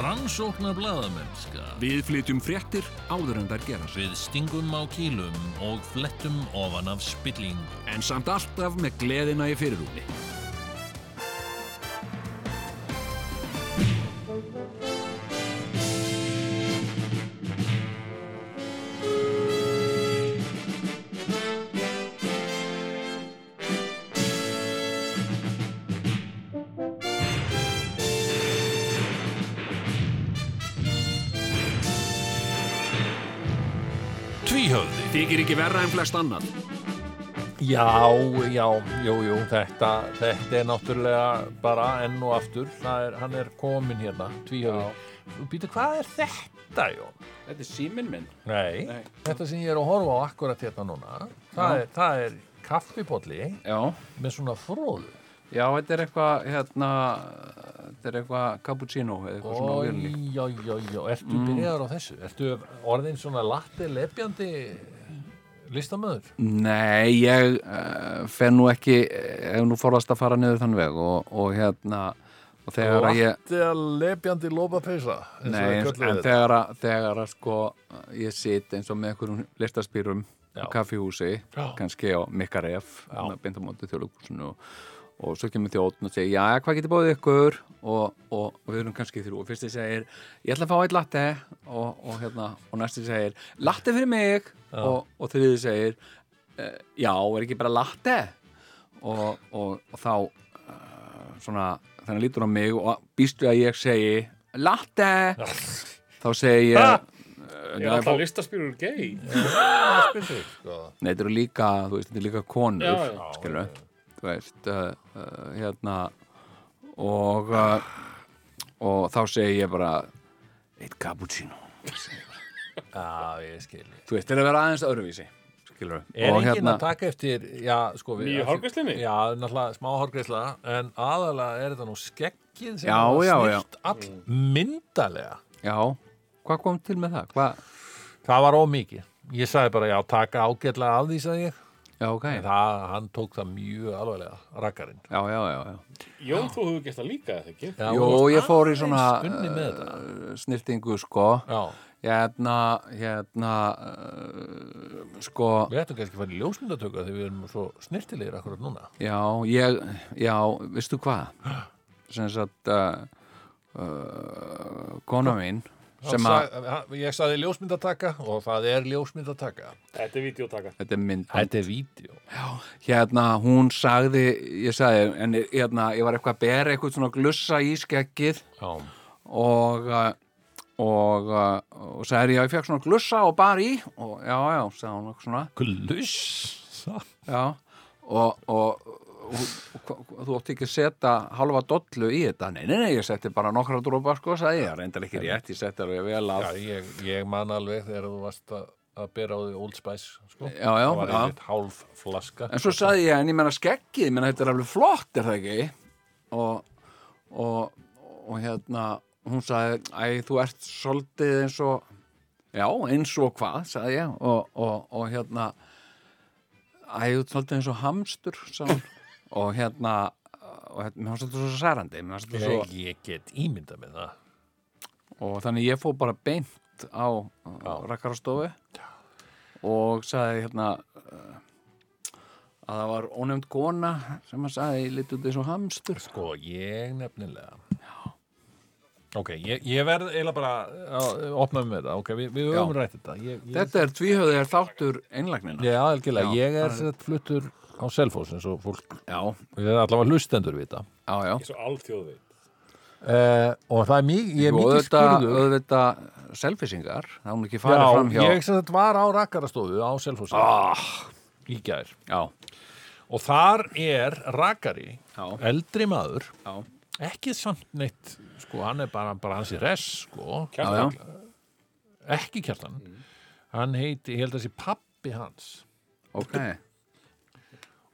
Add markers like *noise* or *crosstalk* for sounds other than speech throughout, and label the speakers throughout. Speaker 1: Rannsóknar blaðamennska
Speaker 2: Við flytjum fréttir áður en þær gerast.
Speaker 1: Við stingum á kýlum og flettum ofan af spillingu
Speaker 2: En samt alltaf með gleðina í fyrirrúmi.
Speaker 1: Tvíhöfði
Speaker 2: Þykir ekki verra en flest annan.
Speaker 3: Já, já, jú, jú, þetta, þetta er náttúrulega bara enn og aftur, það er, hann er komin hérna, tvíhöfði. Býtu, hvað er þetta, Jón?
Speaker 4: Þetta er síminn minn.
Speaker 3: Nei,
Speaker 4: Nei.
Speaker 3: þetta sem ég er að horfa á akkurat hérna núna, það
Speaker 4: Já.
Speaker 3: er, það er kaffipolli
Speaker 4: Já,
Speaker 3: með svona fróðu.
Speaker 4: já, þetta er eitthvað, hérna, þetta er eitthvað cappuccino eða eitthvað svona á
Speaker 3: Ói,
Speaker 4: vélunni.
Speaker 3: já, já, já, ertu
Speaker 4: Mm.
Speaker 3: byrjaður á þessu? Ertu orðin svona latte, lepjandi listamöður?
Speaker 4: Nei, ég uh, fer nú ekki, ef nú forðast að fara niður þann veg og, og hérna, og þegar að ég,
Speaker 3: Latte, lepjandi, lópa peysa?
Speaker 4: nei, en, en þegar að, þegar að sko, ég sit eins og með einhverjum listaspýrum
Speaker 3: Já.
Speaker 4: á kaffihúsi,
Speaker 3: Já.
Speaker 4: kannski á Mikka Ref, bindamóti þjóðlugusinu og, og svo kemur þjóðn og segir, já, hvað getur bóðið ykkur? Og, og, og við erum kannski þrjú og fyrsti segir, ég ætla að fá eitt latte og, og hérna, og næsti segir, latte fyrir mig og, og þriði segir, "Eh, já, er ekki bara latte? Og, og, og þá, uh, svona, þannig að lítur á mig og býstu að ég segi, latte! Þá segi ég, eh,
Speaker 5: Ég er alltaf listaspyrur gay
Speaker 3: spyrir, sko.
Speaker 4: Nei, þetta eru líka, þú veist, þetta eru líka konur,
Speaker 5: Já, já.
Speaker 4: skilur þú veist, uh, uh, hérna, og, uh, og þá segi ég bara, eitt cappuccino,
Speaker 3: Já, ég skilji.
Speaker 4: þú veist, til að vera aðeins öðruvísi, hérna- skilur
Speaker 3: Er enginn að taka eftir, já, sko við...
Speaker 5: Nýju hárgreiðslunni?
Speaker 3: Já, náttúrulega smá hárgreisla, en aðalega er þetta nú skeggið sem
Speaker 4: Já,
Speaker 3: er
Speaker 4: já,
Speaker 3: snilt all myndalega.
Speaker 4: Já, hvað kom til með það? Hvað,
Speaker 3: Það var ómikið. Ég sagði bara, já, taka ágætlega af því, sagði ég.
Speaker 4: já, ok,
Speaker 3: En það, hann tók það mjög alvarlega, rakkarinn.
Speaker 4: já, já, já, já.
Speaker 5: Jón, þú hefur gert það líka, eða ekki?
Speaker 3: Já,
Speaker 4: Jó,
Speaker 3: þú varst
Speaker 4: ég fór í
Speaker 3: aðeins
Speaker 4: svona
Speaker 3: unni með
Speaker 4: uh,
Speaker 3: þetta.
Speaker 4: sniltingu, sko,
Speaker 3: Já,
Speaker 4: hérna, hérna, uh, sko,
Speaker 3: við ættum kannski að fara í ljósmyndatöku þegar við erum svo snirtilegir akkurat núna.
Speaker 4: Já, ég, já, veistu hvað? Sem sagt, uh, uh, kona mín, sem að,
Speaker 3: Sag, ég sagði ljósmyndataka og það er ljósmyndataka.
Speaker 5: Þetta er videótaka
Speaker 4: þetta er mynd,
Speaker 3: Þetta er vídeo.
Speaker 4: hérna, hún sagði, ég sagði, en hérna, ég var eitthvað að bera eitthvað svona glussa í skeggið
Speaker 3: Já,
Speaker 4: og, uh, og, uh, og sagði, já, ég fekk svona glussa og bar í, og já, já, sagði hún eitthvað svona,
Speaker 3: glussa.
Speaker 4: já, og, og, og, og þú átti ekki að setja halva dollu í þetta, nei, nei, nei, ég setti bara nokkra drópa, sko, sagði ég, reyndar ekki rétt, ég setti alveg vel að,
Speaker 3: Já, ég, ég man alveg þegar þú varst að, að bera á því Old Spice, sko.
Speaker 4: Já, já,
Speaker 3: Það var
Speaker 4: já.
Speaker 3: einmitt hálf flaska.
Speaker 4: En svo sagði ég, en ég menna skeggið, ég menna þetta er alveg flott, er það ekki? Og, og, og hérna, hún sagði, æ, þú ert svolítið eins og, já, eins og hvað, sagði ég, og, og, og hérna, æ, þú ert svolítið eins og hamstur, sagði hún, og hérna, og hérna, mér var svolítið svo særandi, mér var svolítið svo,
Speaker 3: ég, ég get ímynda með það.
Speaker 4: og þannig ég fór bara beint á rakkarastofu og sagði hérna uh, að það var ónefnd kona sem að sagði lítið út eins og hamstur
Speaker 3: Sko, ég nefnilega. Já. Ok, ég, ég verð eiginlega bara að opna mig með þetta. Ok, við, við höfum
Speaker 4: Já.
Speaker 3: rætt þetta. Ég, ég,
Speaker 4: þetta er tvíhöðir þáttur einlagnina
Speaker 3: Já, algjörlega.
Speaker 4: Já,
Speaker 3: Ég er sett fluttur á Selfoss eins og fólk,
Speaker 4: já,
Speaker 3: við erum allavega hlustendur við þetta.
Speaker 4: já, já.
Speaker 5: Svo alþjóð veit
Speaker 3: Uh, og það er mikið, ég er
Speaker 4: og
Speaker 3: mikið
Speaker 4: auðvitað,
Speaker 3: skurður.
Speaker 4: auðvitað selfisingar, það hún ekki farið fram hjá
Speaker 3: Já, ég sem þetta var á rakkarastofu á Selfossi. Ah. Í gær.
Speaker 4: já,
Speaker 3: Og þar er rakari,
Speaker 4: Já.
Speaker 3: eldri maður,
Speaker 4: já,
Speaker 3: ekki samt neitt, sko, hann er bara, bara hans í res, sko,
Speaker 4: já, já.
Speaker 3: ekki kjartan. Hann heiti, ég held að þessi pappi hans.
Speaker 4: ok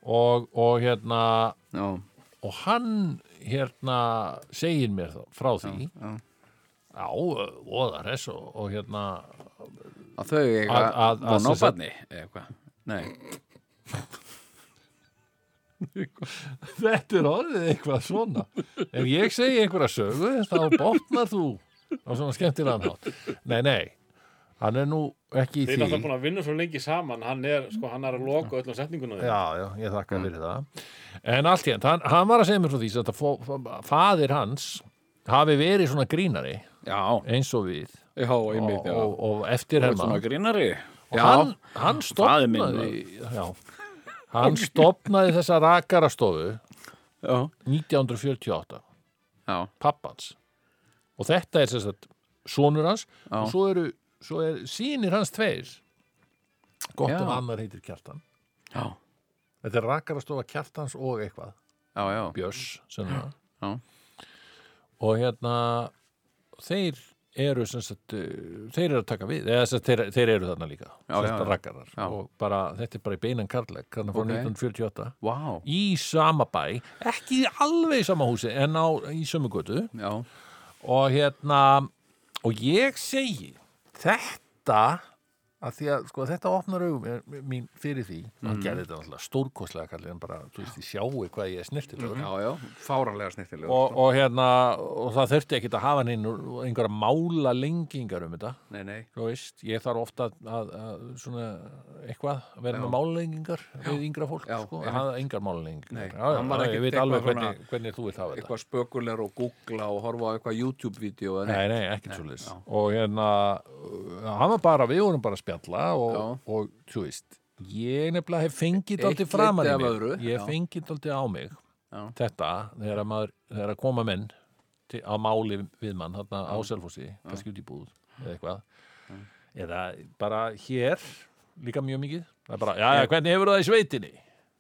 Speaker 3: Og, og hérna,
Speaker 4: já,
Speaker 3: og hann hérna segir mér þá, frá því, já, voða res og, og hérna, *laughs*
Speaker 4: að þau eiga
Speaker 3: Að- að- að
Speaker 4: von á
Speaker 3: sem sagt-
Speaker 4: barni, eða eitthvað nei,
Speaker 3: þetta er orðið eitthvað svona. Ef ég segi einhverja sögu, þá botnar þú á svona skemmtilegan hátt nei, nei, hann er nú ekki í
Speaker 5: Þeir
Speaker 3: því
Speaker 5: eru alltaf búin að vinna svo lengi saman, hann er, sko, hann er að loka öllum setningunum þeim.
Speaker 3: Já, já, ég
Speaker 4: Mm.
Speaker 3: þakka fyrir það En allt hérna, hann, hann var að segja mér frá því að fó- fó- faðir hans hafi verið svona grínari
Speaker 4: Já,
Speaker 3: eins og við
Speaker 4: já,
Speaker 3: og,
Speaker 4: einmitt, já.
Speaker 3: og, og eftir
Speaker 4: Og svona
Speaker 3: hennar
Speaker 4: grínari.
Speaker 3: og
Speaker 4: Já,
Speaker 3: hann, hann
Speaker 4: faðir minn
Speaker 3: stopnaði já, hann stopnaði þessa rakarastofu
Speaker 4: já,
Speaker 3: 1948
Speaker 4: já,
Speaker 3: pappans og þetta er sérst að sonur hans
Speaker 4: Já.
Speaker 3: og svo eru svo er, sínir hans tveir gott
Speaker 4: Já.
Speaker 3: um annar heitir Kjartan
Speaker 4: já,
Speaker 3: þetta er rakarastofa Kjartans og eitthvað
Speaker 4: já, já,
Speaker 3: Björs sem það
Speaker 4: Já.
Speaker 3: og hérna þeir eru sem sagt uh, þeir eru að taka við, eða sem sagt þeir, þeir eru þarna líka,
Speaker 4: Já, já, já.
Speaker 3: þetta rakkarar
Speaker 4: Já.
Speaker 3: og bara, þetta er bara í beinan karlæk þarna frá
Speaker 4: Ok.
Speaker 3: 1948
Speaker 4: vá,
Speaker 3: í sama bæ, ekki í alveg í sama húsi en á, í sömu götu
Speaker 4: já,
Speaker 3: og hérna og ég segi þetta að því að sko þetta opnar augum mín fyrir því mm.
Speaker 4: Mhm.
Speaker 3: hann gerði þetta náttúrulega stórkostlega kallið en bara, þú veist, ég sjáu hvað ég er snirtilegur
Speaker 4: já, já, fáralega snittilega.
Speaker 3: og, og hérna og það þurfti ekkit að hafa hann inn úr- einhverja mála lengingar um þetta
Speaker 4: nei, nei,
Speaker 3: þú veist, ég þarf ofta að, að, að svona eitthvað, að vera með málalengingar við yngra fólk,
Speaker 4: Já,
Speaker 3: sko,
Speaker 4: einmitt.
Speaker 3: að hafa engar málalengingar
Speaker 4: Nei,
Speaker 3: já, já,
Speaker 4: hann var
Speaker 3: já,
Speaker 4: ekkit
Speaker 3: ég veit
Speaker 4: eitthvað
Speaker 3: alveg
Speaker 4: svona-
Speaker 3: hvernig, hvernig þú vilt hafa þetta
Speaker 4: eitthvað spökulegur og googla og horfa á eitthvað YouTube-vídeó. eða
Speaker 3: nei,
Speaker 4: neitt.
Speaker 3: nei, ekkit svo
Speaker 4: já.
Speaker 3: og hérna, uh, hann var bara við vorum bara að spjalla og,
Speaker 4: Já.
Speaker 3: og þú veist, ég nefnilega hef
Speaker 4: Eitt
Speaker 3: fengið aldrei
Speaker 4: leiddi
Speaker 3: framan í
Speaker 4: af
Speaker 3: mig
Speaker 4: öðru,
Speaker 3: ég
Speaker 4: já.
Speaker 3: hef fengið aldrei á mig
Speaker 4: Já.
Speaker 3: þetta, þegar að, maður, þegar að koma menn til, á máli við mann þarna á Selfossi, kannski út í búð eða eitthvað eða bara hér, líka mjög mikið það er bara, já, já, hvernig hefur það í sveitinni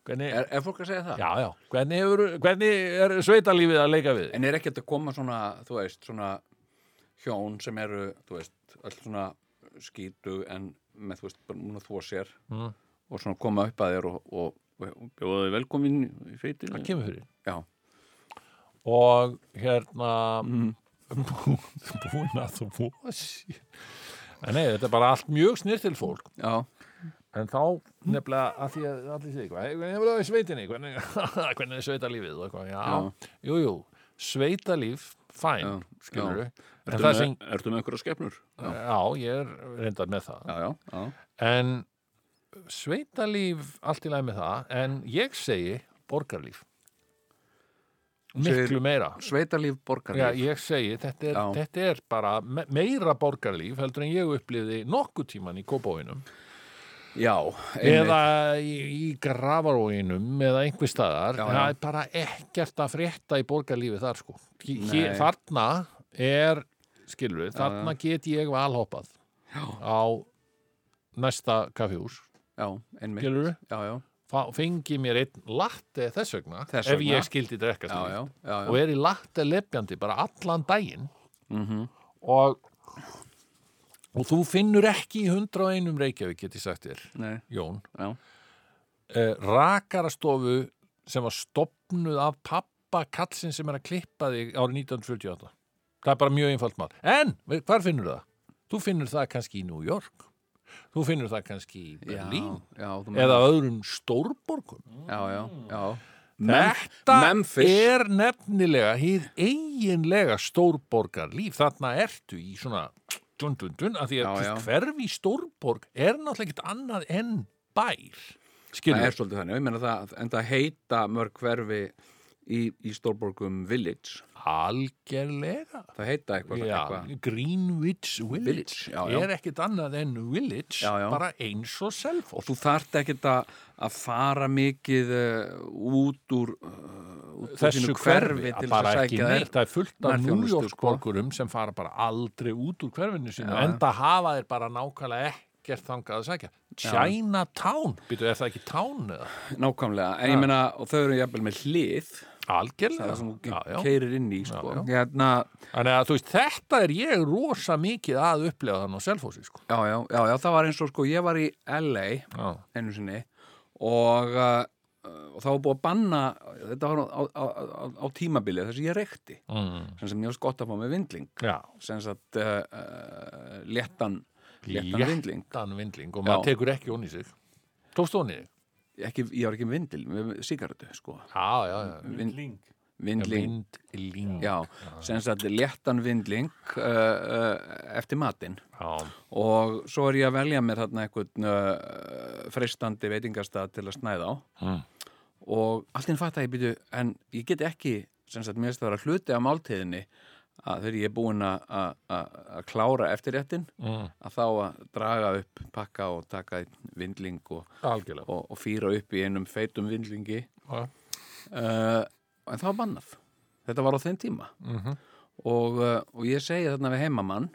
Speaker 3: hvernig,
Speaker 4: Er, er fólk að segja það?
Speaker 3: já, já, hvernig, hefur, hvernig er sveitalífið að leika við
Speaker 4: En er ekkert að koma svona, þú veist, svona hjón sem eru, þú veist, öll svona skítu en með, þú veist, bara núna þvó sér
Speaker 3: Mm.
Speaker 4: og svona koma upp að þér og, og, og bjóða þið velkomin í feitinu.
Speaker 3: það kemur fyrir
Speaker 4: Já,
Speaker 3: og hérna mm. bú, búin að þú búið Nei, þetta er bara allt mjög snirtil fólk
Speaker 4: já,
Speaker 3: En þá nefnilega að því að allir segja eitthvað, "Hey, hvernig hefur það í sveitinni, hvernig, hvernig *laughs* er sveitalífið og eitthvað, já, jú, jú, sveitalíf, fæn,
Speaker 4: Já,
Speaker 3: skilur við, en
Speaker 4: Ertu
Speaker 3: það
Speaker 4: með,
Speaker 3: sem,
Speaker 4: ertu með einhverja skepnur? Já,
Speaker 3: já, ég er reyndar með það,
Speaker 4: já, já, já,
Speaker 3: en sveitalíf, allt í lagi með það, en ég segi borgarlíf,
Speaker 4: Segir-
Speaker 3: miklu meira.
Speaker 4: sveitalíf borgarlíf.
Speaker 3: Já, ég segi, þetta er,
Speaker 4: Já.
Speaker 3: þetta er bara me- meira borgarlíf heldur en ég upplifði nokkuð tíman í Kópóinum.
Speaker 4: Já, einmitt.
Speaker 3: eða í, í gravarúinum eða einhver staðar
Speaker 4: Já, já.
Speaker 3: það er bara ekkert að frétta í borgarlífi þar sko Hé-
Speaker 4: Nei.
Speaker 3: hér, þarna er skilur, þarna get ég valhoppað
Speaker 4: Já.
Speaker 3: á næsta kaffjús
Speaker 4: já, einmitt.
Speaker 3: skilur,
Speaker 4: Já, já,
Speaker 3: fengi mér einn latte þess vegna,
Speaker 4: Þess
Speaker 3: ef
Speaker 4: vegna.
Speaker 3: ég skildi drekka
Speaker 4: já, já,
Speaker 3: slíkt.
Speaker 4: já,
Speaker 3: og
Speaker 4: já,
Speaker 3: er í latte lefjandi bara allan daginn -hmm. og og þú finnur ekki í 101 Reykjavík, get ég sagt þér,
Speaker 4: nei,
Speaker 3: Jón
Speaker 4: já,
Speaker 3: uh, rakarastofu sem var stopnuð af pappa kallsinn sem er að klippa þig árið 1948. Það er bara mjög einfalt mál. En, ve- hvar finnur það? Þú finnur það kannski í New York. Þú finnur það kannski í
Speaker 4: já,
Speaker 3: Berlín
Speaker 4: já, þú
Speaker 3: eða
Speaker 4: meinar.
Speaker 3: öðrum stórborgum.
Speaker 4: já, já, já,
Speaker 3: Þetta
Speaker 4: Memphis.
Speaker 3: er nefnilega hið eiginlega stórborgarlíf. Þarna ertu í svona dun dun dun að því
Speaker 4: Já,
Speaker 3: að
Speaker 4: já.
Speaker 3: já, hverfi stórborg er náttúrulega ekkert annað en bær. Skilur
Speaker 4: það er svolítið þannig, ég meina það en það heita mörg hverfi í, í Stórborgum Village
Speaker 3: Algerlega
Speaker 4: það heita eitthvað,
Speaker 3: já,
Speaker 4: eitthvað.
Speaker 3: Greenwich Village,
Speaker 4: Village, já, já.
Speaker 3: er ekkit annað en Village
Speaker 4: Já, já.
Speaker 3: bara eins og
Speaker 4: og
Speaker 3: Selfoss
Speaker 4: þú þarft ekkert að, að fara mikið uh, út úr, uh, út úr
Speaker 3: þessu
Speaker 4: sínu
Speaker 3: hverfi,
Speaker 4: til þess
Speaker 3: bara
Speaker 4: að
Speaker 3: ekki
Speaker 4: sækja
Speaker 3: neitt það er fullt af
Speaker 4: nærþjónustu, sko.
Speaker 3: Nújórsborgurum sem fara bara aldrei út úr hverfinu sínu
Speaker 4: Já.
Speaker 3: enda hafa þeir bara nákvæmlega ekkert þangað að sækja Chinatown, býtu, er það ekki tán eða?
Speaker 4: þér nákvæmlega, en ég meina og þau eru jafnvel með hlið það
Speaker 3: Algerlega
Speaker 4: sem þú
Speaker 3: já, já.
Speaker 4: keirir inn í sko.
Speaker 3: Já,
Speaker 4: Hérna,
Speaker 3: Þannig að þú veist, þetta er ég rosa mikið að upplega þann á Selfossi sko.
Speaker 4: já, já, já, já, það var eins og sko, ég var í LA
Speaker 3: Já,
Speaker 4: einu sinni og, uh, og þá var búið að banna þetta var á, á, á, á tímabilið þess að ég reykti
Speaker 3: mm.
Speaker 4: sem sem ég var skott að fá með vindling
Speaker 3: já.
Speaker 4: sem sagt uh, uh, léttan, léttan
Speaker 3: Léttan
Speaker 4: vindling
Speaker 3: vindling og
Speaker 4: Já.
Speaker 3: maður tekur ekki onni sig Tókst onni þig?
Speaker 4: ekki, ég var ekki með vindil, með sigaretu sko.
Speaker 3: Já, já, já
Speaker 5: Vindling.
Speaker 4: vindling,
Speaker 3: Vindling
Speaker 4: já, sem sagt léttan vindling uh, uh, eftir matinn
Speaker 3: já.
Speaker 4: og svo er ég að velja mér þarna einhvern uh, freistandi veitingastað til að snæða á
Speaker 3: Mm.
Speaker 4: og allt inn fatt að ég byrju en ég get ekki, sem sagt, mér finnst það vera hluti af máltíðinni að þegar ég er búin að- að að- að klára eftirréttin
Speaker 3: Mm.
Speaker 4: að þá að draga upp pakka og taka einn vindling og,
Speaker 3: Algjörlega
Speaker 4: og, og fýra upp í einum feitum vindlingi
Speaker 3: Já.
Speaker 4: uh, en það var bannað þetta var á þeim tíma
Speaker 3: Mhm.
Speaker 4: og, uh, og ég segi þarna við heimamann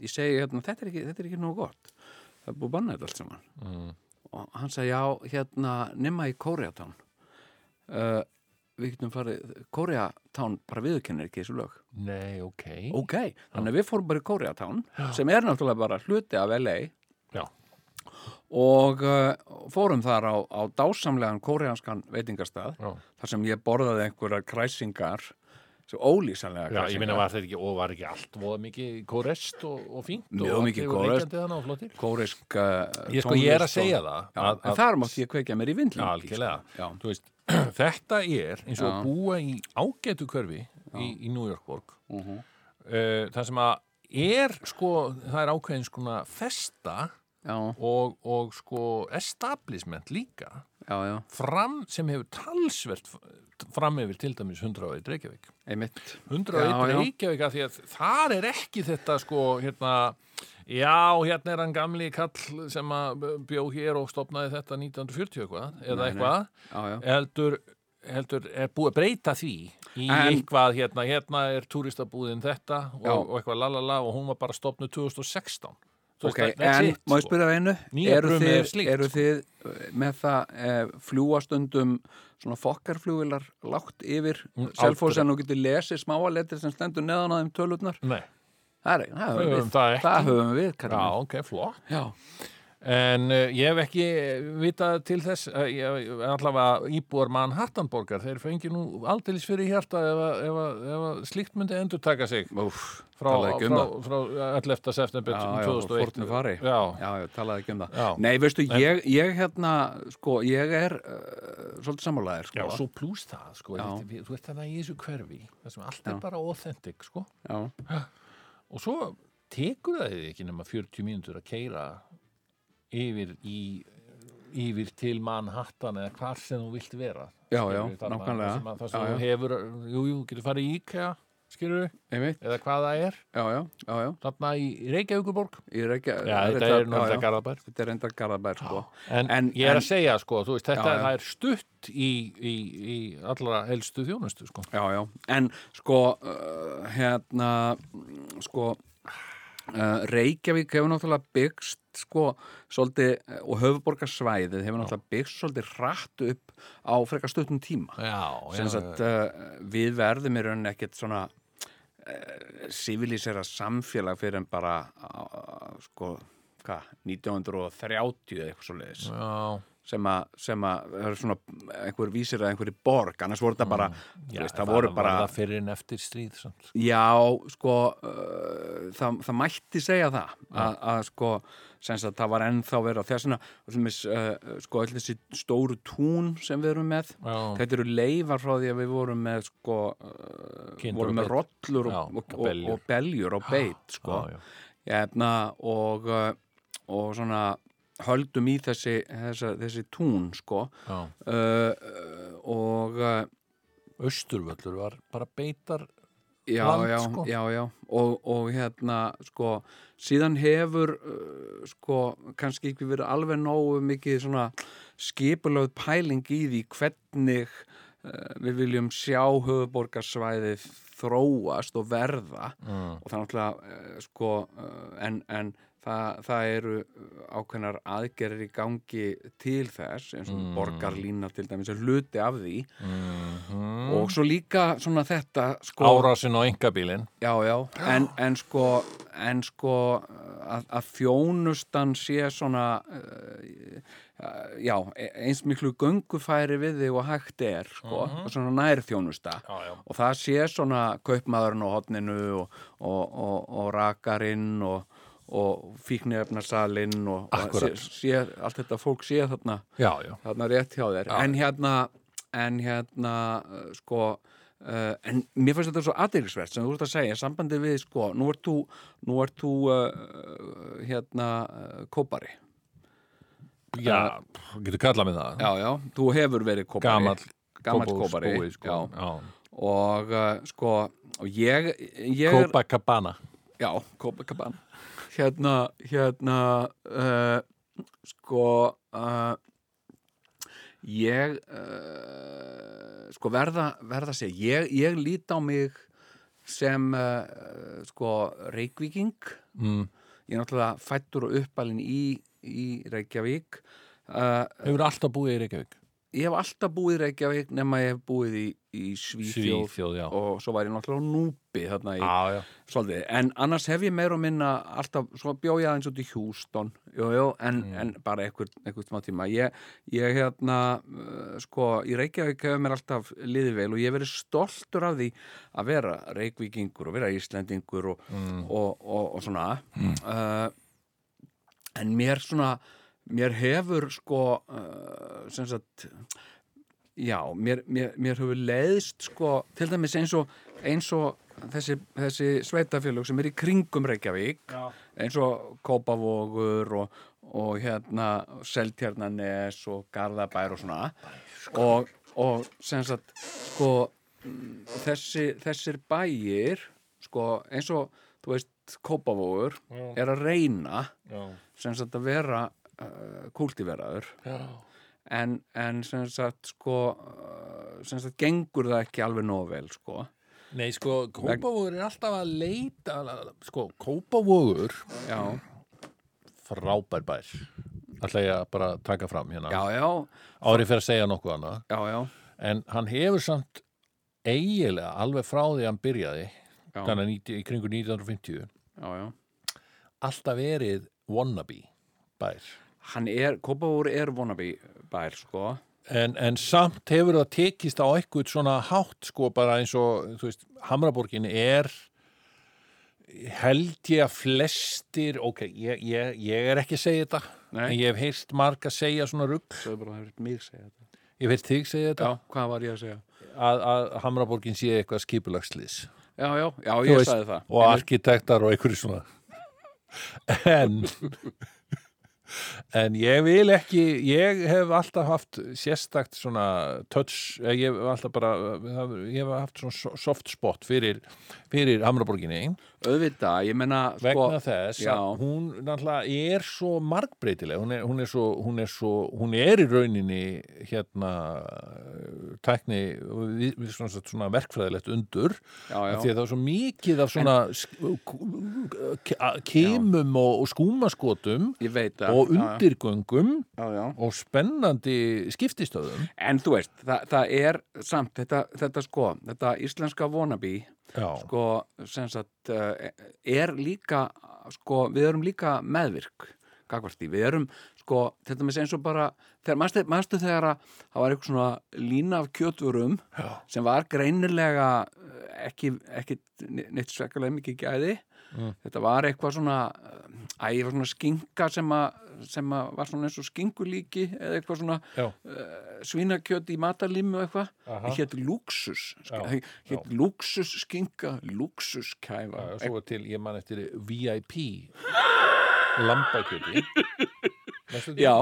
Speaker 4: ég segi hérna, þetta er ekki, þetta er ekki nóg gott það er búið að banna þetta allt saman
Speaker 3: Mm.
Speaker 4: og hann sagði, já, hérna nema í Kóreatán uh, við getum farið Kóreatán bara viðurkennir ekki þessu lög
Speaker 3: Nei, ok
Speaker 4: ok, þannig að við fórum bara í Kóreatán sem er náttúrulega bara hluti af LA
Speaker 3: Já.
Speaker 4: og uh, fórum þar á, á dásamlegan kóreanskan veitingastað
Speaker 3: Já.
Speaker 4: þar sem ég borðaði einhverjar kræsingar svo ólýsanlega
Speaker 3: Já, ég minna var þetta ekki, og var ekki allt voða mikið kórest og, og fínt
Speaker 4: Mjög
Speaker 3: og
Speaker 4: mikið
Speaker 3: allir voru
Speaker 4: kórest.
Speaker 3: liggjandi þarna og flottir.
Speaker 4: kóresk uh,
Speaker 3: Ég sko, ég er að segja það
Speaker 4: Já,
Speaker 3: að,
Speaker 4: en
Speaker 3: að,
Speaker 4: þar mátti ég kveikja mér í vindlingi
Speaker 3: Já, algjörlega.
Speaker 4: sko. Já.
Speaker 3: þú veist, *clears throat* þetta er eins og
Speaker 4: Já.
Speaker 3: að búa í ágætu körfi í, í New Yorkborg uh
Speaker 4: Mhm.
Speaker 3: það sem að er sko, það er ákveðin skona festa
Speaker 4: Já,
Speaker 3: og, og sko establishment líka
Speaker 4: já, já,
Speaker 3: fram sem hefur talsvert f- fram yfir til dæmis 100 ári Reykjavík
Speaker 4: einmitt
Speaker 3: 101
Speaker 4: Já, já.
Speaker 3: Reykjavík af því að þar er ekki þetta sko hérna Já, hérna er hann gamli kall sem að bjó hér og stopnaði þetta 1940 eitthvað, eða
Speaker 4: Nei, nei.
Speaker 3: eitthvað
Speaker 4: Já, já,
Speaker 3: heldur, heldur er búið að breyta því í
Speaker 4: En-
Speaker 3: eitthvað hérna, hérna er turistabúðin þetta og,
Speaker 4: Já.
Speaker 3: og eitthvað lalala og hún var bara stopnuð 2016 Þú veist,
Speaker 4: ok,
Speaker 3: that- that's
Speaker 4: en
Speaker 3: it,
Speaker 4: má ég
Speaker 3: sko.
Speaker 4: spyrja það einu?
Speaker 3: Nýjar
Speaker 4: Eru
Speaker 3: brumið er
Speaker 4: þið,
Speaker 3: slíkt,
Speaker 4: eru
Speaker 3: sko.
Speaker 4: þið eh, með það e, fljúastundum svona fokkarflugvilar lágt yfir
Speaker 3: Mm,
Speaker 4: Selfoss en þú getur lesið smáalettir sem stendur neðan á þeim tölurnar?
Speaker 3: Nei,
Speaker 4: Það er ekki, það
Speaker 3: Við
Speaker 4: höfum
Speaker 3: höfum
Speaker 4: við,
Speaker 3: það ekki.
Speaker 4: höfum við,
Speaker 3: já,
Speaker 4: Karin.
Speaker 3: ok, flott
Speaker 4: Já,
Speaker 3: En uh, ég hef ekki vitað til þess, uh, ég, allavega íbúar Manhattanborgar, þeir fengi nú aldeilis fyrir hjarta ef, að- ef, að- ef að slíkt myndi endurtaka sig
Speaker 4: Úf,
Speaker 3: frá,
Speaker 4: talaðu ekki um
Speaker 3: frá,
Speaker 4: það.
Speaker 3: frá 11. september
Speaker 4: Já, já,
Speaker 3: 2001.
Speaker 4: fórnum fari.
Speaker 3: Já,
Speaker 4: Já, ég talaði ekki um það.
Speaker 3: Já.
Speaker 4: Nei, veistu, ég, ég hérna, sko, ég er uh, svolítið sammálaðir, sko.
Speaker 3: Já, svo pluss það, sko,
Speaker 4: Já.
Speaker 3: þetta- við- þú ert þannig í þessu hverfi, það sem allt er bara authentic, sko,
Speaker 4: Já.
Speaker 3: og svo tekur það þið ekki nema 40 mínútur að keira yfir í yfir til Manhattan eða hvar sem þú vilt vera
Speaker 4: Já,
Speaker 3: skilurðu,
Speaker 4: já,
Speaker 3: þarna,
Speaker 4: nákvæmlega.
Speaker 3: þar sem að- þar sem
Speaker 4: Já,
Speaker 3: þú
Speaker 4: já.
Speaker 3: hefur, jú, jú, getur farið í IKEA skilur við,
Speaker 4: Einmitt,
Speaker 3: eða hvað það er
Speaker 4: já, já, já, já.
Speaker 3: þarna í Reykjavíkuborg
Speaker 4: Ég er ekki,
Speaker 3: Já, þetta
Speaker 4: reyndar-
Speaker 3: er náttúrulega
Speaker 4: já, já.
Speaker 3: Garðabær
Speaker 4: Þetta er reyndar Garðabær, sko.
Speaker 3: En,
Speaker 4: En-
Speaker 3: ég er að
Speaker 4: en-
Speaker 3: segja, sko, þú veist, þetta
Speaker 4: Já, já.
Speaker 3: það er stutt í, í, í allra helstu þjónustu, sko.
Speaker 4: Já, já, en sko, uh, hérna, mm, sko, uh, Reykjavík hefur náttúrulega byggst, sko, svolítið, og höfuborgarsvæðið hefur náttúrulega byggst svolítið rætt upp á frekar stuttum tíma.
Speaker 3: Já,
Speaker 4: sem sagt, uh, við verðum í rauninni ekkert svona uh, civilisera samfélag fyrir en bara uh, sko, hvað, 1930 eða eitthvað svo leiðis
Speaker 3: já.
Speaker 4: sem að, sem að það eru svona einhver vísir að einhverju borg annars voru þetta bara, þú
Speaker 3: Mm. Já,
Speaker 4: veist, það voru bara
Speaker 3: var það fyrir en eftir stríð samt. sko.
Speaker 4: já, sko uh, það, það mætti segja það að, að sko, sem sagt, það var ennþá verið á þessina, uh, sko öll þessi stóru tún sem við erum með
Speaker 3: Já,
Speaker 4: Þetta eru leifar frá því að við vorum með sko, uh,
Speaker 3: Kindur
Speaker 4: vorum
Speaker 3: og
Speaker 4: með
Speaker 3: beit.
Speaker 4: rollur og,
Speaker 3: Já,
Speaker 4: og,
Speaker 3: og
Speaker 4: og, og,
Speaker 3: beljur.
Speaker 4: beljur og beit sko.
Speaker 3: já, já.
Speaker 4: Efna, og, uh, og svona höldum í þessi, þessi, þessi tún sko.
Speaker 3: já.
Speaker 4: uh, uh, og uh,
Speaker 3: Östurvöllur var bara beitar
Speaker 4: já,
Speaker 3: Land,
Speaker 4: já,
Speaker 3: sko.
Speaker 4: já, já og, og hérna sko, síðan hefur uh, sko, kannski ekki verið alveg nógu mikið svona skipulöð pæling í því hvernig uh, við viljum sjá höfuborgarsvæðið þróast og verða
Speaker 3: mm.
Speaker 4: og það er náttúrulega eh, sko, eh, en, en það, það eru ákveðnar aðgerðir í gangi til þess eins og borgarlína til dæmis er hluti af því
Speaker 3: -hmm.
Speaker 4: og svo líka svona þetta sko,
Speaker 3: Árásin á engabílin
Speaker 4: já, já, en, en sko, en sko að, að þjónustan sé svona eh, já, e- eins miklu göngufæri við þig og hægt er sko, svona nærþjónusta
Speaker 3: Já, já.
Speaker 4: og það sé svona kaupmaðurinn á hotninu og, og, og, og rakarinn og, og fíknefnarsalinn og, og sé,
Speaker 3: Akkúrat.
Speaker 4: sé, allt þetta fólk sé þarna,
Speaker 3: Já, já,
Speaker 4: þarna rétt hjá þér en hérna, en hérna eh, sko Uh, en mér fannst þetta svo aðeinsvert sem þú ert að segja, sambandi við sko, nú ert þú, nú ert þú uh, hérna, uh, kópari
Speaker 3: Já, pff, getur kallað mig það
Speaker 4: já, já, þú hefur verið kópari
Speaker 3: Gamall
Speaker 4: gamall
Speaker 3: Kópavogs
Speaker 4: kópari
Speaker 3: búi, sko.
Speaker 4: já. og uh, sko og ég, ég er-
Speaker 3: Copacabana
Speaker 4: já, Copacabana hérna, hérna uh, sko uh, ég uh, sko verða, verða að segja ég, ég lít á mig sem uh, sko reykvíking
Speaker 3: mm.
Speaker 4: ég er náttúrulega fættur og uppalinn í, í Reykjavík uh,
Speaker 3: Hefur alltaf búið í Reykjavík
Speaker 4: ég hef alltaf búið í Reykjavík nema ég hef búið í, í Svíþjóð
Speaker 3: já Ah,
Speaker 4: og svo var ég náttúrulega á núpi þarna í
Speaker 3: Já, já
Speaker 4: svolítið, en annars hef ég meira og minna alltaf, svo bjó ég aðeins út í Hjústón jú, jú, en, en bara einhver, einhver smá tíma ég, ég hérna, uh, sko í Reykjavík hefur mér alltaf liðið vel og ég hef verið stoltur af því að vera reykvíkingur og vera íslendingur og, og, og, og svona uh, en mér svona mér hefur sko uh, sem sagt já, mér, mér, mér hefur leiðst sko, til dæmis eins og eins og þessi, þessi sveitafélög sem er í kringum Reykjavík já. eins og Kópavogur og, og hérna Seltjarnanes og Garðabær sko. og svona og, og sem sagt sko mm, þessi, þessir bæir sko eins og þú veist Kópavogur er að reyna
Speaker 3: Já,
Speaker 4: sem sagt að vera uh, kultiveraður
Speaker 3: já.
Speaker 4: en, en sem sagt sko uh, sem sagt gengur það ekki alveg nóg vel sko
Speaker 3: Nei, sko, Kópavogur er alltaf að leita Sko, Kópavogur
Speaker 4: já,
Speaker 3: Frábær bær Ætla ég að bara taka fram hérna
Speaker 4: já, já,
Speaker 3: Ári fyrir að segja nokkuð annað
Speaker 4: já, já,
Speaker 3: En hann hefur samt eiginlega alveg frá því að hann byrjaði
Speaker 4: já,
Speaker 3: þannig að 90 í kringu 1950
Speaker 4: já, já.
Speaker 3: alltaf verið wannabe bær
Speaker 4: hann er, Kópavúr er wannabe bær sko
Speaker 3: en, en samt hefur það tekist á eitthvað svona hátt sko bara eins og þú veist, Hamraborgin er held ég að flestir ok, ég, ég, ég er ekki að segja þetta
Speaker 4: Nei.
Speaker 3: en ég hef heyrst marga segja svona rugg
Speaker 4: svo er bara að hefur mig segja þetta
Speaker 3: ég hef heyrst þig segja þetta
Speaker 4: já, hvað var ég að segja?
Speaker 3: að, að Hamraborgin sé eitthvað skipulagslýs
Speaker 4: já, já, já,
Speaker 3: Þú
Speaker 4: ég
Speaker 3: veist,
Speaker 4: sagði það
Speaker 3: og arkitektar og einhverju svona en en ég vil ekki ég hef alltaf haft sérstakt svona touch eh, ég hef alltaf bara ég hef haft svona so- soft spot fyrir, fyrir Hamraborginni
Speaker 4: auðvitað, ég menna sko,
Speaker 3: vegna þess
Speaker 4: já.
Speaker 3: að hún náttúrulega er svo margbreytileg hún er, hún er, svo, hún er, svo, hún er í rauninni hérna eh, tækni við, við svona, svona verkfræðilegt undur
Speaker 4: já,
Speaker 3: Af
Speaker 4: já,
Speaker 3: því að það er svo mikið af svona en, kemum og, og skúmaskotum
Speaker 4: ég veit það
Speaker 3: og
Speaker 4: já, já,
Speaker 3: undirgöngum
Speaker 4: já, já.
Speaker 3: og spennandi skiptistöðum
Speaker 4: en þú veist, það, það er samt, þetta, þetta sko, þetta íslenska wannabe
Speaker 3: Já,
Speaker 4: sko, sem sagt eh, er líka, sko, við erum líka meðvirk, gagvarti við erum, sko, til dæmis eins og bara þegar, manstu, manstu þegar að það var eitthvað svona lína af kjötvurum Já. sem var greinilega eh, ekki, ekki neitt svekalega mikið gæði þetta var eitthvað svona eh, æ, ég var svona skinka sem að sem að var svona eins og skingulíki eða eitthvað svona
Speaker 3: Já.
Speaker 4: uh, svínakjöt í matalímu og eitthvað
Speaker 3: Aha.
Speaker 4: hétt luxus
Speaker 3: Já,
Speaker 4: hétt luxus skinka, luxus kæfa
Speaker 3: Já, svo er til, ég man eftir VIP lambakjöti Manstu eftir
Speaker 4: já,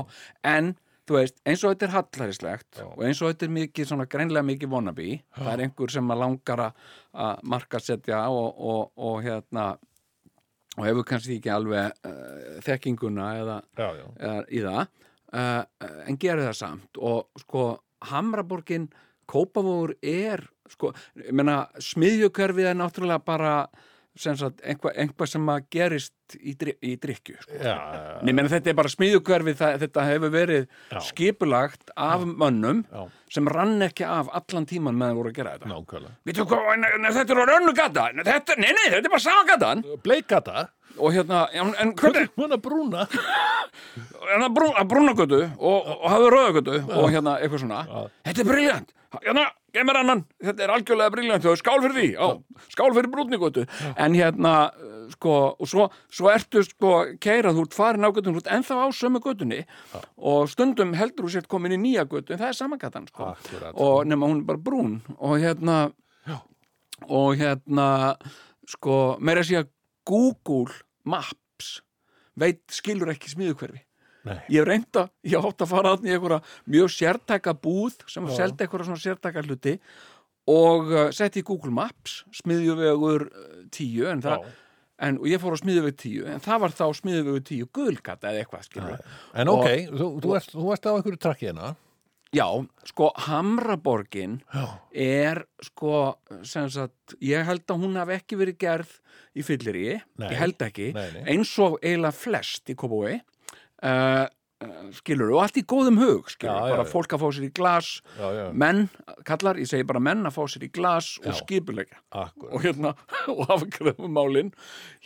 Speaker 4: en þú veist, eins og þetta er hallaríslegt
Speaker 3: Já.
Speaker 4: og eins og þetta er mikið, svona greinlega mikið wannabe, það er einhver sem að langar að- að markasetja og, og, og hérna og hefur kannski ekki alveg uh, þekkinguna eða,
Speaker 3: því? Já, já,
Speaker 4: eða eh, í það uh, en gerir það samt og sko Hamraborgin Kópavogur er sko, ég meina smiðjukörfið er náttúrulega bara sem sagt, einhvað einhva sem að gerist í, dry, í drykju sko.
Speaker 3: já,
Speaker 4: Nei, menn þetta er bara smiðjukverfið, það, þetta hefur verið
Speaker 3: Já.
Speaker 4: skipulagt af mönnum
Speaker 3: Já.
Speaker 4: sem rann ekki af allan tíman meðan þeir voru að gera þetta.
Speaker 3: nákvæmlega
Speaker 4: Veitu hvað, nei, nei, þetta er orðið önnu gata, nei, þetta, nei, nei, þetta er bara sama gatan.
Speaker 3: Bleikata,
Speaker 4: Og hérna, já, en- en hvernig,
Speaker 3: hún er brúna
Speaker 4: en hérna að brún, brúnagötu og, og hafði rauðagötu og hérna eitthvað svona þetta er briljant, hérna, geð mér annan þetta er algjörlega briljant, og skál fyrir því já, skál fyrir brúnagötu en hérna, eh, sko, og svo svo ertu, sko, keirað, þú ert farin á götun þú ert ennþá á sömu götunni og stundum heldur þú sért komin í nýja götu en það er samangatan, sko
Speaker 3: Akkúrat.
Speaker 4: og nema hún er bara brún og hérna,
Speaker 3: Já.
Speaker 4: og hérna sko, meira að segja Google Maps veit skilur ekki smíðukverfi
Speaker 3: Nei.
Speaker 4: ég hef reynda, ég átt að fara aðna í einhverja mjög sértæka búð sem
Speaker 3: Já.
Speaker 4: seldi einhverja svona sértæka hluti og uh, setti í Google Maps smiðjuvegur uh, 10 en það,
Speaker 3: Já.
Speaker 4: en, og ég fór á smiðjuveg 10 en það var þá smiðjuvegur 10 gulgata eða eitthvað skilur
Speaker 3: En
Speaker 4: Og-
Speaker 3: ok, þú, þú, ert, þú ert á einhverju trakki hérna
Speaker 4: Já, sko Hamraborgin
Speaker 3: Já,
Speaker 4: er sko sem sagt, ég held að hún hafi ekki verið gerð í fyllir
Speaker 3: Nei.
Speaker 4: ég held ekki
Speaker 3: nei, nei
Speaker 4: eins og eiginlega flest í Kópavói uh, skilur og allt í góðum hug skilur,
Speaker 3: Já, já,
Speaker 4: bara
Speaker 3: já.
Speaker 4: fólk að fá sér í glas
Speaker 3: Já, já,
Speaker 4: menn, kallar, ég segi bara menn að fá sér í glas
Speaker 3: Já.
Speaker 4: og skipulega
Speaker 3: akkur
Speaker 4: og hérna, *laughs* og hafa kröfumálin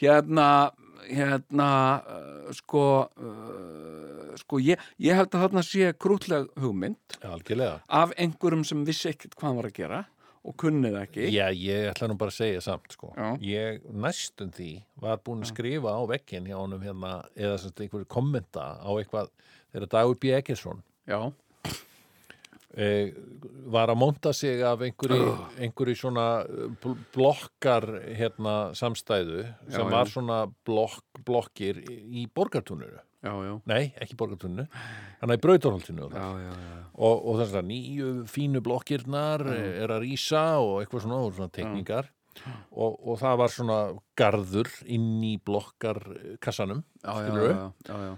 Speaker 4: hérna hérna, uh, sko uh, sko, ég, ég held að þarna sé krútleg hugmynd
Speaker 3: Algjörlega
Speaker 4: af einhverjum sem vissi ekkert hvað hann var að gera og kunnið ekki
Speaker 3: Já, ég ætla nú bara að segja samt sko.
Speaker 4: Já.
Speaker 3: Ég næstum því var búin að skrifa á vekkin hjá honum hérna eða sem sagt einhverju kommenta á eitthvað þegar Dagur B. Eggerson
Speaker 4: já,
Speaker 3: eh, var að monta sig af einhverju, einhverju svona eh, bl- blokkar hérna samstæðu sem
Speaker 4: Já,
Speaker 3: var
Speaker 4: já.
Speaker 3: svona blokk, blokkir í borgartúnunu.
Speaker 4: já, já
Speaker 3: Nei, ekki borgartúnunu. Þannig að í brautarholtinu og það.
Speaker 4: já, já, já,
Speaker 3: og, og þess að nýju fínu blokkirnar eh, er að rýsa og eitthvað svona, og svona tekningar og, og það var svona garður inn í blokkar eh, kassanum
Speaker 4: já, já,
Speaker 3: skilurðu?
Speaker 4: já, já, já,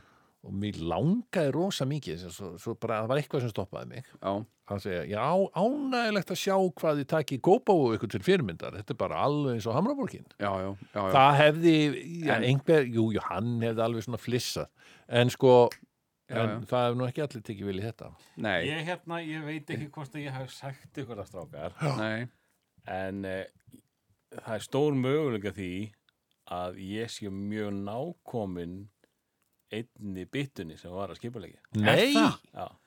Speaker 3: og mér langaði rosa mikið sem svo, svo bara, það var eitthvað sem stoppaði mig
Speaker 4: já.
Speaker 3: að segja, já, ánægilegt að sjá hvað þið taki kópa og ykkur til fyrirmyndar þetta er bara alveg eins og Hamraborgin
Speaker 4: já, já, já, já.
Speaker 3: það hefði, já,
Speaker 4: En-
Speaker 3: einhver, jú, jú, hann hefði alveg svona flissað, en sko
Speaker 4: Já,
Speaker 3: en
Speaker 4: já.
Speaker 3: það hefði nú ekki allir tekið vilja þetta
Speaker 4: Nei,
Speaker 5: Ég hérna, ég veit ekki hvort að ég hef sagt ykkur það strákar
Speaker 4: nei,
Speaker 5: en eh, það er stór möguleika því að ég sé mjög nákomin einni byttunni sem var að skipulegja.
Speaker 3: Nei,
Speaker 4: það?
Speaker 5: Já. Um,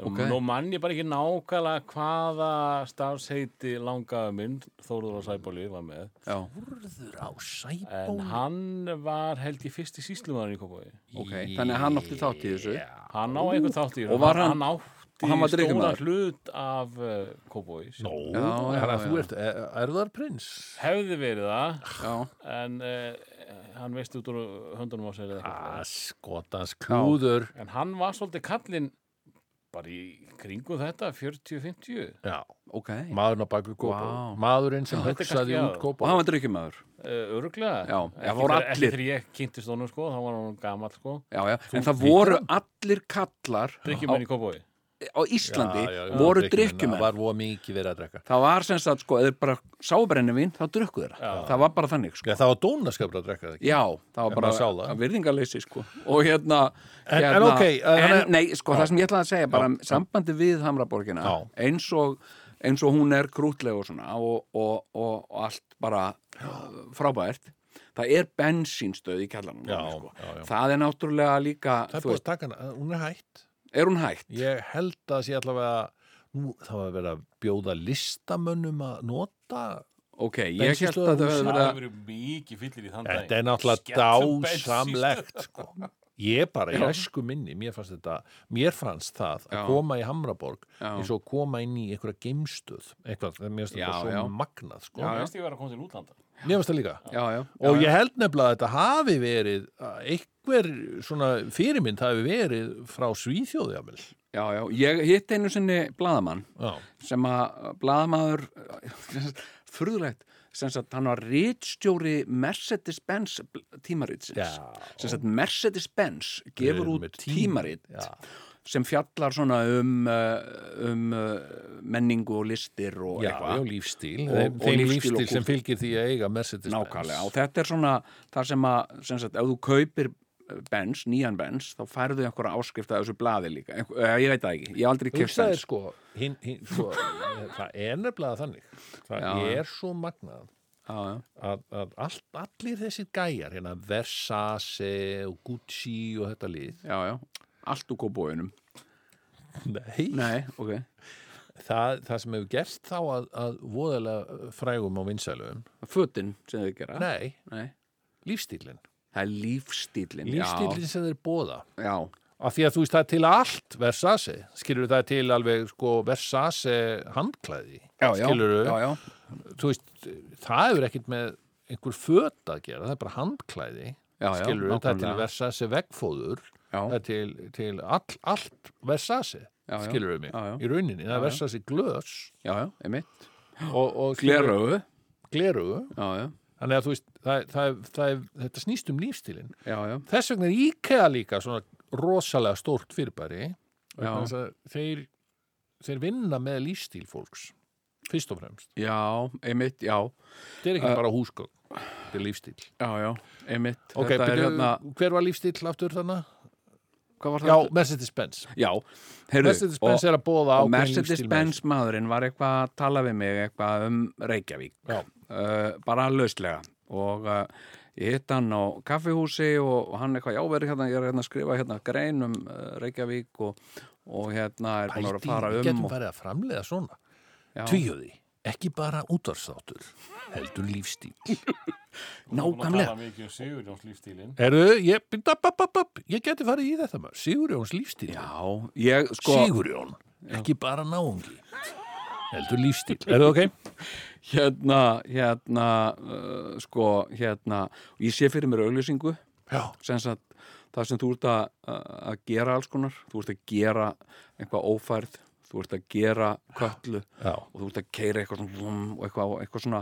Speaker 4: Ok.
Speaker 5: Nú mann ég bara ekki nákvæmlega hvaða stafsheiti langaðu minn, Þóruður á Sæbóli var með,
Speaker 4: já,
Speaker 3: Þurður á
Speaker 5: en
Speaker 3: sæbónu
Speaker 5: hann var held ég fyrsti síslumæðurinn í Kópói.
Speaker 4: ok, þannig að hann átti þátt í þessu.
Speaker 5: Hann á eitthvað þátt í þessu.
Speaker 4: Og var hann-
Speaker 5: hann átti
Speaker 4: og hann var
Speaker 5: stóra
Speaker 4: drykkjumaður?
Speaker 5: hlut af uh, Kópói.
Speaker 3: Nó,
Speaker 4: Já, já,
Speaker 3: þannig að þú
Speaker 4: já.
Speaker 3: ert er, erðarprins
Speaker 5: Hefði verið það,
Speaker 4: Já,
Speaker 5: en uh, hann veist út úr höndunum á sér eða eitthvað.
Speaker 3: Skotans klúður
Speaker 5: En hann var svolítið kallinn bara í kringu þetta, 40-50.
Speaker 3: Já,
Speaker 4: ok.
Speaker 3: maðurinn á baku kópa
Speaker 4: Vá.
Speaker 3: Maðurinn sem
Speaker 5: Já, þetta er
Speaker 3: hugsaði
Speaker 5: kannski-
Speaker 3: út
Speaker 5: já.
Speaker 4: Og
Speaker 3: kópa
Speaker 4: hann var drykkjumæður.
Speaker 5: Uh, örglega.
Speaker 4: Já, það
Speaker 5: Ekki
Speaker 4: voru
Speaker 5: þegar-
Speaker 4: allir.
Speaker 5: Ekki þegar ég kynntist honum sko, þá var hann gamall sko.
Speaker 4: Já, já, en það
Speaker 3: drykkjumaður?
Speaker 4: voru allir kallar
Speaker 5: Drykkjumenn í Kópói.
Speaker 4: á Íslandi
Speaker 3: já, já,
Speaker 4: voru
Speaker 3: drykkjumenn, Það
Speaker 4: drykkjumæður.
Speaker 3: var voða mikið verið að drekka
Speaker 4: Það var sem sagt, sko, eða bara sábrenni vín, þá drukku þeirra.
Speaker 5: Já.
Speaker 4: Það var bara þannig, sko.
Speaker 3: Já, það var dónaskapur að drekka það ekki
Speaker 4: Já, það var
Speaker 3: En
Speaker 4: bara
Speaker 3: maður sá það.
Speaker 4: að virðingarleysi, sko. Og hérna,
Speaker 3: En- en
Speaker 4: hérna
Speaker 3: ok, eh,
Speaker 4: en,
Speaker 3: hann er-
Speaker 4: nei, sko, það sem ég ætlaði að segja, bara sambandi við Hamraborgina,
Speaker 3: Já.
Speaker 4: eins og, eins og hún er krútleg og svona og, og, og, og allt bara uh, frábært. Það er bensínstöð í kjallanum.
Speaker 3: Já,
Speaker 4: sko.
Speaker 3: já, já.
Speaker 4: Það er náttúrulega líka,
Speaker 3: Það er
Speaker 4: þú
Speaker 3: búið
Speaker 4: veist,
Speaker 3: að taka hana, hún er hætt
Speaker 4: er hún hægt?
Speaker 3: Ég held að það sé allavega Nú, það var verið að bjóða listamönnum að nota
Speaker 4: Ok, ég held
Speaker 3: Bensínstöð,
Speaker 4: að
Speaker 3: hús.
Speaker 4: það hefði
Speaker 5: Það
Speaker 4: verið að...
Speaker 5: hefur verið mikið fyllir í þann dag.
Speaker 3: Þetta er náttúrulega dásamlegt sko. Ég bara, ég esku minni mér fannst þetta, mér fannst það að
Speaker 4: Já.
Speaker 3: koma í Hamraborg
Speaker 4: Já.
Speaker 3: eins og að koma inn í einhverja geimstöð eitthvað, það- mér finnst
Speaker 4: Já,
Speaker 3: þetta svo
Speaker 4: já.
Speaker 3: magnað sko.
Speaker 5: Það veist ég verið að koma til útlanda.
Speaker 3: Mér finnst það líka
Speaker 4: Já, já, já,
Speaker 3: og
Speaker 4: já,
Speaker 3: ég held nefnilega að þetta hafi verið að einhver svona fyrirmynd hafi verið frá Svíþjóði jafnvel.
Speaker 4: já, já. Ég hitt einu sinni bladamann
Speaker 3: Já,
Speaker 4: sem að blaðamaður furðulegt sem sagt hann var rítstjóri Mercedes-Benz bl- tímaritsins
Speaker 3: Já.
Speaker 4: sem sagt Mercedes-Benz gefur
Speaker 3: Með
Speaker 4: út
Speaker 3: tím-
Speaker 4: tímarit
Speaker 3: Já.
Speaker 4: sem fjallar svona um, uh, um uh, menningu og listir og
Speaker 3: já,
Speaker 4: eitthvað
Speaker 3: já, lífstíl
Speaker 4: Og-
Speaker 3: þeim,
Speaker 4: og
Speaker 3: þeim
Speaker 4: lífstíl
Speaker 3: lífstíl,
Speaker 4: og
Speaker 3: sem
Speaker 4: kúl.
Speaker 3: fylgir því að eiga Mercedes-Benz
Speaker 4: nákvæmlega og þetta er svona þar sem að sem sagt, ef þú kaupir eh, Benz, nýjan Benz þá færðu einhverja áskrift að þessu blaði líka Einhver, eh, ég veit það ekki, ég hef aldrei kjöfst
Speaker 3: hugsaðir
Speaker 4: Benz
Speaker 3: sko, hin, hin, sko *laughs* það er nefnilega þannig það
Speaker 4: Já, já.
Speaker 3: er svo magnað
Speaker 4: Já, já.
Speaker 3: að, að all, allir þessir gæjar hérna Versace og Gucci og þetta lið
Speaker 4: já, já, allt úr kópóinum
Speaker 3: Nei.
Speaker 4: nei, ok
Speaker 3: Það, það sem hefur gerst þá að, að voðalega frægum á vinsælum
Speaker 4: fötin sem þau gera
Speaker 3: Nei,
Speaker 4: Nei.
Speaker 3: lífstílinn
Speaker 4: það er lífstílin
Speaker 3: lífstílinn sem þeir bóða
Speaker 4: já, já,
Speaker 3: af því að þú veist það er til allt Versace skilur það er til alveg sko Versace handklæði
Speaker 4: já, já,
Speaker 3: skilur
Speaker 4: já, já,
Speaker 3: þú veist, það hefur ekkert með einhver föt að gera, það er bara handklæði
Speaker 4: Já, já,
Speaker 3: skilur, það er til
Speaker 4: nákvæmlega.
Speaker 3: Versace veggfóður það
Speaker 4: já,
Speaker 3: er til, til all, allt Versace,
Speaker 4: Já, já.
Speaker 3: skilur við mig
Speaker 4: Já, já.
Speaker 3: í rauninni, það
Speaker 4: Já, já.
Speaker 3: er Versace glös
Speaker 4: já, já, einmitt
Speaker 3: og, og
Speaker 4: Gleraugu,
Speaker 3: glerugu,
Speaker 4: já, já,
Speaker 3: þannig að þú veist það, það, það, þetta snýst um lífstilinn
Speaker 4: já, já
Speaker 3: þess vegna er IKEA líka svona rosalega stórt fyrirbæri
Speaker 4: Já.
Speaker 3: vegna þess að þeir, þeir vinna með lífstíl fólks fyrst og fremst,
Speaker 4: Já, einmitt, já,
Speaker 3: þetta er ekki bara húsgögn þetta er lífstíl
Speaker 4: já, já, einmitt
Speaker 3: ok,
Speaker 4: Þetta er
Speaker 3: byrju,
Speaker 4: hérna,
Speaker 3: hver var lífstíl aftur þannig?
Speaker 4: hvað var
Speaker 3: Já,
Speaker 4: það?
Speaker 3: Mercedes-Benz
Speaker 4: Já, heyrðu
Speaker 3: Mercedes-Benz
Speaker 4: og,
Speaker 3: er að bóða
Speaker 4: og
Speaker 3: ákveðin
Speaker 4: Mercedes-Benz maðurinn var eitthvað að tala við mig eitthvað um Reykjavík
Speaker 3: Já.
Speaker 4: uh, bara lauslega og uh, ég hitt hann á kaffihúsi og hann eitthvað, já, verið hérna, ég er hérna að skrifa hérna grein um uh, Reykjavík og, og hérna er búin að vera að
Speaker 3: Pældi,
Speaker 4: fara
Speaker 3: við
Speaker 4: um
Speaker 3: getum
Speaker 4: og,
Speaker 3: farið að framlega svona
Speaker 4: já,
Speaker 3: Tvíuði, ekki bara útvarsþáttur heldur lífstíl
Speaker 4: nákvæmlega,
Speaker 5: tala mikið um Sigurjóns lífstílinn.
Speaker 3: Herru, ég, bap, bap, bap, bap, ég geti farið í þetta maður Sigurjóns lífstíl
Speaker 4: já, ég sko
Speaker 3: Sigurjón, ekki bara náungi heldur lífstíl *laughs* Er það ok?
Speaker 4: *laughs* hérna, hérna uh, sko, hérna ég sé fyrir mér auglýsingu
Speaker 3: Já,
Speaker 4: sem sagt, það sem þú ert að, að gera alls konar, þú ert að gera eitthvað ófærð, þú ert að gera köllu
Speaker 3: já,
Speaker 4: og þú ert að keira eitthvað svona vum og eitthvað, og eitthvað svona,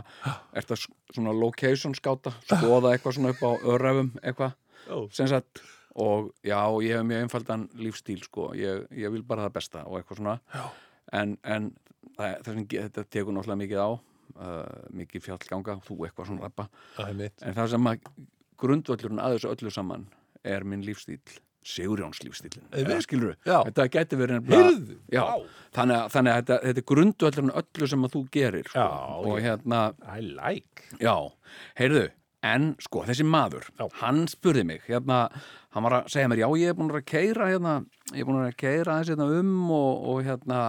Speaker 4: ert að s- svona location skáta, skoða eitthvað svona upp á öröfum, eitthvað,
Speaker 3: Ó.
Speaker 4: sem sagt og já, ég hef mjög einfaldan lífstíl, sko, ég, ég vil bara það besta og eitthvað svona,
Speaker 3: Já.
Speaker 4: en, en það, það sem, ge- þetta tekur náttúrulega mikið á uh, mikið fjallganga, þú eitthvað svona rappa,
Speaker 3: það er mitt
Speaker 4: En það sem að grundvöllurinn að þessu öllu saman er minn lífstíl, Sigurjóns lífstílin. Eða skilur við?
Speaker 3: Já.
Speaker 4: Þetta gæti verið
Speaker 3: Heyrðu,
Speaker 4: já.
Speaker 3: vá.
Speaker 4: Þannig að, þannig að þetta, þetta er grundvöllurinn öllu sem að þú gerir. Sko.
Speaker 3: Já,
Speaker 4: Og
Speaker 3: ég-
Speaker 4: hérna,
Speaker 3: I like
Speaker 4: já, heyrðu, en sko, þessi maður,
Speaker 3: Já.
Speaker 4: hann spurði mig, hérna, hann var að segja mér, já, ég er búin að keira, hérna, ég er búin að keira aðeins hérna um og, og hérna,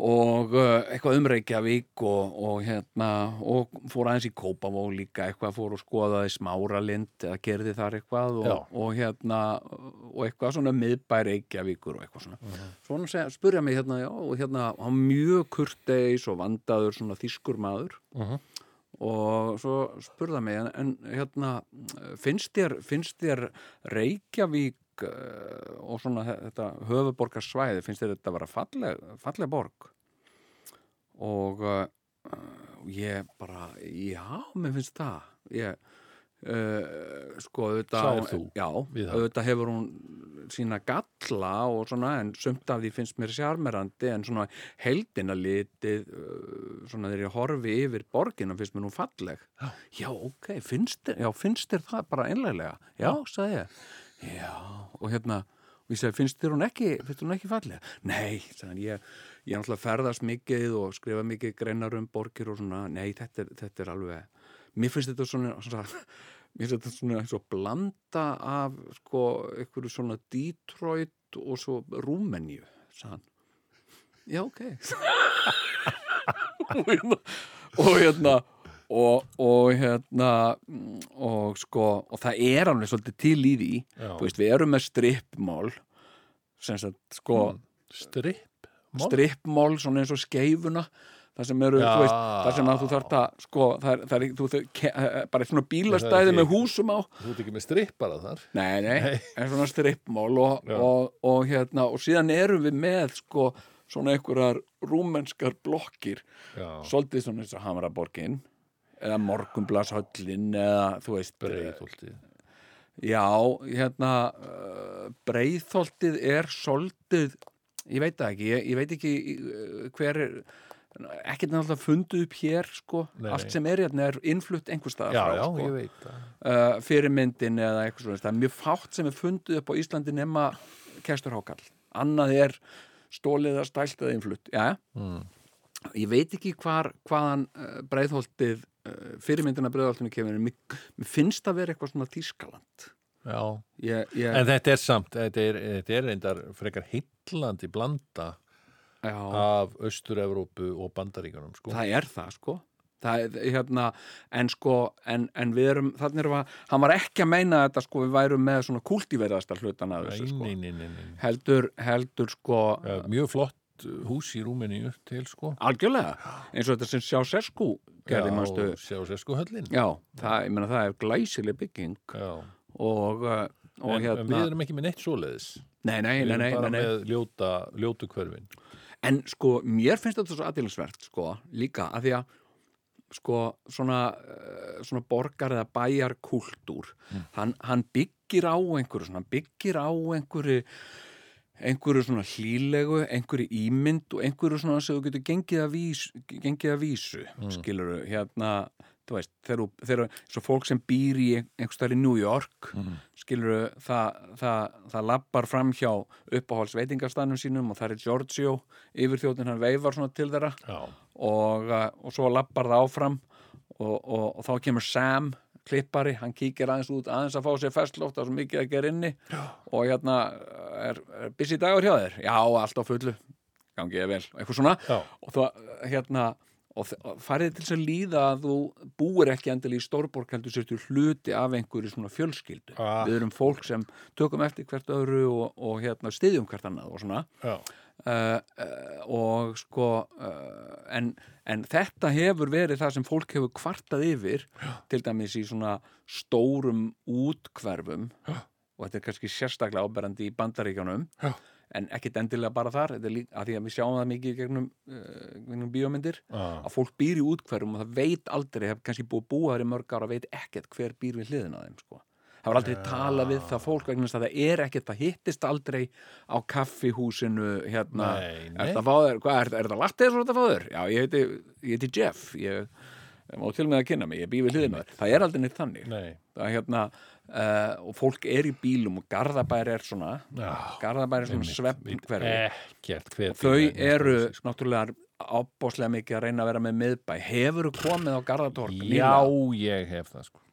Speaker 4: og uh, eitthvað um Reykjavík og, og hérna og fór aðeins í Kópavó líka eitthvað fór og skoðaði smáralind eða gerði þar eitthvað
Speaker 3: Já.
Speaker 4: og, og hérna og eitthvað svona miðbær Reykjavíkur og eitthvað svona
Speaker 3: Mhm.
Speaker 4: svona segja, spurja mig hérna, já, og hérna hann mjög kurteis og vandaður svona þýskur maður og svo spurða mig en, en hérna, finnst þér finnst þér Reykjavík eh, og svona þe- þetta höfuborgarsvæði, finnst þér þetta að vera falleg, falleg borg? og uh, ég bara, já, mér finnst það ég uh, sko, auðvitað
Speaker 3: Sagðir þú
Speaker 4: já,
Speaker 3: við það?
Speaker 4: auðvitað hefur hún sína galla og svona en sumt af því finnst mér sjarmerandi en svona heldina litið uh, svona þegar ég horfi yfir borgin og finnst mér nú falleg já, ok, finnst þér, já, finnst þér það bara einlega, já, sagði ég já, og hérna og ég segi, finnst þér hún ekki, finnst þér hún ekki fallega? Nei, sagði, hann, ég, ég er náttúrulega ferðast mikið og skrifa mikið greinar um borgir og svona, nei, þetta er, þetta er alveg, mér finnst þetta svona, svona mér finnst þetta svona eins og blanda af, sko, einhverju svona Detroit og svo Rúmenju, sagði hann. Já, ok. *laughs* og hérna, og hérna, og, og hérna, mm, og sko, og það er alveg svolítið til í því, þú veist, við erum með strippmál sem sagt, sko,
Speaker 3: Mm. Strip
Speaker 4: strippmál svona eins og skeifuna það sem eru,
Speaker 3: Já.
Speaker 4: þú veist, það sem að þú þarft að sko, það er, það er, ekki- þú, þau, ke, eh, bara svona bílastæði
Speaker 3: ekki-
Speaker 4: með húsum á
Speaker 3: Þú ert ekki með strip bara þar
Speaker 4: nei, nei,
Speaker 3: Nei.
Speaker 4: en svona strippmál og,
Speaker 3: Já.
Speaker 4: og, og hérna, og síðan erum við með sko, svona einhverjar rúmenskar blokkir
Speaker 3: Já,
Speaker 4: svolítið svona eins og Hamraborgin eða Morgunblashöllin eða, þú veist,
Speaker 3: breiðholtið
Speaker 4: Já, hérna uh, breiðholtið er soldið, ég veit það ekki ég, ég veit ekki uh, hver er ekkert náttúrulega fundið upp hér sko,
Speaker 3: Nei, nei.
Speaker 4: allt sem er hérna er innflutt einhverstaðar
Speaker 3: Já,
Speaker 4: frá
Speaker 3: já,
Speaker 4: sko,
Speaker 3: ég veit það
Speaker 4: uh, fyrirmyndin eða eitthvað svona, það er mjög fátt sem er fundið upp á Íslandi nema kesturhákall, annað er stólið að stælt eða innflutt já,
Speaker 3: Mm.
Speaker 4: ég veit ekki hvar, hvaðan uh, breiðholtið uh, fyrirmyndina breiðholtinu kemur en mér, mér finnst það vera eitthvað svona Þískaland
Speaker 3: Já,
Speaker 4: Ég, ég,
Speaker 3: En þetta er samt, þetta er, þetta er reyndar frekar heitlandi blanda
Speaker 4: já.
Speaker 3: af Austur-Evrópu og Bandaríkunum, sko.
Speaker 4: það er það sko það, er, hérna, en sko en, en við erum, þannig erum við að hann var ekki að meina þetta sko, við værum með svona kultíverðasta hlutana af
Speaker 3: Nei,
Speaker 4: þessu sko
Speaker 3: nei, nei, nei, nei.
Speaker 4: heldur, heldur sko
Speaker 3: Já, Mjög flott gott hús í Rúmeníu til sko
Speaker 4: algjörlega, eins og þetta sem sjá sérskú gerði, mannstu
Speaker 3: Já, sjá sér sko höllin
Speaker 4: Já, það, ég meina það er glæsileg bygging
Speaker 3: Já.
Speaker 4: og, uh, og
Speaker 3: en,
Speaker 4: hérna
Speaker 3: en við erum ekki með neitt svoleiðis
Speaker 4: Nei, nei,
Speaker 3: við
Speaker 4: nei,
Speaker 3: erum
Speaker 4: nei,
Speaker 3: bara
Speaker 4: nei, nei.
Speaker 3: með ljóta, ljótu hverfin
Speaker 4: En sko, mér finnst þetta svo aðdýlisvert sko, líka, af því að sko, svona, eh, svona borgar eða bæjar kultúr hann, hann byggir á einhverju svona, hann byggir á einhverju einhverju svona hlýlegu, einhverju ímynd og einhverju svona sem þú getur gengið að vísu, gengið að vísu mm. skilur hérna, þú veist þegar, þú- þegar svo fólk sem býr í einhverstaðar í New York mm. skilur það, það, það lappar fram hjá uppáhalds veitingastannum sínum og það er Giorgio yfir þjóttin hann veifar svona til þeirra
Speaker 3: Já,
Speaker 4: og, uh, og svo lappar það áfram og, og, og þá kemur Sam klippari, hann kíkir aðeins út aðeins að fá sér festlóft, það er svo mikið að gera inni Já. og hérna er, er busy dagur hjá þér, já, allt á fullu gangið vel, eitthvað svona
Speaker 3: Já.
Speaker 4: og það, hérna og þ- og farið til þess að líða að þú búir ekki endil í stórborg heldur sérstu hluti af einhverju svona fjölskyldu
Speaker 3: Ah.
Speaker 4: við erum fólk sem tökum eftir hvert öðru og, og hérna stiðjum hvert annað og svona
Speaker 3: já,
Speaker 4: uh, uh, og sko uh, en, en þetta hefur verið það sem fólk hefur kvartað yfir til dæmis í svona stórum útkverfum og þetta er kannski sérstaklega áberandi í bandaríkjánum
Speaker 3: Já.
Speaker 4: en ekkit endilega bara þar þetta er líka, að því að við sjáum það mikið í gegnum, uh, gegnum bíómyndir
Speaker 3: já,
Speaker 4: að fólk býr í útkverfum og það veit aldrei hef kannski búið að búa þar í mörg ára veit ekkert hver býr við hliðin á þeim sko. það var aldrei talað við það fólk vegna þess að það er ekkert, það hittist aldrei á kaffihúsinu hérna,
Speaker 3: Nei, nei.
Speaker 4: er það fáður, hvað er, er það lattið svo þetta fáður? Já, ég heiti, ég heiti Jeff ég, ég má til með að kynna mig, ég býr við hliðin á þér það er aldrei neitt þannig
Speaker 3: nei
Speaker 4: það er hérna uh, og fólk er í bílum og Garðabær er svona
Speaker 3: Já,
Speaker 4: Garðabær er svona sveppn
Speaker 3: Eh,
Speaker 4: hverfi
Speaker 3: Ekkert hver
Speaker 4: þau eru náttúrulega ábáslega mikið að reyna að vera með miðbæ hefur komið á Garðatorg
Speaker 3: Já, ég hef það sko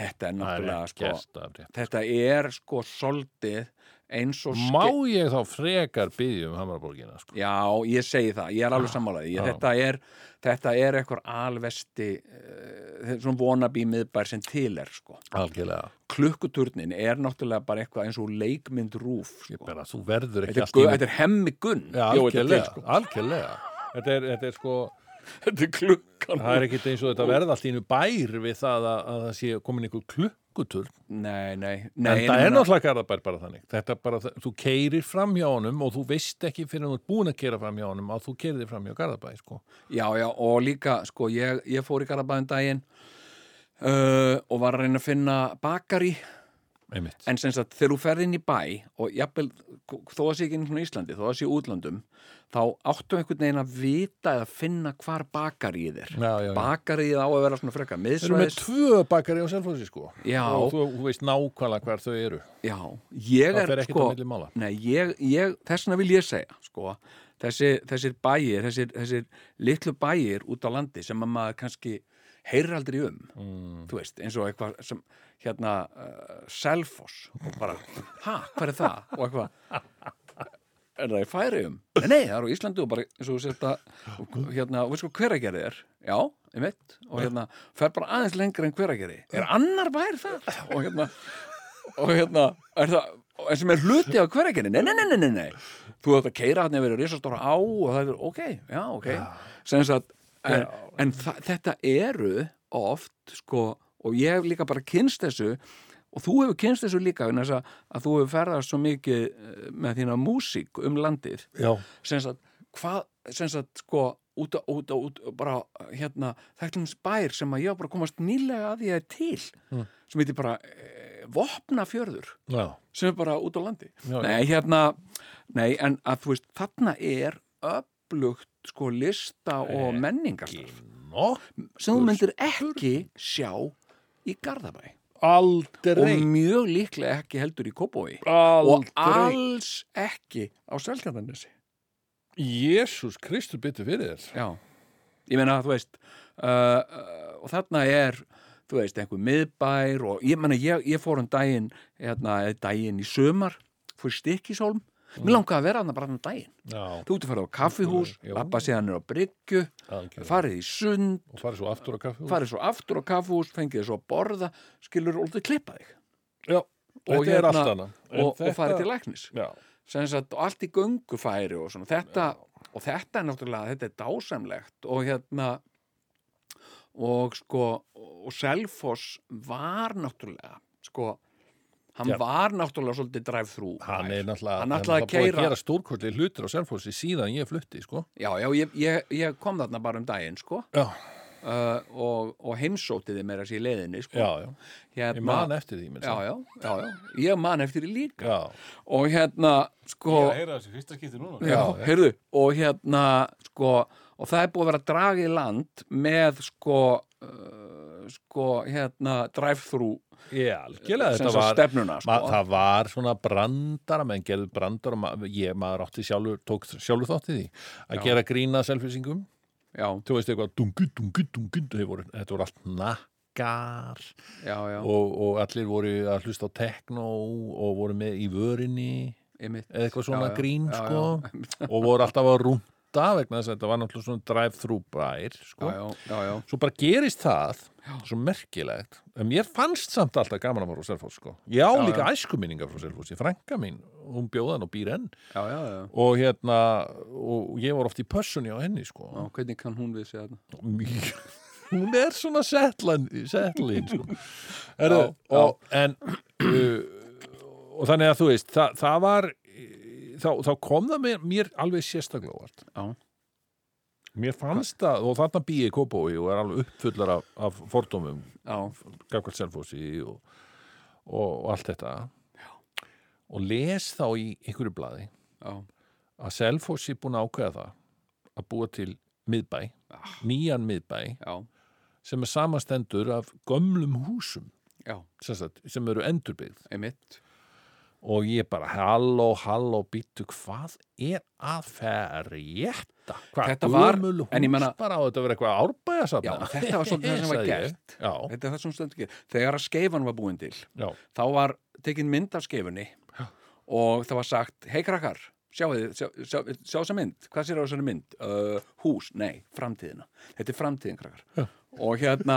Speaker 4: þetta er
Speaker 3: Það er
Speaker 4: náttúrulega sko,
Speaker 3: ekkert af rétt
Speaker 4: þetta er sko soldið eins og
Speaker 3: Má ég þá frekar byggja um Hamaraborgina sko
Speaker 4: já, ég segi það, ég er alveg sammálaði ég,
Speaker 3: Já.
Speaker 4: þetta, er, þetta er eitthvað alvesti uh, svona vonabí miðbær sem til er sko.
Speaker 3: Algjörlega
Speaker 4: klukkuturnin er náttúrulega bara eitthvað eins og leikmynd rúf sko.
Speaker 3: Bara þú verður
Speaker 4: þetta,
Speaker 3: ekki
Speaker 4: er, gu- þetta er hemmi gunn
Speaker 3: Já,
Speaker 4: bjó þetta til,
Speaker 3: algjörlega,
Speaker 4: sko.
Speaker 3: algjörlega. Þetta er, þetta er sko,
Speaker 4: þetta er klukkan
Speaker 3: það er ekkit eins og þetta verða allt í einu bær við það að, að það sé komin einhver klukkuturn
Speaker 4: nei, nei, nei
Speaker 3: en það
Speaker 4: ég
Speaker 3: er
Speaker 4: meina-
Speaker 3: náttúrulega garðabær bara þannig þetta er bara, þú keirir fram hjá honum og þú veist ekki fyrir þú ert búin að keira fram hjá honum að þú keirir fram hjá garðabær sko.
Speaker 4: Já, já, og líka, sko, ég, ég fór í Garabæðum daginn uh, og var að reyna að finna bakari
Speaker 3: einmitt,
Speaker 4: en sem sagt, þegar þú ferð inn í bæ og jafnvel, þó að sé ekki inn í Íslandi þó að sé í útlöndum, þá áttu einhvern veginn að vita eða finna hvar bakarið er.
Speaker 3: Já, já, já.
Speaker 4: Bakarið á að vera svona frekka
Speaker 3: þeir eru með
Speaker 4: miðsvæðis
Speaker 3: tvö bakari á selfósi sko
Speaker 4: Já.
Speaker 3: og þú, þú veist nákvæmlega hver þau eru
Speaker 4: Já, ég
Speaker 3: það
Speaker 4: er,
Speaker 3: fer ekkert
Speaker 4: sko
Speaker 3: á milli mála
Speaker 4: Nei, ég, ég, þess vegna vil ég segja sko, þessi, þessir bæir þessir, þessir litlu bæir út á landi sem að maður kannski heyrir aldrei um, mm. þú veist, eins og eitthvað sem, hérna uh, Selfoss, og bara ha, hvað er það, og eitthvað er það í færiðum? Nei, nei, það er á Íslandu og bara, eins og þú sérst að hérna, og veist sko hver að gera þér? Já, ég veit, og hérna, fer bara aðeins lengra en hver að gera Er annar bær þar? Og hérna, og hérna, er það, en sem er hluti af hver að gera Nei, nei, nei, nei, nei, nei, þú ætti að keira hann yfir risastóra á og það er, ok, já, ok, sem sagt, en, en þa- þetta eru oft, sko, og ég hef líka bara kynst þessu og þú hefur kynst þessu líka vegna þess að, að þú hefur ferðast svo mikið eh, með þína músík um landið
Speaker 3: já,
Speaker 4: sem sagt, hvað, sem sagt, sko út að, út að, út, bara, hérna þekklums bær sem að ég var bara að komast nýlega að því að er til
Speaker 3: Hmm.
Speaker 4: sem heitir bara e, vopnafjörður
Speaker 3: já,
Speaker 4: sem er bara út á landi
Speaker 3: Já, já.
Speaker 4: nei, hérna, nei, en að þú veist þarna er öflugt sko lista og menningastarf
Speaker 3: Nó,
Speaker 4: sem þú myndir ekki sjá í Garðabæ og
Speaker 3: aldrei
Speaker 4: mjög líklega ekki heldur í Kópói og
Speaker 3: aldrei
Speaker 4: alls ekki á Seltjarnarnesi
Speaker 3: Jésús Kristur byttu fyrir þér
Speaker 4: Já, ég meina þú veist uh, uh, og þarna er þú veist, einhver miðbær og ég meina, ég, ég fór um daginn hérna, eða daginn í sömar fór stikkishólm, mér langaði að vera hann bara hann daginn,
Speaker 3: já,
Speaker 4: þú ert að fara á kaffihús
Speaker 3: Já.
Speaker 4: lappa síðan er á bryggju
Speaker 3: algjörlega.
Speaker 4: farið í sund,
Speaker 3: og farið svo aftur á kaffi
Speaker 4: farið svo aftur á kaffihús fengið svo að borða, skilur og þú klippa þig
Speaker 3: já,
Speaker 4: og,
Speaker 3: þetta er allt annað
Speaker 4: og, og farið til læknis
Speaker 3: já,
Speaker 4: sem sagt, og allt í göngufæri og svona, þetta og þetta er náttúrulega, þetta er dásamlegt og hérna og sko, og Selfoss var náttúrulega sko, hann
Speaker 3: Já.
Speaker 4: var náttúrulega svolítið drive-through
Speaker 3: Hann er náttúrulega, hann
Speaker 4: Hann
Speaker 3: er
Speaker 4: ætlaði að
Speaker 3: náttúrulega búið
Speaker 4: keyra.
Speaker 3: að gera stórkvöldli hlutir á Selfossi síðan ég flutti, sko.
Speaker 4: Já, já, ég, ég, ég kom þarna bara um daginn, sko
Speaker 3: Já,
Speaker 4: uh, og, og heimsótiði meira sér í leiðinni, sko Hérna-
Speaker 3: já, já. Ég man eftir því, minn.
Speaker 4: Já, já, já, já, ég man eftir því líka
Speaker 3: já.
Speaker 4: og hérna, sko
Speaker 5: Ég er að heyra þessi fyrsta skipti núna.
Speaker 4: Já, heyrðu, og hérna sko, og það er búið að vera að draga í land með sko uh, sko, hérna drive-thru
Speaker 3: Ég algjörlega,
Speaker 4: sem
Speaker 3: þetta
Speaker 4: sagt
Speaker 3: var...
Speaker 4: stefnuna, sko
Speaker 3: Ma, það var svona brandara, menn gerðu brandara, ma, ég maður átti sjálfur, tók sjálfur þátti því að
Speaker 4: Já.
Speaker 3: gera grína selfisingum,
Speaker 4: Já,
Speaker 3: þú veist eitthvað dungu, dungu, dungu, þau voru, þetta voru allt nakkar
Speaker 4: já, já,
Speaker 3: og, og allir voru að hlusta á tekno og voru með í vörinni
Speaker 4: einmitt
Speaker 3: eða eitthvað svona
Speaker 4: Já, já,
Speaker 3: grín
Speaker 4: já, *laughs*
Speaker 3: sko og voru alltaf að rúnta vegna þess að þetta var náttúrulega svona drive-thru bær sko.
Speaker 4: Já, já, já, já,
Speaker 3: svo bara gerist það svo merkilegt, en mér fannst samt alltaf gaman að fara á Selfoss sko. ég á
Speaker 4: Já,
Speaker 3: líka æskuminningar frá Selfoss, ég frænka mín hún bjóðan og býr enn
Speaker 4: já, já, já.
Speaker 3: og hérna, og ég var oft í pössunni á henni sko
Speaker 4: Já, hvernig kann hún við sér þarna?
Speaker 3: mjög *laughs* hún er svona settlan settlin sko. Heru,
Speaker 4: Já, já.
Speaker 3: og, en uh, og þannig að þú veist það, það var þá, þá kom það mér, mér alveg sérstaklega á óvart
Speaker 4: Já.
Speaker 3: mér fannst það, og þarna býi í Kópói og er alveg uppfullar af, af fordómum
Speaker 4: Já,
Speaker 3: Gagvart Selfossi og, og, og allt þetta og les þá í einhverju blaði
Speaker 4: já,
Speaker 3: að Selfossi búin að ákveða það að búa til miðbæ,
Speaker 4: Ah.
Speaker 3: nýjan miðbæ
Speaker 4: já,
Speaker 3: sem er samastendur af gömlum húsum
Speaker 4: já,
Speaker 3: sem, sagt, sem eru endurbyggð
Speaker 4: einmitt
Speaker 3: og ég bara halló, halló, býttu hvað er að ferjetta hvað
Speaker 4: Þetta var-
Speaker 3: gömul hús
Speaker 4: en ég meina-
Speaker 3: bara á þetta að vera eitthvað árbæðasafn
Speaker 4: Já, þetta var svolítið það sem var gert.
Speaker 3: já,
Speaker 4: Þetta er það sem stendur ekki. Þegar að skeifan var búin til,
Speaker 3: já,
Speaker 4: þá var tekin mynd af skeifunni og það var sagt, hei krakkar sjáu þið, sjá, sjá, sjá þessa mynd hvað sér á þessari mynd? Uh, hús, nei, framtíðina þetta er framtíðin krakkar og hérna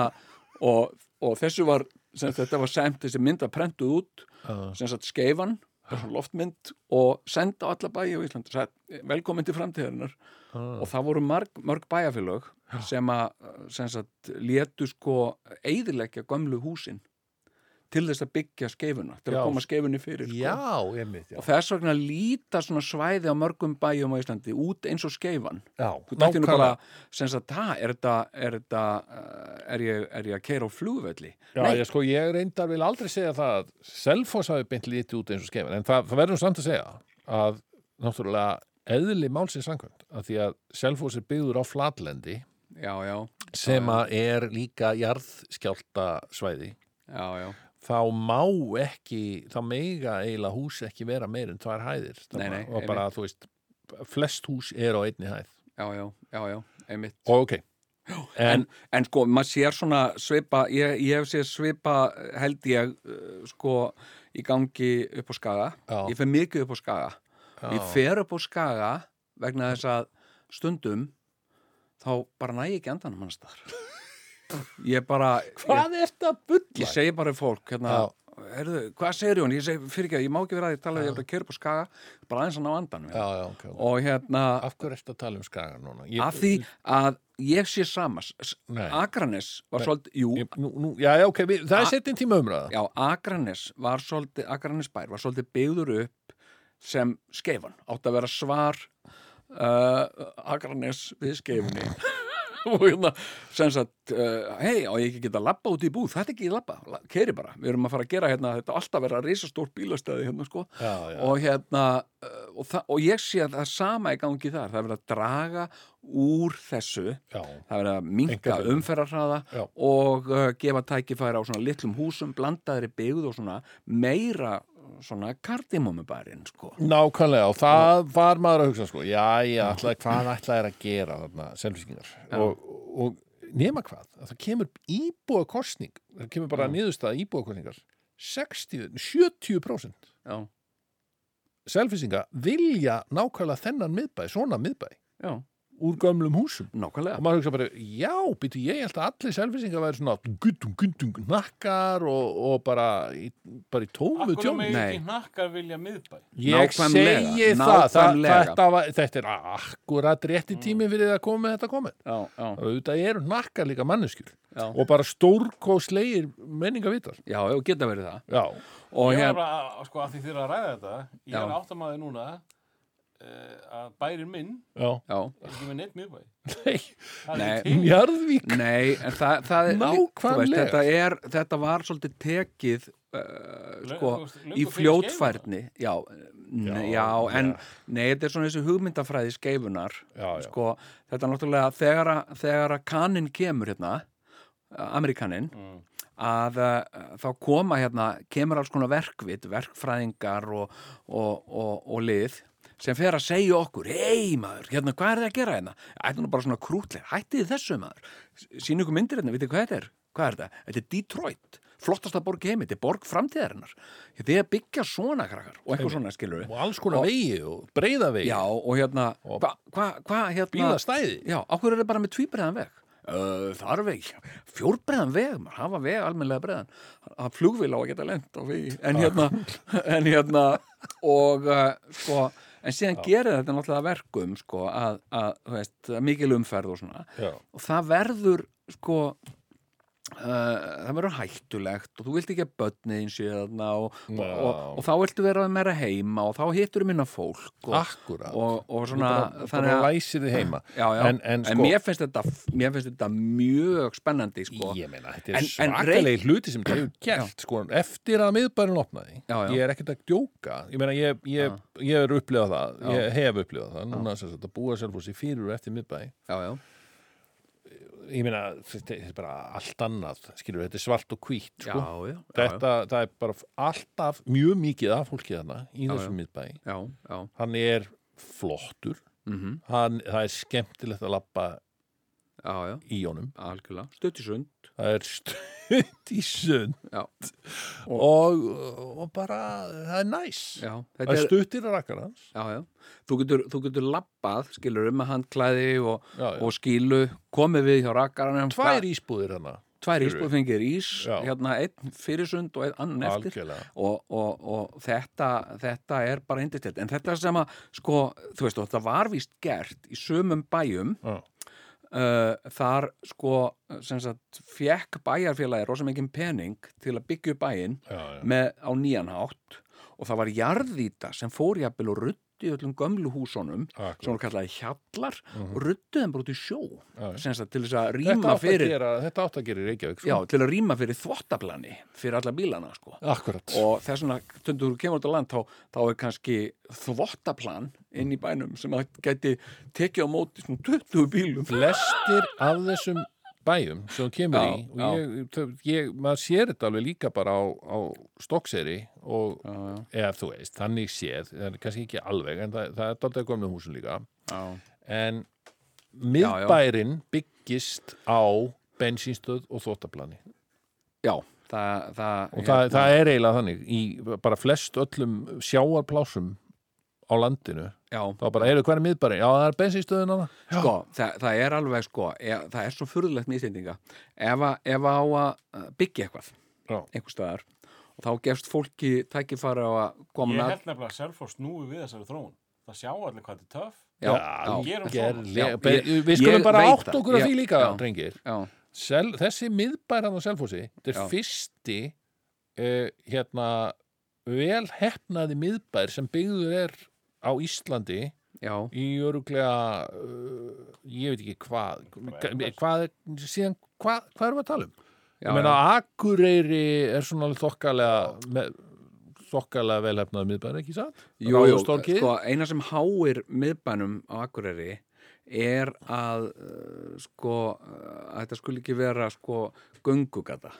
Speaker 4: og, og þessu var, sem, þetta var semt þessi mynd að prentuð út sem sagt skeifan, þessu loftmynd og senda á alla bæi á Ísland sagt, velkomin til framtíðarinnar og það voru marg, mörg bæjarfélög sem að, uh, sem sagt, létu sko eðilegja gömlu húsin til þess að byggja skeifuna
Speaker 3: Já.
Speaker 4: til að koma skeifunni fyrir sko.
Speaker 3: já, ég mitt já,
Speaker 4: og þess vegna líta svona svæði á mörgum bæjum á Íslandi út eins og skeifan
Speaker 3: já
Speaker 4: þú dætti nú bara sem sagt, ha, er þetta er, þetta, uh, er, ég, er ég að keira á flugvelli
Speaker 3: Já, ég, sko, ég reyndar vil aldrei segja það að Selfoss hafi beint lítið út eins og skefin en það, það verður nú samt að segja að náttúrulega eðli málsins samkvæmt að því að Selfoss er byggður á flatlendi
Speaker 4: já, já,
Speaker 3: sem að er líka jarðskjálta svæði
Speaker 4: já, já,
Speaker 3: þá má ekki, þá mega eiginlega hús ekki vera meir en tvær hæðir Það
Speaker 4: Nei, nei,
Speaker 3: bara- og bara, þú veist, flest hús er á einni hæð
Speaker 4: já, já, já, já einmitt
Speaker 3: og ok,
Speaker 4: en,
Speaker 3: en,
Speaker 4: en sko, maður sér svona svipa, ég, ég hef sér svipa eh, held ég uh, sko í gangi upp á skaga
Speaker 3: Já.
Speaker 4: ég fer mikið upp á skaga ég fer upp á skaga vegna þess að stundum þá bara næ ég ekki andanum
Speaker 3: *laughs*
Speaker 4: hans þar ég bara ég,
Speaker 3: hvað er þetta bull?
Speaker 4: ég segi bara við fólk hérna, heyrðu, hvað segir Jón? Ég segi, fyrir ekki að ég má ekki vera að ég tala ég er bara að kera upp á skaga, bara aðeins að ná andanum
Speaker 3: Já, já, ok, ok.
Speaker 4: og hérna,
Speaker 3: Af hverju ertu að tala um skagan núna? Ég,
Speaker 4: að því að ég sé samas,
Speaker 3: Nei.
Speaker 4: Akranes var
Speaker 3: Nei.
Speaker 4: svolítið, jú,
Speaker 3: Ég, nú, nú, já, já, ok, við, það
Speaker 4: A-
Speaker 3: er setjum tíma umræða.
Speaker 4: Já, Akranes var svolítið, Akranes bær var svolítið byggður upp sem skeifan, átt að vera svar uh, Akranes við skeifunni *laughs* og hérna sem sagt, uh, hei, á ég ekki geta labba út í búð, þetta er ekki labba, la- keiri bara við erum að fara að gera hérna, þetta á alltaf vera risastórt bílastæði hérna sko
Speaker 3: Já,
Speaker 4: og hérna, uh, og, þa- og ég sé að það sama er gangi þar, það er verið að draga úr þessu
Speaker 3: já,
Speaker 4: það er verið að minka
Speaker 3: Einkaflugvél.
Speaker 4: umferðarhraða
Speaker 3: Já.
Speaker 4: og uh, gefa tækifæri á svona litlum húsum, blandaðri byggð og svona meira uh, svona kardimómubarinn sko.
Speaker 3: Nákvæmlega, og það var maður að hugsa sko, já, já, ætlaði, hvað ætlaði er að gera þarna, selvisingar og, og nema hvað, að það kemur íbúa kostning, það kemur bara niðurstaða íbúa kostningar, 60 70%
Speaker 4: Já,
Speaker 3: selvisinga vilja nákvæmlega þennan miðbæ, svona miðbæ
Speaker 4: já,
Speaker 3: úr gömlum húsum og
Speaker 4: Nákvæmlega
Speaker 3: maður hugsa bara, já, býtu, ég held að allir selfisingar væri svona guttung, guttung, nakkar og, og bara, í, bara í tómu
Speaker 5: Akkur
Speaker 3: tjómi
Speaker 5: með
Speaker 4: Nei.
Speaker 5: ekki hnakkar vilja miðbæ
Speaker 3: Ég
Speaker 4: Nákvæmlega,
Speaker 3: segi það, það
Speaker 4: nákvæmlega.
Speaker 3: þetta, var, þetta er akkurat rétti tími fyrir það að koma með þetta komið.
Speaker 4: Já, já,
Speaker 3: Þetta eru nakkar líka manneskjur
Speaker 4: Já.
Speaker 3: og bara stórkóslegir menningavitar.
Speaker 4: já, já, geta verið það
Speaker 3: Já,
Speaker 4: Og
Speaker 5: Ég var
Speaker 4: hérna,
Speaker 5: bara, að- sko, að því þið eru að ræða þetta Ég
Speaker 4: Já.
Speaker 5: er áttamaði núna uh, að bærin minn
Speaker 3: já.
Speaker 4: já,
Speaker 5: er ekki með neitt miðbæ
Speaker 3: Nei,
Speaker 5: Það er
Speaker 4: Nei.
Speaker 5: ekki til
Speaker 3: Njarðvík.
Speaker 4: nei, en það, það er lí- þú veist,
Speaker 3: Nákvæmlega.
Speaker 4: þetta, er, þetta var svolítið tekið uh,
Speaker 5: Löngu-
Speaker 4: sko,
Speaker 5: löngu
Speaker 4: í
Speaker 5: fyrir
Speaker 4: fljótfærni já, já,
Speaker 3: Já,
Speaker 4: já, en
Speaker 3: já.
Speaker 4: nei, þetta er svona þessi hugmyndafræði skeifunar
Speaker 3: Já, já.
Speaker 4: sko, þetta er náttúrulega þegar, að- þegar að kaninn kemur hérna Amerikaninn
Speaker 5: Mm.
Speaker 4: að uh, þá koma hérna kemur alls konar verkvit, verkfræðingar og, og, og, og lið sem fer að segja okkur hei maður, hérna, hvað er það að gera hérna? Ættu nú bara svona krútleir, hættið þessu maður sínu ykkur myndir hérna, vitið hvað þetta er? Hvað er þetta? Þetta er Detroit flottasta borg í heimi, þetta er borg framtíðarinnar þið að byggja svona krakkar og eitthvað svona skilur
Speaker 3: Og alls konar vegi og breyða vegi.
Speaker 4: já og hérna hvað, hvað, hvað hérna
Speaker 3: Bílastæði.
Speaker 4: Já, okkur er það bara með tvíbreiðan veg. Uh, þar veg, fjórbreiðan veg, maður hafa veg almennlega breiðan. Það flugvil á að geta lent á vegi. En hérna, en hérna, og uh, sko, en síðan gerir þetta náttúrulega að verkum, sko, að, að, þú veist, að mikil umferð og svona.
Speaker 3: Já.
Speaker 4: Og það verður, sko, uh, það verður hættulegt og þú vilt ekki að börniðin síðan og, og,
Speaker 3: Já.
Speaker 4: og, og þá viltu vera meira heima og þá hittur minna fólk og,
Speaker 3: Akkurat.
Speaker 4: og, og svona,
Speaker 3: bara, bara læsir þið heima.
Speaker 4: já, já.
Speaker 3: En, en, sko,
Speaker 4: mér, finnst þetta, mér finnst þetta mjög spennandi sko.
Speaker 3: Ég meina, þetta er
Speaker 4: En- en
Speaker 3: svakalegi hluti sem þetta hefur gert sko, eftir að miðbærin opnaði
Speaker 4: Já, já.
Speaker 3: ég er ekkert að djóka ég meina, ég, ég, ég er upplifað það ég hef upplifað það, núna sem sagt að búa selfhúsi fyrir og eftir miðbæ
Speaker 4: já, já,
Speaker 3: ég meina, þetta er bara allt annað skilur, þetta er svart og hvít
Speaker 4: já,
Speaker 3: sko.
Speaker 4: já, já,
Speaker 3: þetta, það er bara alltaf mjög mikið af fólki þarna í þessum miðbæ
Speaker 4: já, já,
Speaker 3: hann er flottur
Speaker 4: mhm,
Speaker 3: hann, það er skemmtilegt að labba
Speaker 4: já, já
Speaker 3: í honum
Speaker 4: algjörlega, stuttisund
Speaker 3: það er stund í sund
Speaker 4: Já.
Speaker 3: og, og bara það er næs
Speaker 4: já,
Speaker 3: það
Speaker 4: þetta
Speaker 3: er
Speaker 4: er,
Speaker 3: stuttir að rakkar hans
Speaker 4: já, já þú getur, þú getur labbað, skilur um með handklæði og,
Speaker 3: já, já.
Speaker 4: og skilu komið við hjá rakkaranum
Speaker 3: tvær ísbúðir hana
Speaker 4: tvær
Speaker 3: skilur.
Speaker 4: ísbúð fengir ís
Speaker 3: Já.
Speaker 4: hérna einn fyrirsund og einn annan eftir
Speaker 3: algjörlega
Speaker 4: og, og, og þetta, þetta er bara indislegt, en þetta sem að sko, þú veist, og þetta var víst gert í sömum bæjum
Speaker 3: Já.
Speaker 4: uh, þar sko sem sagt, fekk bæjarfélagi rosa mikið pening til að byggja upp bæinn
Speaker 3: já, já.
Speaker 4: með, á nýjan hátt og það var jarðýta sem fór jafnvel og ruddi öllum gömlu húsunum sem
Speaker 3: Akkurat. Mhm.
Speaker 4: voru kallaði hjallar og ruddu þeim bara út í sjó
Speaker 3: Já, já.
Speaker 4: sem sagt, til þess að
Speaker 3: Þetta
Speaker 4: rýma
Speaker 3: átt, að
Speaker 4: fyrir
Speaker 3: gera, þetta átt að gera í Reykjavík sko.
Speaker 4: já, til að rýma fyrir þvottaplani fyrir alla bílana sko
Speaker 3: akkurat
Speaker 4: og þess vegna, tundur þú kemur út á land þá, þá er kannski þvottaplan inn í bænum sem að gæti tekið á móti svona 20 bílum
Speaker 3: flestir af þessum bæjum sem þú kemur
Speaker 4: Já,
Speaker 3: í og ég, þau- ég, maður sér þetta alveg líka bara á, á stokkseri og eða þú veist, þannig séð það er kannski ekki alveg, en það, það er dálítið að koma með húsin líka
Speaker 4: já,
Speaker 3: en miðbærin byggist á bensínstöð og þóttaplani
Speaker 4: já það, það, hérna,
Speaker 3: og það, það er eiginlega þannig í bara flest öllum sjáarplásum á landinu
Speaker 4: já,
Speaker 3: þá bara, heyrðu, hver er miðbærin? Já, það er bensínstöðin hana
Speaker 4: sko, það, það er alveg sko, e, það er svo furðulegt með Íslendinga ef að, ef að á að byggja eitthvað
Speaker 3: Já.
Speaker 4: einhver staðar og þá gefst fólki tækifæra á að koma
Speaker 5: Ég
Speaker 4: með-
Speaker 5: held nefnilega að Selfoss snúi við þessari þróun Það sjá allir hvað þetta er töff
Speaker 4: já, já,
Speaker 5: gerum svona.
Speaker 3: gerlega
Speaker 4: Já,
Speaker 3: Ben-
Speaker 4: ég-
Speaker 3: Við skulum
Speaker 4: ég
Speaker 3: bara
Speaker 4: veit
Speaker 3: átt
Speaker 4: það.
Speaker 3: okkur að
Speaker 4: Ég-
Speaker 3: því líka,
Speaker 4: já.
Speaker 3: drengir
Speaker 4: já,
Speaker 3: Sel, þessi miðbæran á Selfossi þetta er
Speaker 4: Já.
Speaker 3: fyrsti uh, hérna vel hefnaði miðbær sem byggður er á Íslandi
Speaker 4: já,
Speaker 3: í öruglega uh, ég veit ekki hvað hvað, síðan, hvað, hvað erum við að tala um?
Speaker 4: já,
Speaker 3: ég meina Akureyri er svona alveg þokkalega með, þokkalega velhefnaði miðbæri, ekki satt?
Speaker 4: Jú, jú,
Speaker 3: Ráðhústorgið?
Speaker 4: sko, eina sem háir miðbænum á Akureyri er að uh, sko, uh, að þetta skuli ekki vera sko, göngugata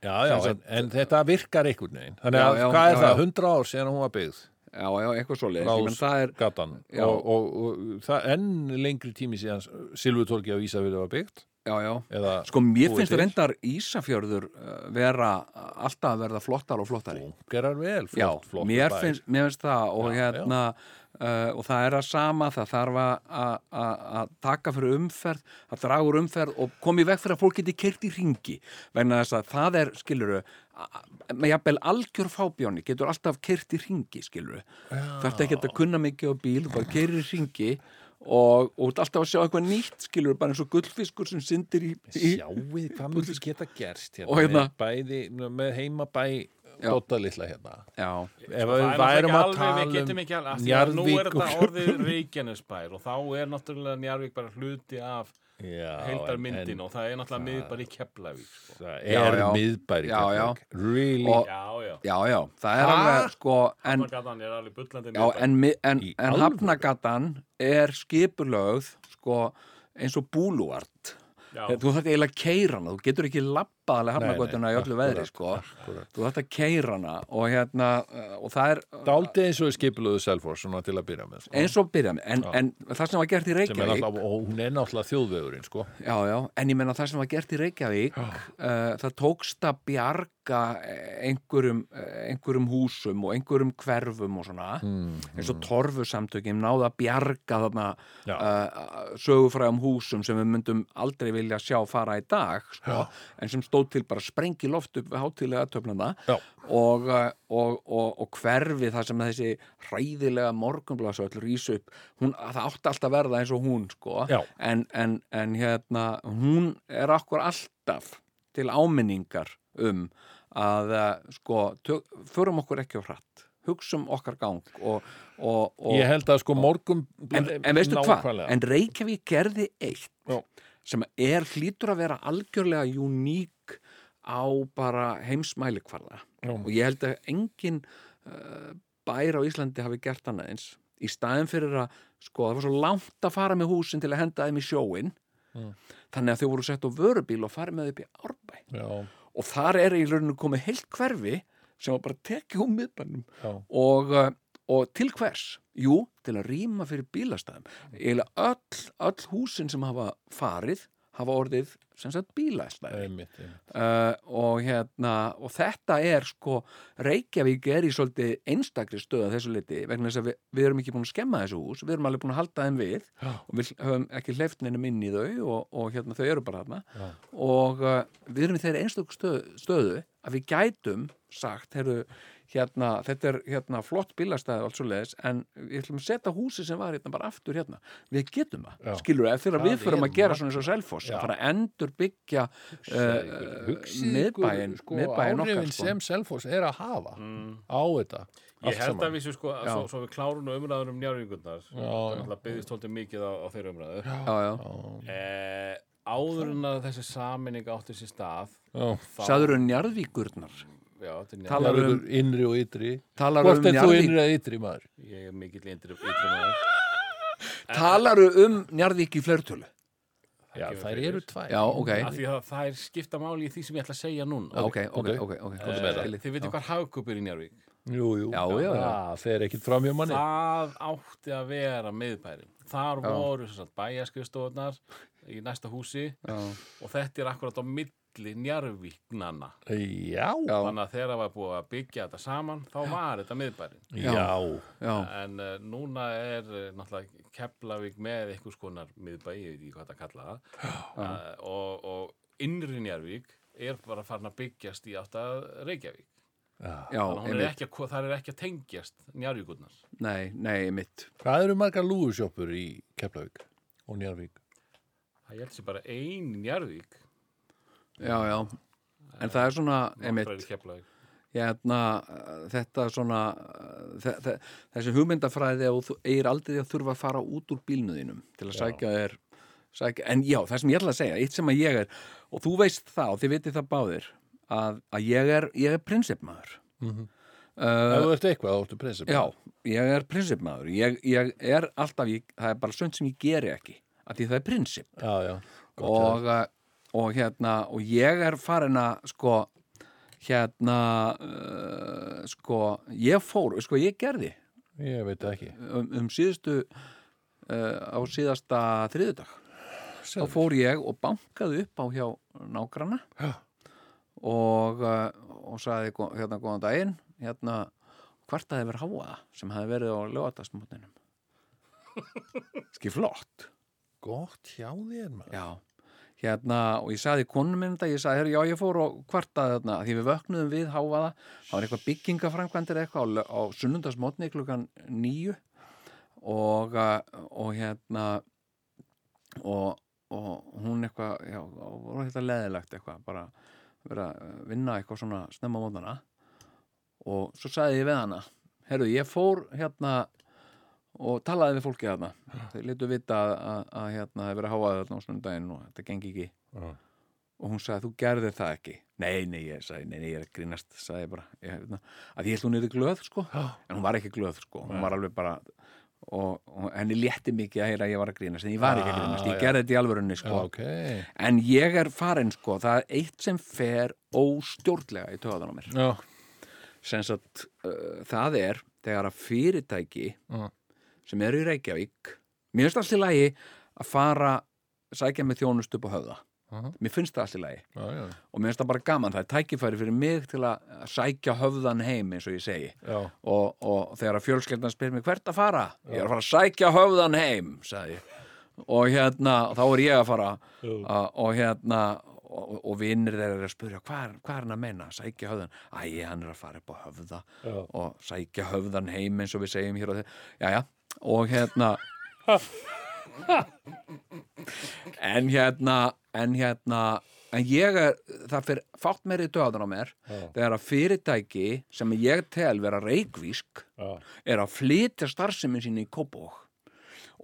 Speaker 3: já, já,
Speaker 4: sem
Speaker 3: en, en þetta virkar einhvern veginn þannig
Speaker 4: Já,
Speaker 3: að
Speaker 4: já,
Speaker 3: hvað er
Speaker 4: já,
Speaker 3: það,
Speaker 4: já.
Speaker 3: 100 ár síðan hún var byggð
Speaker 4: já, já, eitthvað svoleiðis Ég menn, það er,
Speaker 3: Ráðsgatan
Speaker 4: Já.
Speaker 3: og, og, og, það enn lengri tími síðan Silvutorgi á Ísafirði var byggt
Speaker 4: já, já
Speaker 3: eða
Speaker 4: sko, mér
Speaker 3: búið
Speaker 4: finnst
Speaker 3: til.
Speaker 4: reyndar Ísafjörður uh, vera alltaf að verða flottar og flottari
Speaker 3: gerar vel, flott,
Speaker 4: já,
Speaker 3: flott
Speaker 4: mér, finnst, mér finnst það og
Speaker 3: Já,
Speaker 4: hérna uh, og það er að sama, það þarf að- að að- að taka fyrir umferð að draga úr umferð og koma í veg fyrir að fólk geti kert í ringi vegna þess að það er, skiluru með jafnvel algjör fábjáni getur alltaf kert í ringi, skiluru þarf ekki að kunna mikið á bíl þú bara kerir í ringi og, og þú ert alltaf að sjá eitthvað nýtt, skiluru bara eins og gullfiskur sem syndir í, í
Speaker 3: Sjáuð hvað mjög geta gerst hérna,
Speaker 4: Og hérna-
Speaker 3: með bæði, með heimabæ
Speaker 4: Já.
Speaker 3: Dóta litla hérna
Speaker 4: Já,
Speaker 3: Ef
Speaker 5: Sko, Það
Speaker 3: við
Speaker 5: er
Speaker 3: værum að
Speaker 5: náttúrulega ekki
Speaker 3: tala
Speaker 5: alveg, við getum
Speaker 3: um
Speaker 5: ekki alveg, af því að nú er
Speaker 3: Njarðvík
Speaker 5: þetta
Speaker 3: og
Speaker 5: orðið Reykjanesbær og þá er náttúrulega Njarvík bara hluti af
Speaker 3: Já, en-
Speaker 5: heildarmyndin
Speaker 3: en
Speaker 5: og það er náttúrulega miðbær í Keflavík. Sko.
Speaker 3: það
Speaker 4: Já,
Speaker 3: er
Speaker 4: já.
Speaker 3: miðbæri
Speaker 4: Já, já.
Speaker 3: Really
Speaker 4: Og-
Speaker 5: Já, já.
Speaker 4: já, já, það er
Speaker 3: Ha?
Speaker 4: alveg sko, en,
Speaker 5: Hafnargatan er alveg bullandi
Speaker 4: Já,
Speaker 5: miðbær.
Speaker 4: en, mi- en,
Speaker 3: Í
Speaker 4: en
Speaker 3: alvöru?
Speaker 4: hafnagatan er skipulögð sko, eins og búlúart
Speaker 5: Já.
Speaker 4: þú þarf eiginlega að keira hana þú getur ekki labbað alveg hafnagötuna í öllu veðri sko. þú þarf að keira hana og, hérna, uh, og það er uh,
Speaker 3: Dáldi eins og skipluðu Selfors svona til að byrja með sko.
Speaker 4: eins og byrja með en, en það sem var gert í
Speaker 3: sem er
Speaker 4: Reykjavík
Speaker 3: alltaf, og hún er náttúrulega þjóðvegurinn sko.
Speaker 4: já, já, en ég menna það sem var gert í Reykjavík uh, það tókst að bjarga eh, einhverjum, eh, einhverjum húsum og einhverjum hverfum og svona
Speaker 3: Mhm.
Speaker 4: eins og torfusamtökjum náða að bjarga þarna
Speaker 3: Já.
Speaker 4: uh, sögufræðum húsum sem við myndum aldrei vilja sjá fara í dag sko, en sem stóð til bara sprengi loft upp við hátíðlega töfnana
Speaker 3: Já.
Speaker 4: og, uh, og, og, og hverfi þar sem þessi hræðilega morgunblasöll rís upp, hún, það átti alltaf að verða eins og hún sko
Speaker 3: Já.
Speaker 4: en, en, en hérna hún er okkur alltaf til áminningar um að uh, sko, tök, förum okkur ekki á hratt hugsum okkar gang og, og, og,
Speaker 3: ég held að sko morgum
Speaker 4: en, en veistu hvað,
Speaker 3: nákvæmlega.
Speaker 4: en Reykjavík gerði eitt
Speaker 3: Já.
Speaker 4: sem er hlýtur að vera algjörlega uník á bara heimsmælikvarða
Speaker 3: Já.
Speaker 4: og ég held að engin uh, bær á Íslandi hafi gert annað eins í staðin fyrir að sko, það var svo langt að fara með húsin til að henda þeim í sjóin þannig að þau voru sett á vörubíl og farið með þau upp í árbæ
Speaker 3: já,
Speaker 4: og þar er í rauninu komið heilt hverfi sem var bara tekið um miðbænum
Speaker 3: já,
Speaker 4: og, uh, og til hvers? Jú, til að rýma fyrir bílastæðum. Eða öll, öll húsin sem hafa farið hafa orðið sem sagt bílastæði.
Speaker 3: einmitt, einmitt.
Speaker 4: Uh, og, hérna, og þetta er sko, Reykjavík er í svolítið einstakri stöða þessu liti vegna þess að við, við erum ekki búin að skemma þessu hús, við erum alveg búin að halda þeim við
Speaker 3: Já.
Speaker 4: og við höfum ekki hleyftninum inn í þau og, og hérna, þau eru bara þarna
Speaker 3: Já.
Speaker 4: og uh, við erum í þeirri einstöku stöðu, stöðu að við gætum sagt, heyrðu, hérna, þetta er hérna, flott bílastæði og allt svo leiðis en við ætlum að setja húsi sem var hérna bara aftur hérna við getum það,
Speaker 3: Já.
Speaker 4: skilur við, þegar
Speaker 3: Það
Speaker 4: við
Speaker 3: er
Speaker 4: förum að gera svona eins og Selfoss,
Speaker 3: Já.
Speaker 4: að fara að endur byggja uh,
Speaker 3: hugsið ykkur
Speaker 4: miðbæin
Speaker 3: sko,
Speaker 4: miðbæin okkar
Speaker 3: áhrifin
Speaker 4: sko. Mm.
Speaker 3: sem Selfors er að hafa á þetta
Speaker 5: Ég
Speaker 3: allt
Speaker 5: held
Speaker 3: saman.
Speaker 5: að við séum sko, að
Speaker 4: Já.
Speaker 5: svo, svo við klárunum umræður um njárvíkundar,
Speaker 3: já.
Speaker 5: það byggðist tóltið mikið á, á þeirra umræður.
Speaker 4: já, já.
Speaker 5: Eh, áður en að þessi saminning átti sér stað,
Speaker 3: Já.
Speaker 5: þá...
Speaker 4: sagður um njarðvíkurnar
Speaker 5: Já, þetta er njárvík.
Speaker 4: Talar um-
Speaker 3: Njarðvíkur innri og ytri
Speaker 4: talar um
Speaker 3: hvort er þú
Speaker 4: njarðvík
Speaker 3: innri eða ytri maður
Speaker 5: Ég er mikill yndri maður.
Speaker 4: talar um njarðvík í flertölu
Speaker 3: já,
Speaker 5: kemur
Speaker 3: þær
Speaker 5: fyrir.
Speaker 3: eru tvær
Speaker 4: já, ok,
Speaker 5: Af því að það er skipta máli í því sem ég ætla að segja núna.
Speaker 4: ok, ok,
Speaker 3: komdu.
Speaker 4: ok, ok
Speaker 5: Eh,
Speaker 3: meira.
Speaker 5: Þið veitir hvað hagkup er í Njárvík?
Speaker 3: jú, jú.
Speaker 4: Já, já, já.
Speaker 3: það fer ekkit fram hjá manni
Speaker 5: Það átti að vera miðbærin. Þar voru sem sagt, bæjarskrifstofunar í næsta húsi
Speaker 4: Já.
Speaker 5: og þetta er akkurat á milli Njárvíknanna.
Speaker 3: já,
Speaker 4: Já.
Speaker 5: Þannig að þegar það var búið að byggja þetta saman, þá var þetta miðbærin.
Speaker 3: já,
Speaker 4: já,
Speaker 5: En uh, núna er uh, náttúrulega Keflavík með einhvers konar miðbæ, ég veit ekki hvað það kalla það. Uh, og, og innri Njárvík er bara farin að byggjast í átt að Reykjavík.
Speaker 4: já,
Speaker 5: Þannig að hún er
Speaker 4: einmitt
Speaker 5: ekki að, ko- þar er ekki að tengjast Njárvíkurnar.
Speaker 4: nei, nei, einmitt
Speaker 3: hvað eru margar lúðusjópur í Keflavík og Njarðvík
Speaker 5: Það ég held sér bara ein í Njarðvík
Speaker 4: já, já En það er svona, einmitt, hérna, uh, þetta svona, uh, þe þe þessi hugmyndafræði að þú eigir aldrei að þurfa að fara út úr bílnuðinum til að sækja þér, sækja, en já, það sem ég ætla að segja, eitt sem að ég er, og þú veist það og þið vitið það báðir, að, að ég er, ég er prinsipmaður.
Speaker 3: ef þú ert eitthvað, þá ertu prinsip
Speaker 4: Já, ég er prinsipmaður, ég, ég er alltaf, ég, það er bara sönd sem ég geri ekki, að því það er prinsip.
Speaker 3: já, já. Gott hjá
Speaker 4: og, eh, og hérna og ég er farin að sko hérna uh, sko ég fór sko ég gerði
Speaker 3: þér. ég veit það ekki
Speaker 4: um, um síðustu uh, á síðasta þriðudag þá
Speaker 3: Sjáðu.
Speaker 4: fór ég og bankaði upp á hjá nágrana
Speaker 3: Já.
Speaker 4: og, uh, og sagði
Speaker 3: *laughs*
Speaker 4: gó- hérna góðan daginn hérna hvartaði verið háa sem hafi verið á lögatarsmótinum Ski flott.
Speaker 3: Gott hjá þér, maður.
Speaker 4: Já, hérna, og ég sagði konum minn þetta, ég sagði, herri, já, ég fór og kvartaði þarna, því við vöknuðum við háfaða, það var eitthvað byggingaframkvæmdir eitthvað á, lö- á sunnundasmótni klukkan nýju og, uh, og hérna, og, og hún eitthvað, já, og voru þetta leðilegt eitthvað, bara vera að vinna eitthvað svona snemma mótana og svo sagði ég við hana, herru, ég fór hérna, og talaði við fólkið þarna þeir letu vita að, að, að hérna það hefur verið háaðið þarna á snundaginn og þetta gengi ekki
Speaker 3: Já.
Speaker 4: og hún sagði þú gerðir það ekki nei, nei, ég sagði, nei, nei, ég er að grínast sagði ég bara, ég, hérna, að ég held hún er glöð sko, en hún var ekki glöð sko hún var alveg bara og, og henni létti mikið að heyra að ég var að grínast en ég var ekki að grínast, ég gerði þetta í alvörunni sko
Speaker 3: ok.
Speaker 4: en ég er farin sko, það er eitt sem fer óstjórnlega í töðan á mér
Speaker 3: Já,
Speaker 4: Sens að uh, það er þegar að fyrirtæki
Speaker 3: Mhm.
Speaker 4: sem eru í Reykjavík mér finnst allt í lagi að fara sækja með þjónust upp á höfða
Speaker 3: Mhm.
Speaker 4: mér finnst það allt í lagi
Speaker 3: já, já.
Speaker 4: og mér finnst það bara gaman, það er tækifæri fyrir mig til að að sækja höfðan heim eins og ég segi
Speaker 3: Já,
Speaker 4: og, og þegar að fjölskeldan spyr mig hvert að fara ég er að fara að sækja höfðan heim sagði ég og hérna, þá er ég að fara uh, og hérna og, og vinnir þeir eru að spyrja hvað er, hvað er hann að meina, sækja höfðan æ, hann er að fara upp á höfða
Speaker 3: já.
Speaker 4: og sækja höfðan heim eins og við segjum hér og þeir Jæja, og hérna en hérna en hérna en ég er, það fyrir fátt meir í döðan á mér
Speaker 3: Já.
Speaker 4: þegar að fyrirtæki sem ég tel vera reikvísk
Speaker 3: Já.
Speaker 4: er að flytja starfsemin sín í Kópók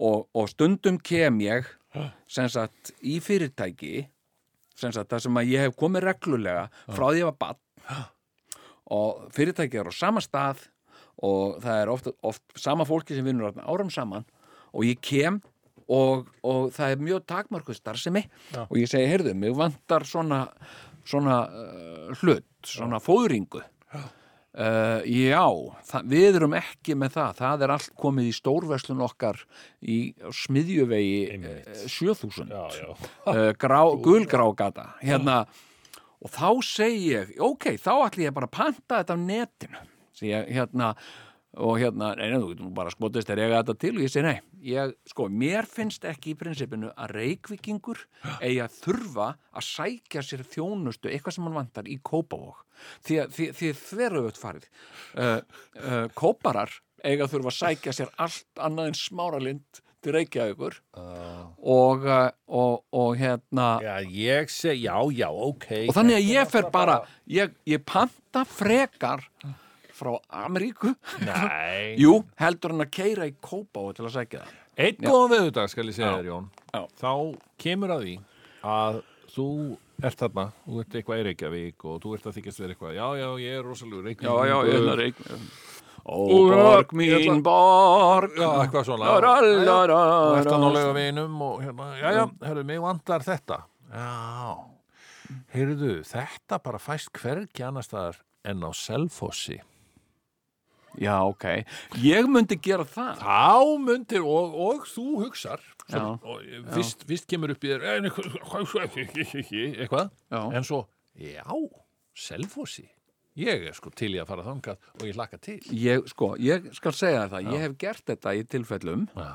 Speaker 4: og, og stundum kem ég sem sagt í fyrirtæki sem sagt það sem að ég hef komið reglulega frá því að ég var bann og fyrirtæki er á sama stað og það er oft, oft sama fólki sem vinnur þarna árum saman og ég kem og, og það er mjög takmarkuð starfsemi og ég segi, heyrðu, mig vantar svona, svona uh, hlut, svona fóðringu Uh, já, það, við erum ekki með það, það er allt komið í stórverslun okkar í smiðjuvegi
Speaker 3: Einmitt.
Speaker 4: eh, 7000
Speaker 3: Já, já.
Speaker 4: uh, grá, gulgrágata hérna, og þá segi ég ok, þá ætli ég bara að panta þetta á netinu Segi ég, hérna, og hérna, neina, þú getur nú bara skotist þegar ég þetta til og ég segi nei ég, sko, mér finnst ekki í prinsipinu að reykvikingur eigi að þurfa að sækja sér þjónustu eitthvað sem hann vantar í Kópavog því að því, því þveröfut farið uh, uh, Kóparar eiga að þurfa að sækja sér allt annað en smáralind til Reykjavíkur og, uh, og, og hérna
Speaker 3: Já, ég seg, já, já, ok.
Speaker 4: og þannig að ég fer bara ég, ég panta frekar frá *laughs* Ameríku
Speaker 3: Nei.
Speaker 4: jú, heldur hann að keira í Kópá til að segja það
Speaker 3: Einn góðan veðudag skal ég segja
Speaker 4: Já.
Speaker 3: þér Jón
Speaker 4: Já.
Speaker 3: þá kemur að því að þú ert þarna þú ert eitthvað í Reykjavík og þú ert að þykjast verið eitthvað já, já, ég er rosalegu Reykjavík
Speaker 4: reik Ó, borg mín, borg
Speaker 3: Já, eitthvað svona.
Speaker 4: Lá, lá, lá, lá,
Speaker 3: og ert
Speaker 4: lá.
Speaker 3: að nálega vinum og hérna, já, já, herru, mig vantar þetta já heyrðu, þetta bara fæst hvergi annars staðar en á Selfossi
Speaker 4: Já, ok Ég myndi gera það
Speaker 3: þá myndir, og, og þú hugsar
Speaker 4: Já.
Speaker 3: sem, og, fyrst, fyrst kemur upp í þér "En eitthvað eitthvað,
Speaker 4: Já.
Speaker 3: en svo já, selfossi ég er sko til í að fara þangað og ég hlakka til
Speaker 4: Ég, sko, ég skal segja þér það Ég hef gert þetta í tilfellum
Speaker 3: já,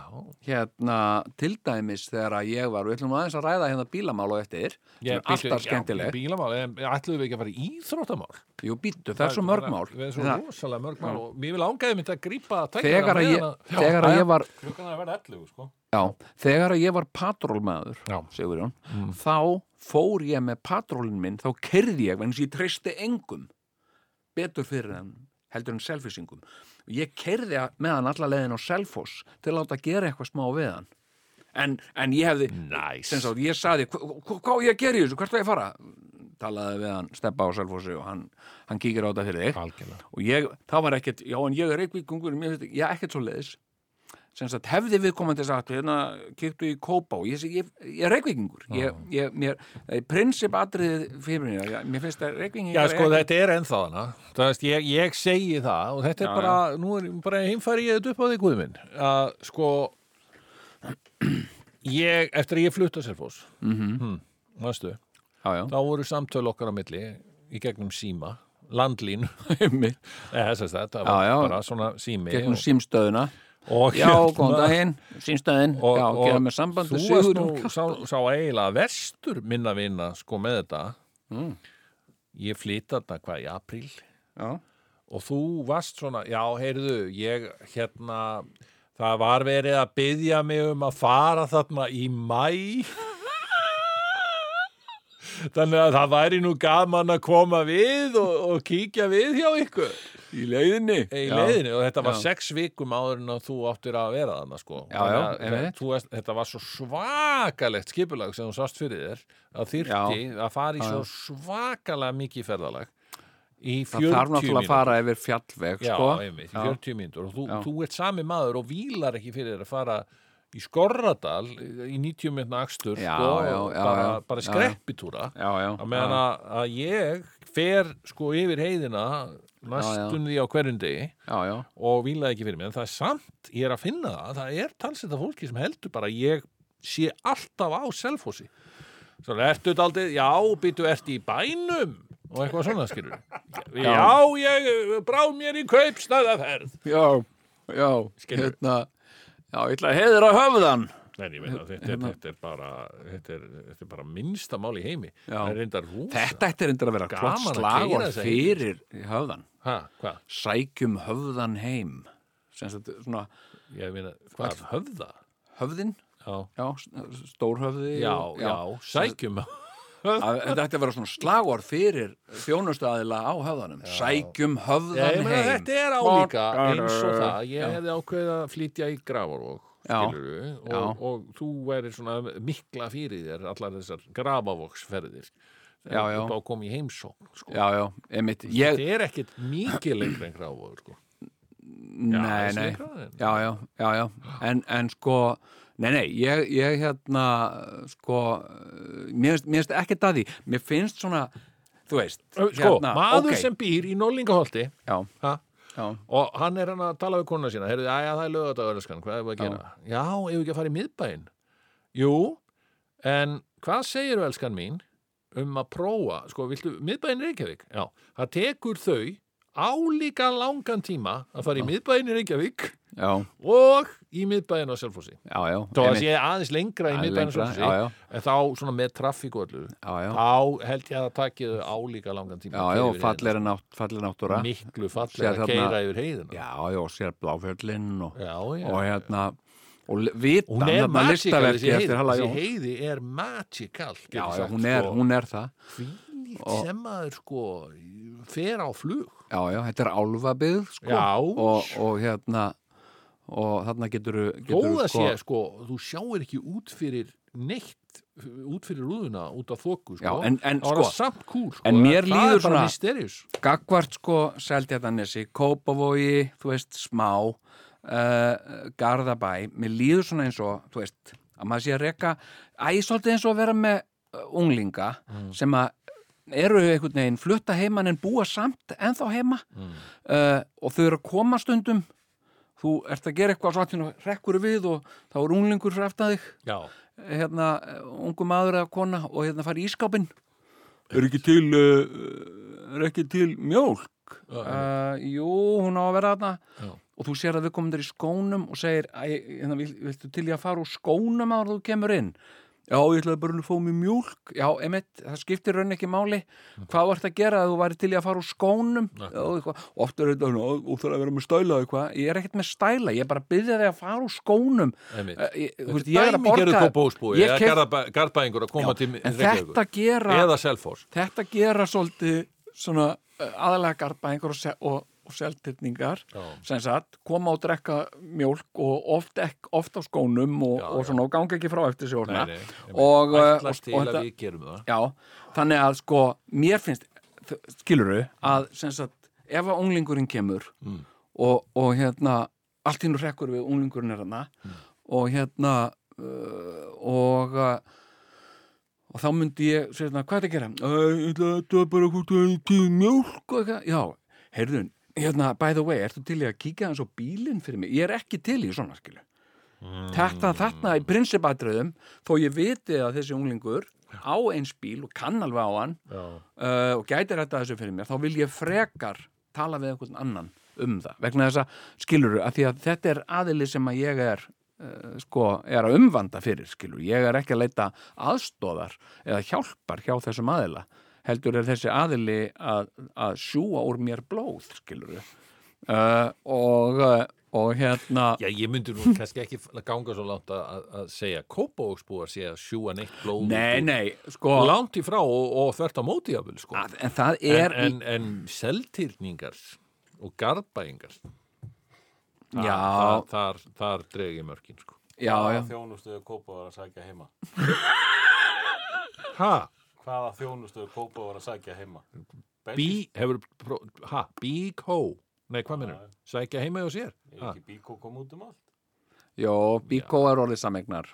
Speaker 4: hérna til dæmis þegar að ég var, við ætlum nú aðeins að ræða hérna bílamál og eftir, sem
Speaker 3: ég
Speaker 4: er alltaf skemmtileg
Speaker 3: bílamál, en ætluðum við ekki að fara í íþróttamál
Speaker 4: Jú, býttu, það er svo mörg mál Hérna,
Speaker 3: við erum svo rosalega mörg mál og mér vil ángaði mynd að grípa
Speaker 4: þegar að ég, þegar að ég var
Speaker 5: Klukkan er að verða 11, sko.
Speaker 4: já, þegar að ég var patrólmaður
Speaker 3: Já. Mm.
Speaker 4: Sigurjón, þá fór ég með patrólin minn, þá kerði ég vegna þess að ég treysti engum betur fyrir hann, heldur en selfisingum og ég kerði með hann alla leiðin á Selfoss til að láta gera eitthvað smá við hann en, en ég hefði
Speaker 3: Nice.
Speaker 4: sem sagt, ég saði, "Hva- hva- hvað á ég að gera í þessu, hvert var ég að fara talaði við hann, steppa á Selfossi og hann, hann kíkir á þetta fyrir þig
Speaker 3: algjörlega
Speaker 4: og ég, það var ekkert, já en ég er reykvíkungur mér finnst, já ekkert svo leiðis sem sagt, hefði viðkomandi sagt hérna, kýttu í Kópá, ég, segi, ég, ég er reykvíkungur
Speaker 3: Ah.
Speaker 4: ég, ég, mér, prinsip atriðið fyrir mér, já, mér finnst að reykvíkingur
Speaker 3: Já, sko, þetta er ennþá hana. Það veist, ég, ég segi það og þetta er bara, nú er bara heimfæri ég þetta upp á því guð minn. Að, sko, *clears throat* ég, eftir að ég flutta sérfós, mm
Speaker 4: Mhm.
Speaker 3: -hmm. manstu,
Speaker 4: já, já,
Speaker 3: *laughs* þá voru samtöl okkar á milli í gegnum síma, landlín, *laughs*
Speaker 4: heimmi
Speaker 3: eða þess að þetta
Speaker 4: Já,
Speaker 3: var
Speaker 4: já.
Speaker 3: bara svona sími.
Speaker 4: gegnum
Speaker 3: og,
Speaker 4: símstöðuna
Speaker 3: og
Speaker 4: Já, góðan daginn, sínstöðin Já, gera með sambandi
Speaker 3: hérna. þú varst
Speaker 4: Sigurður
Speaker 3: nú sá, sá eiginlega vestur minna vina sko með þetta
Speaker 4: Mm.
Speaker 3: ég flytta þetta hvað í apríl
Speaker 4: Já,
Speaker 3: og þú varst svona, já, heyrðu ég hérna það var verið að byggja mig um að fara þarna í mæ *laughs* þannig að það væri nú gaman að koma við og, og kíkja við hjá ykkur
Speaker 4: í leiðinni
Speaker 3: í leiðinu og þetta var
Speaker 4: Já.
Speaker 3: sex vikum áður en að þú áttir að vera þarna sko.
Speaker 4: Já,
Speaker 3: Þannig
Speaker 4: já,
Speaker 3: að
Speaker 4: einmitt.
Speaker 3: þú veist, þetta var svo svakalegt skipulag sem þú sást fyrir þér að þyrti að fara í svo svakalega mikið ferðalag í 40
Speaker 4: Það þarf náttúrulega að
Speaker 3: mínútur.
Speaker 4: fara yfir fjallveg
Speaker 3: Já,
Speaker 4: sko.
Speaker 3: einmitt, í
Speaker 4: Já.
Speaker 3: 40 mínútur og þú,
Speaker 4: Já.
Speaker 3: þú ert sami maður og vílar ekki fyrir þér að fara í Skorradal í 90 minna akstur
Speaker 4: Já,
Speaker 3: sko,
Speaker 4: já, já,
Speaker 3: bara,
Speaker 4: já.
Speaker 3: bara
Speaker 4: Já, já.
Speaker 3: skreppitúra
Speaker 4: Já, já,
Speaker 3: að meðan
Speaker 4: já,
Speaker 3: að, að ég fer sko yfir heiðina næstunni á hverjum degi
Speaker 4: já, já,
Speaker 3: og vilaði ekki fyrir mig, en það er samt ég er að finna það, að það er talsett af fólki sem heldur bara að ég sé alltaf á selfósi svona, ertu þetta aldrei, já, býtu, ertu í bænum og eitthvað svona skilur já, ég eh, brá mér í kaupstæðaferð
Speaker 4: já, já,
Speaker 3: Skilur.
Speaker 4: hérna, já, ég ætla að heiðra höfðan
Speaker 3: en ég meina, þetta, er- þetta er bara þetta er, þetta er bara minnsta mál í heimi
Speaker 4: Já.
Speaker 3: það er reyndar rúsa
Speaker 4: Þetta ætti reyndar að vera
Speaker 3: Gaman
Speaker 4: klart
Speaker 3: að
Speaker 4: slagur
Speaker 3: keyra þessa
Speaker 4: fyrir höfðan
Speaker 3: ha, hvað,
Speaker 4: Sækjum höfðan heim sem sagt, svona,
Speaker 3: ég meina, hvað, höfða
Speaker 4: höfðin
Speaker 3: já,
Speaker 4: Já, s- stórhöfði
Speaker 3: já,
Speaker 4: og-
Speaker 3: já, sækjum
Speaker 4: að, Þetta ætti að vera svona slagur fyrir þjónustaðila á höfðanum Sækjum höfðan
Speaker 3: Já, ég meina,
Speaker 4: heim
Speaker 3: þetta er álíka eins og það ég hefði ákveðið að flytja í Grafarvog
Speaker 4: Já.
Speaker 3: skilurðu,
Speaker 4: Já.
Speaker 3: og, og þú væri svona mikla fyrir þér allar þessar Grafarvogsferðir
Speaker 4: Já, já.
Speaker 3: upp á að koma í heimsókn sko.
Speaker 4: Já, já, einmitt ég,
Speaker 3: þetta er ekkit mikið lengra en Grafarvogur sko.
Speaker 4: Nei,
Speaker 3: aðeins
Speaker 4: nei,
Speaker 3: lengra en-
Speaker 4: já, já, já, já. En, en sko, nei, nei, ég, ég hérna, sko, eh, mér finnst- mér finnst ekki að því, mér finnst svona, þú veist,
Speaker 3: sko,
Speaker 4: hérna,
Speaker 3: maður
Speaker 4: ok,
Speaker 3: sem býr í Norlingaholti
Speaker 4: já,
Speaker 3: ha,
Speaker 4: já,
Speaker 3: og hann er hann að tala við konuna sína heyrðu, já, það er lögðardagur, elskan, hvað er að gera já, ef við ekki að fara í miðbæinn jú, en hvað segir elskan mín um að prófa sko, viltu, miðbæinn í Reykjavík já, það tekur þau álíka langan tíma að fara í miðbæinn í Reykjavík
Speaker 4: já,
Speaker 3: og í miðbæinn á Selfossi
Speaker 4: já, já,
Speaker 3: þó að
Speaker 4: einmitt,
Speaker 3: sé aðeins lengra í
Speaker 4: Aðeins
Speaker 3: miðbæinn á
Speaker 4: lengra,
Speaker 3: Selfossi
Speaker 4: já, já.
Speaker 3: en þá svona með traffík og öllu
Speaker 4: já, já,
Speaker 3: þá held ég að það takið þau álíka langan tíma
Speaker 4: já,
Speaker 3: að
Speaker 4: já,
Speaker 3: keyra yfir heiðina.
Speaker 4: fallir nátt, fallir náttúra, já,
Speaker 3: miklu fallega
Speaker 4: Sér
Speaker 3: að
Speaker 4: þarna-
Speaker 3: keira yfir heiðina
Speaker 4: já, og sér bláfjöllinn og,
Speaker 3: já, já.
Speaker 4: og hérna, og li- vitan,
Speaker 3: hún er
Speaker 4: hérna,
Speaker 3: magikal
Speaker 4: listaverki
Speaker 3: þessi heiði,
Speaker 4: eftir Halla
Speaker 3: þessi sko.
Speaker 4: Jón,
Speaker 3: heiði er magikal
Speaker 4: já, já, hún er, hún er það,
Speaker 3: og, sem maður sko fer á flug
Speaker 4: Já, já, þetta er álfabyggð sko,
Speaker 3: Já.
Speaker 4: og, og hérna og þarna getur
Speaker 3: þó að sé sko, þú sjáir ekki út fyrir neitt út fyrir rúðuna, út af þoku sko.
Speaker 4: Já, en- en
Speaker 3: það var
Speaker 4: sko-
Speaker 3: samt kúl sko.
Speaker 4: en mér
Speaker 3: það
Speaker 4: líður
Speaker 3: er bara
Speaker 4: svona-
Speaker 3: mysterious
Speaker 4: gagvart sko Seldjartanesi, Kópavogi þú veist, smá uh, Garðabæ, mér líður svona eins og þú veist, að maður sé að reka æ, svolítið eins og að vera með eh, unglinga sem að eru einhvern veginn flutta heiman en búa samt ennþá heima uh, og þau eru að koma stundum þú ert að gera eitthvað svo allt í einu hrekkur við og þá er unglingur fyrir aftan þig
Speaker 3: já,
Speaker 4: hérna, ungu maður eða kona og hérna fara í ískápin er ekki til uh, er ekki til mjólk uh, jú, hún á að vera þarna
Speaker 3: Ah, Já.
Speaker 4: og þú sér að við komum þér í skónum og segir, æ, hérna, vil, viltu til ég að fara úr skónum að þú kemur inn já, ég ætlaði bara að fá mér mjólk já, emitt, það skiptir raun ekki máli hvað var þetta að gera að þú væri til ég að fara úr skónum og, eitthvað. og oft er þetta "Ó, þú þarf að vera með stæla og eitthvað ég er ekkert með stæla, ég er bara að byggja þig að fara úr skónum
Speaker 3: einmitt
Speaker 4: Eh, ég- þú veist,
Speaker 3: Þetta
Speaker 4: ég er
Speaker 3: er
Speaker 4: að
Speaker 3: dæmigerður
Speaker 4: borga
Speaker 3: kópóðsbúi
Speaker 4: Ég
Speaker 3: eða
Speaker 4: keypt-
Speaker 3: Garðabæ- garðbæingur að koma til
Speaker 4: en þetta
Speaker 3: Reykjavíkur
Speaker 4: gera,
Speaker 3: eða Selfoss
Speaker 4: þetta gera svolítið svona eh, aðalega garðbæðingar og, se- og, og seltirningar sem sagt, koma og drekka mjólk og oft, ek, oft á skónum og,
Speaker 3: Já,
Speaker 4: og svona og ganga ekki frá eftir sig og, svona.
Speaker 3: Nei, nei, einmitt.
Speaker 4: og, eh, og,
Speaker 3: ætlast til
Speaker 4: og
Speaker 3: að
Speaker 4: þetta-
Speaker 3: við gerum það
Speaker 4: já, þannig að sko mér finnst, skiluru að sem sagt, ef að unglingurinn kemur og, og hérna allt hinn rekkur við unglingurinn er hana og hérna uh, og uh, og þá myndi ég, sérna, hvað er að gera? "Æ, Ég ætla að þetta var bara hvort það er til mjólk og eitthvað. Já, heyrðun, hérna, by the way, ertu til í að kíkja eins og bílinn fyrir mig? Ég er ekki til í svona, skilu. Þetta, þarna í prinsipatriðum, þó ég viti að þessi unglingur á eins bíl og kann alveg á hann
Speaker 3: já,
Speaker 4: uh, og gætir þetta þessu fyrir mér, þá vil ég frekar tala við einhvern annan um það vegna þess að skilur að því að þetta er aðili sem að ég er eh, sko, er að umvanda fyrir skilur ég er ekki að leita aðstóðar eða hjálpar hjá þessum aðila heldur er þessi aðili að, að sjúa úr mér blóð skilur uh, og, eh, og hérna
Speaker 3: Já, ég myndi nú kannski ekki ganga svo langt að, að- að segja kópavóksbúar sé að sjúa neitt blóð út
Speaker 4: nei,
Speaker 3: úr-
Speaker 4: nei, sko
Speaker 3: langt í frá og, og þvert á móti jafnvel sko.
Speaker 4: að, en það
Speaker 3: en,
Speaker 4: er í-
Speaker 3: en, en seltirningar og garbaðingar þar,
Speaker 4: Já.
Speaker 3: þar, þar, þar dreg ég mörkin sko.
Speaker 4: já, já,
Speaker 5: þjónustuðu kópa var að sækja heima?
Speaker 3: ha,
Speaker 5: Hvaða þjónustuðu kópa var að sækja heima?
Speaker 3: bí hefur, pró- ha, bíkó nei, hvað minnur, sækja heima hjá sér
Speaker 5: Er
Speaker 3: ha,
Speaker 5: ekki bíkó kom út um allt?
Speaker 4: já, bíkó er orðið samegnar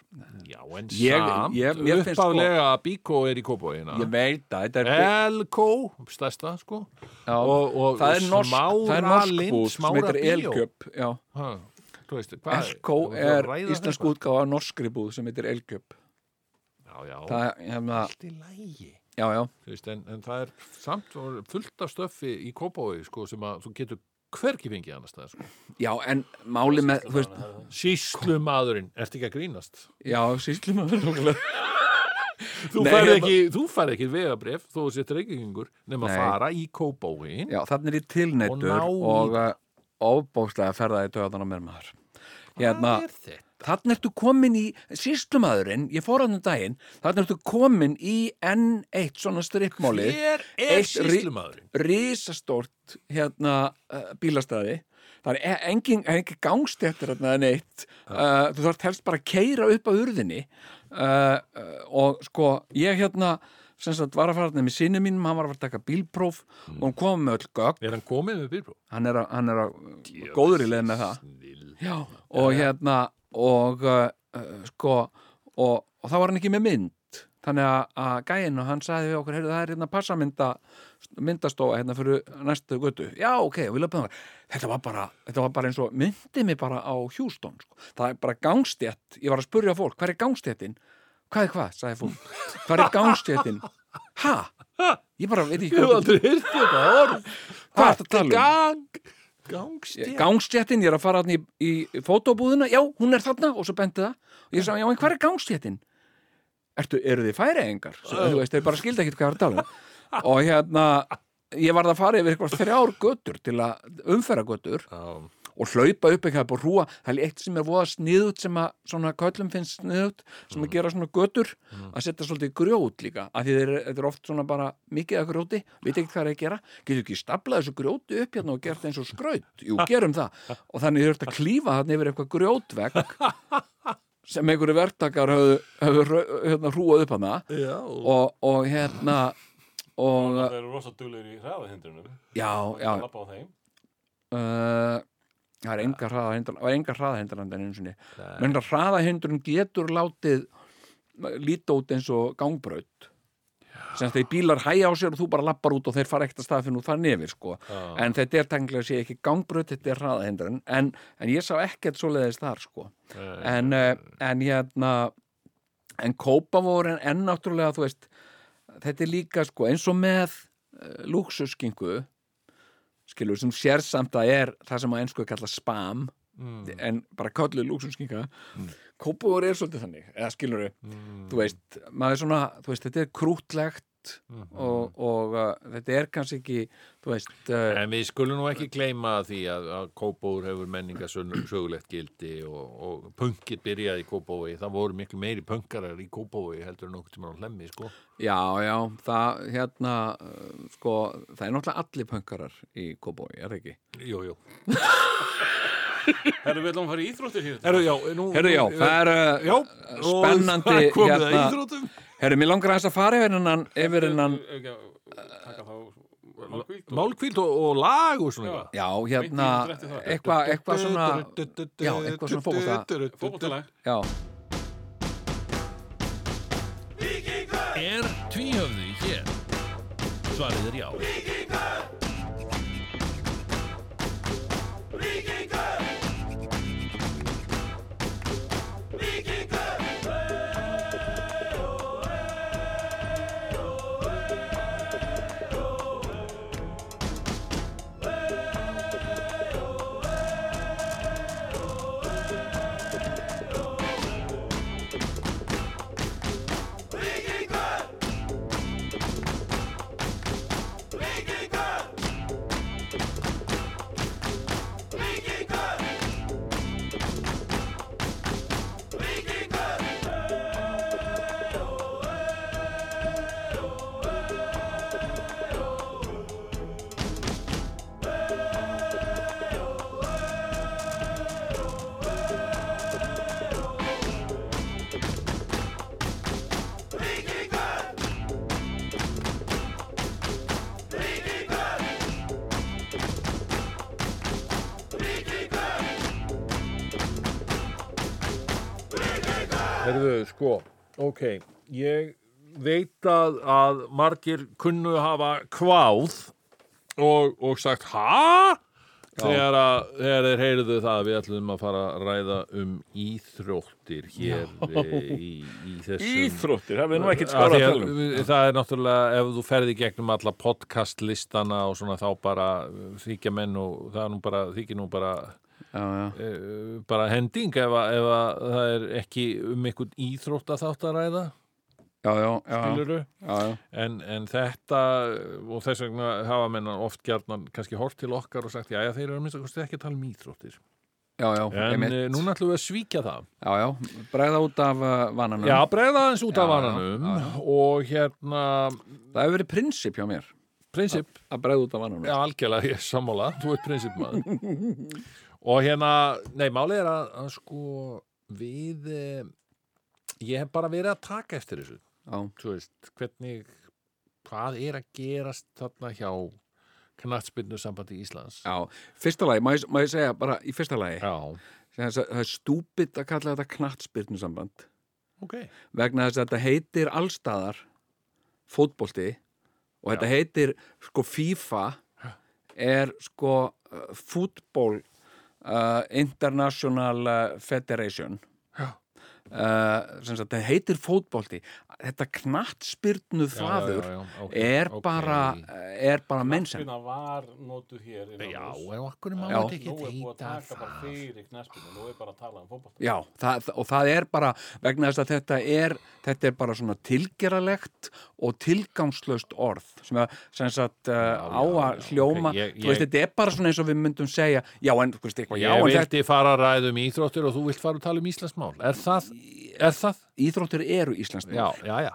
Speaker 3: já, en
Speaker 4: Ég-
Speaker 3: samt
Speaker 4: ég- mér finnst, sko-
Speaker 3: uppáðlega bíkó er í kópavóina
Speaker 4: ég veit að þetta er
Speaker 3: Elkó, stærsta sko
Speaker 4: já,
Speaker 3: og, og
Speaker 4: það er norsk,
Speaker 3: smára
Speaker 4: það er norsk
Speaker 3: lind,
Speaker 4: búð sem
Speaker 3: smára
Speaker 4: heitir
Speaker 3: bíó.
Speaker 4: Elgjöp já.
Speaker 3: Ha, þú veist, hvað-
Speaker 4: Elko
Speaker 3: þú ert að
Speaker 4: er
Speaker 3: ræða
Speaker 4: íslensk
Speaker 3: þetta?
Speaker 4: útgáfa af norskri búð sem heitir Elgjöp
Speaker 3: já, já,
Speaker 4: það er, hérna,
Speaker 3: allt í lægi
Speaker 4: já, já,
Speaker 3: Þú veist, en, en það er samt og fullt af stöffi í Kópavogi sko, sem að þú getur hvergi fengið annars það sko.
Speaker 4: já, en máli með, þú veist,
Speaker 3: Sýslu maðurinn, ertu ekki að grínast
Speaker 4: já, síslum já,
Speaker 3: Þú
Speaker 4: Nei,
Speaker 3: færð
Speaker 4: ég-
Speaker 3: ekki, þú færð ekki vegabref þú sétt reykingur nema
Speaker 4: Nei.
Speaker 3: að fara í Kópavogi
Speaker 4: þannig er ég
Speaker 3: Og
Speaker 4: tilneittur
Speaker 3: ná í-
Speaker 4: og, og ofbókstlega ferða í töðan á mér maður hérna,
Speaker 3: Hvað er þetta?
Speaker 4: Þannig ertu komin í, síslumadurinn, ég fór hann um daginn, þannig ertu komin í enn eitt svona strippmáli,
Speaker 3: Hver er
Speaker 4: Eitt rí-
Speaker 3: sýslu maðurinn?
Speaker 4: risastórt hérna uh, bílastæði, þannig er e, engin, er engin gangstéttir hérna en eitt, uh, þú þarft helst bara að keira upp að urðinni uh, uh, og sko, ég hérna, sem sagt, var að fara hérna með sinni mínum, hann var að fara að taka bílpróf og hann kom með öll gögn,
Speaker 3: Er hann komið með byrbró?
Speaker 4: hann er að, hann er að góður í leið með það. Já, og hérna og uh, uh, sko og, og þá var hann ekki með mynd þannig að, að gæinn og hann sagði við okkur heyrðu það er hérna passamynda myndastofa hérna fyrir næstu götu já ok, og við löpum það þetta var bara, þetta var bara eins og myndi mig bara á Hjústón sko. það er bara gangstétt ég var að spurja fólk, hvað er gangstéttin? hvað er hvað, sagði fólk, hvað er gangstéttin? ha? ég bara veit ekki
Speaker 3: Ég hef
Speaker 4: hvað
Speaker 3: aldrei hýrt þetta orð
Speaker 4: Hvað ertu að tala um?
Speaker 3: Gang, gangstétt
Speaker 4: gangstéttin, ég er að fara hann í, í fótóbúðuna, já, hún er þarna og svo bendi það og ég sagði, já, en hvað er gangstéttin? Ertu, eru þið færiðingar? Svo, þú veist, þeir bara skildi ekkit hvað það er að tala um. og hérna, ég varð að fara yfir eitthvað þrjár götur til að umferra götur
Speaker 3: Já.
Speaker 4: og hlaupa upp eitthvað upp og hrúa, það er eitt sem er voða sniðut sem að svona köllum finnst sniðut sem að gera svona götur að setja svolítið grjót líka, af því þeir eru- þetta er oft svona bara mikið að grjóti, veit ekki hvað er að gera getur ekki staplað þessu grjóti upp hérna og gert eins og skraut, jú, gerum það og þannig þurft að klífa þarna yfir eitthvað grjótvegg sem einhverju verktakar höfðu, höfðu rau- hérna, hrúað upp hana
Speaker 3: Já.
Speaker 4: og, og hérna og
Speaker 5: Það eru rosa duglegur í hraðahindrunum.
Speaker 4: já, já
Speaker 5: Það lappa á þeim.
Speaker 4: uh, það er enga hraðahindran það er enga hraðahindran einu sinni
Speaker 3: Nei.
Speaker 4: menn að hraðahindrun getur látið líta út eins og gangbraut sem þeir bílar hæja á sér og þú bara lappar út og þeir fara ekkert að stað fyrir nú það nefir sko
Speaker 3: Já.
Speaker 4: en þetta er tenglega sé ekki gangbraut þetta er hraðahindrun en, en ég sá ekkert svoleiðis þar sko
Speaker 3: Nei.
Speaker 4: en, eh, en hérna en kópavórin en náttúrulega þú veist þetta er líka sko eins og með uh, lúksuskingu skilur sem sér samt að er það sem á einsku kalla spam
Speaker 3: Mm.
Speaker 4: en bara kalluð lúksuskinga mm. er svolítið þannig eða skilur
Speaker 3: Mm.
Speaker 4: þú veist, maður er svona þú veist, þetta er krútlegt og, og uh, þetta er kannski ekki þú veist uh,
Speaker 3: En við skulum nú ekki gleyma því að, að Kópóur hefur menningasögulegt gildi og, og punkið byrjaði í Kópói. Það voru miklu meiri punkarar í Kópói heldur en okkur tíma á hlemmi, sko.
Speaker 4: Já, já, það hérna uh, sko, það er náttúrulega allir pönkarar í Kóbói, er það ekki?
Speaker 3: Jú, jú.
Speaker 5: Herru, við ætlum að fara í íþróttir hér.
Speaker 3: Herru, já, nú...
Speaker 4: Herru, já, það er uh,
Speaker 3: Já,
Speaker 4: spennandi,
Speaker 3: og það er komið að
Speaker 4: hérna-
Speaker 3: íþrótum.
Speaker 4: herru, mér langar aðeins að fara yfir hennan yfir hennan,
Speaker 5: Takka
Speaker 3: Eh,
Speaker 5: þá málkvíld og-
Speaker 3: Málkvíld og, og lag og svona
Speaker 5: Já.
Speaker 3: eitthvað.
Speaker 4: já, hérna
Speaker 5: Beint í íþróttir eftir það.
Speaker 4: eitthvað eitthva svona já, eitthvað svona fókvölda
Speaker 5: fótboltalag.
Speaker 4: Já,
Speaker 1: Er tvíhöfði hér? Svarið er já.
Speaker 3: Herðu, sko, ok, ég veit að, að margir kunnu hafa kváð og, og sagt ha? Þegar, að, þegar þeir heyrðu það að við ætlum að fara að ræða um íþróttir hér eh, í, í þessum...
Speaker 6: Íþróttir, hafið nú ekkert
Speaker 3: Af
Speaker 6: skóra
Speaker 3: því
Speaker 6: að um.
Speaker 3: að
Speaker 6: tölum
Speaker 3: við- Það er náttúrulega ef þú ferði gegnum alla podcastlistana og svona þá bara uh, þykja menn og það er nú bara, þykir nú bara
Speaker 4: já, já.
Speaker 3: uh, bara hending ef, að- ef að það er ekki um einhvern íþrótt að þátt að ræða
Speaker 4: já, já, já, já,
Speaker 3: skilurðu
Speaker 4: já.
Speaker 3: en, en þetta og þess vegna hafa menn oft gjarnan kannski hort til okkar og sagt já, þeir eru að minnst að kosti ekki að tala um íþróttir
Speaker 4: Já, já,
Speaker 3: en
Speaker 4: einmitt.
Speaker 3: eh, núna ætlum við að svíkja það
Speaker 4: já, já, bregða út af uh, vananum
Speaker 3: Já, bregða aðeins út af
Speaker 4: Já, já,
Speaker 3: vananum
Speaker 4: já, já.
Speaker 3: og hérna,
Speaker 4: Það hefur verið prinsip hjá mér
Speaker 3: prinsip
Speaker 4: að bregða út af vananum
Speaker 3: Já, algjörlega, ég er sammála, þú ert prinsipmaður.
Speaker 4: *laughs*
Speaker 3: og hérna, nei, málið er að, að sko við, eh, ég hef bara verið að taka eftir þessu,
Speaker 4: já,
Speaker 3: þú veist, hvernig, hvað er að gerast þarna hjá knattspinnu sambandi Íslands?
Speaker 4: já. Fyrsta lagi, má ég, má ég segja bara í fyrsta lagi
Speaker 3: Já,
Speaker 4: sem þess að það er stúpid að kalla þetta knattspyrnusamband
Speaker 3: ok.
Speaker 4: vegna þess að þetta heitir allstaðar fótbolti og þetta heitir sko FIFA er sko uh, fútból uh, International uh, Federation uh, sem sagt, það heitir fótbolti þetta knattspyrnu þvaður
Speaker 3: Já, já, já, ok,
Speaker 4: er
Speaker 3: ok.
Speaker 4: bara uh, er bara mennsend
Speaker 5: Knattspyrna var notu hér innan
Speaker 3: Já,
Speaker 5: húss.
Speaker 3: en okkur má
Speaker 4: Já.
Speaker 3: þetta
Speaker 5: Nú
Speaker 3: ekki
Speaker 5: er búið að
Speaker 3: heita
Speaker 5: taka bara
Speaker 3: það.
Speaker 5: fyrir knattspyrnu, nú er bara að tala um fótbolta.
Speaker 4: Já, það, og það er bara vegna þess að þetta er, þetta er bara svona tilgeralegt og tilgangslöst orð sem að, sem sagt, uh, á
Speaker 3: já,
Speaker 4: að hljóma
Speaker 3: ok, ég-
Speaker 4: þú veist,
Speaker 3: ég-
Speaker 4: þetta er bara svona eins og við myndum segja já, en, þú veist, eitthvað, já,
Speaker 3: Ég
Speaker 4: en þetta
Speaker 3: vildi fara að ræða um íþróttir og þú vilt fara að tala um Íslandsmál. Er það, er það?
Speaker 4: íþróttir eru íslenskt
Speaker 3: Já, já, já.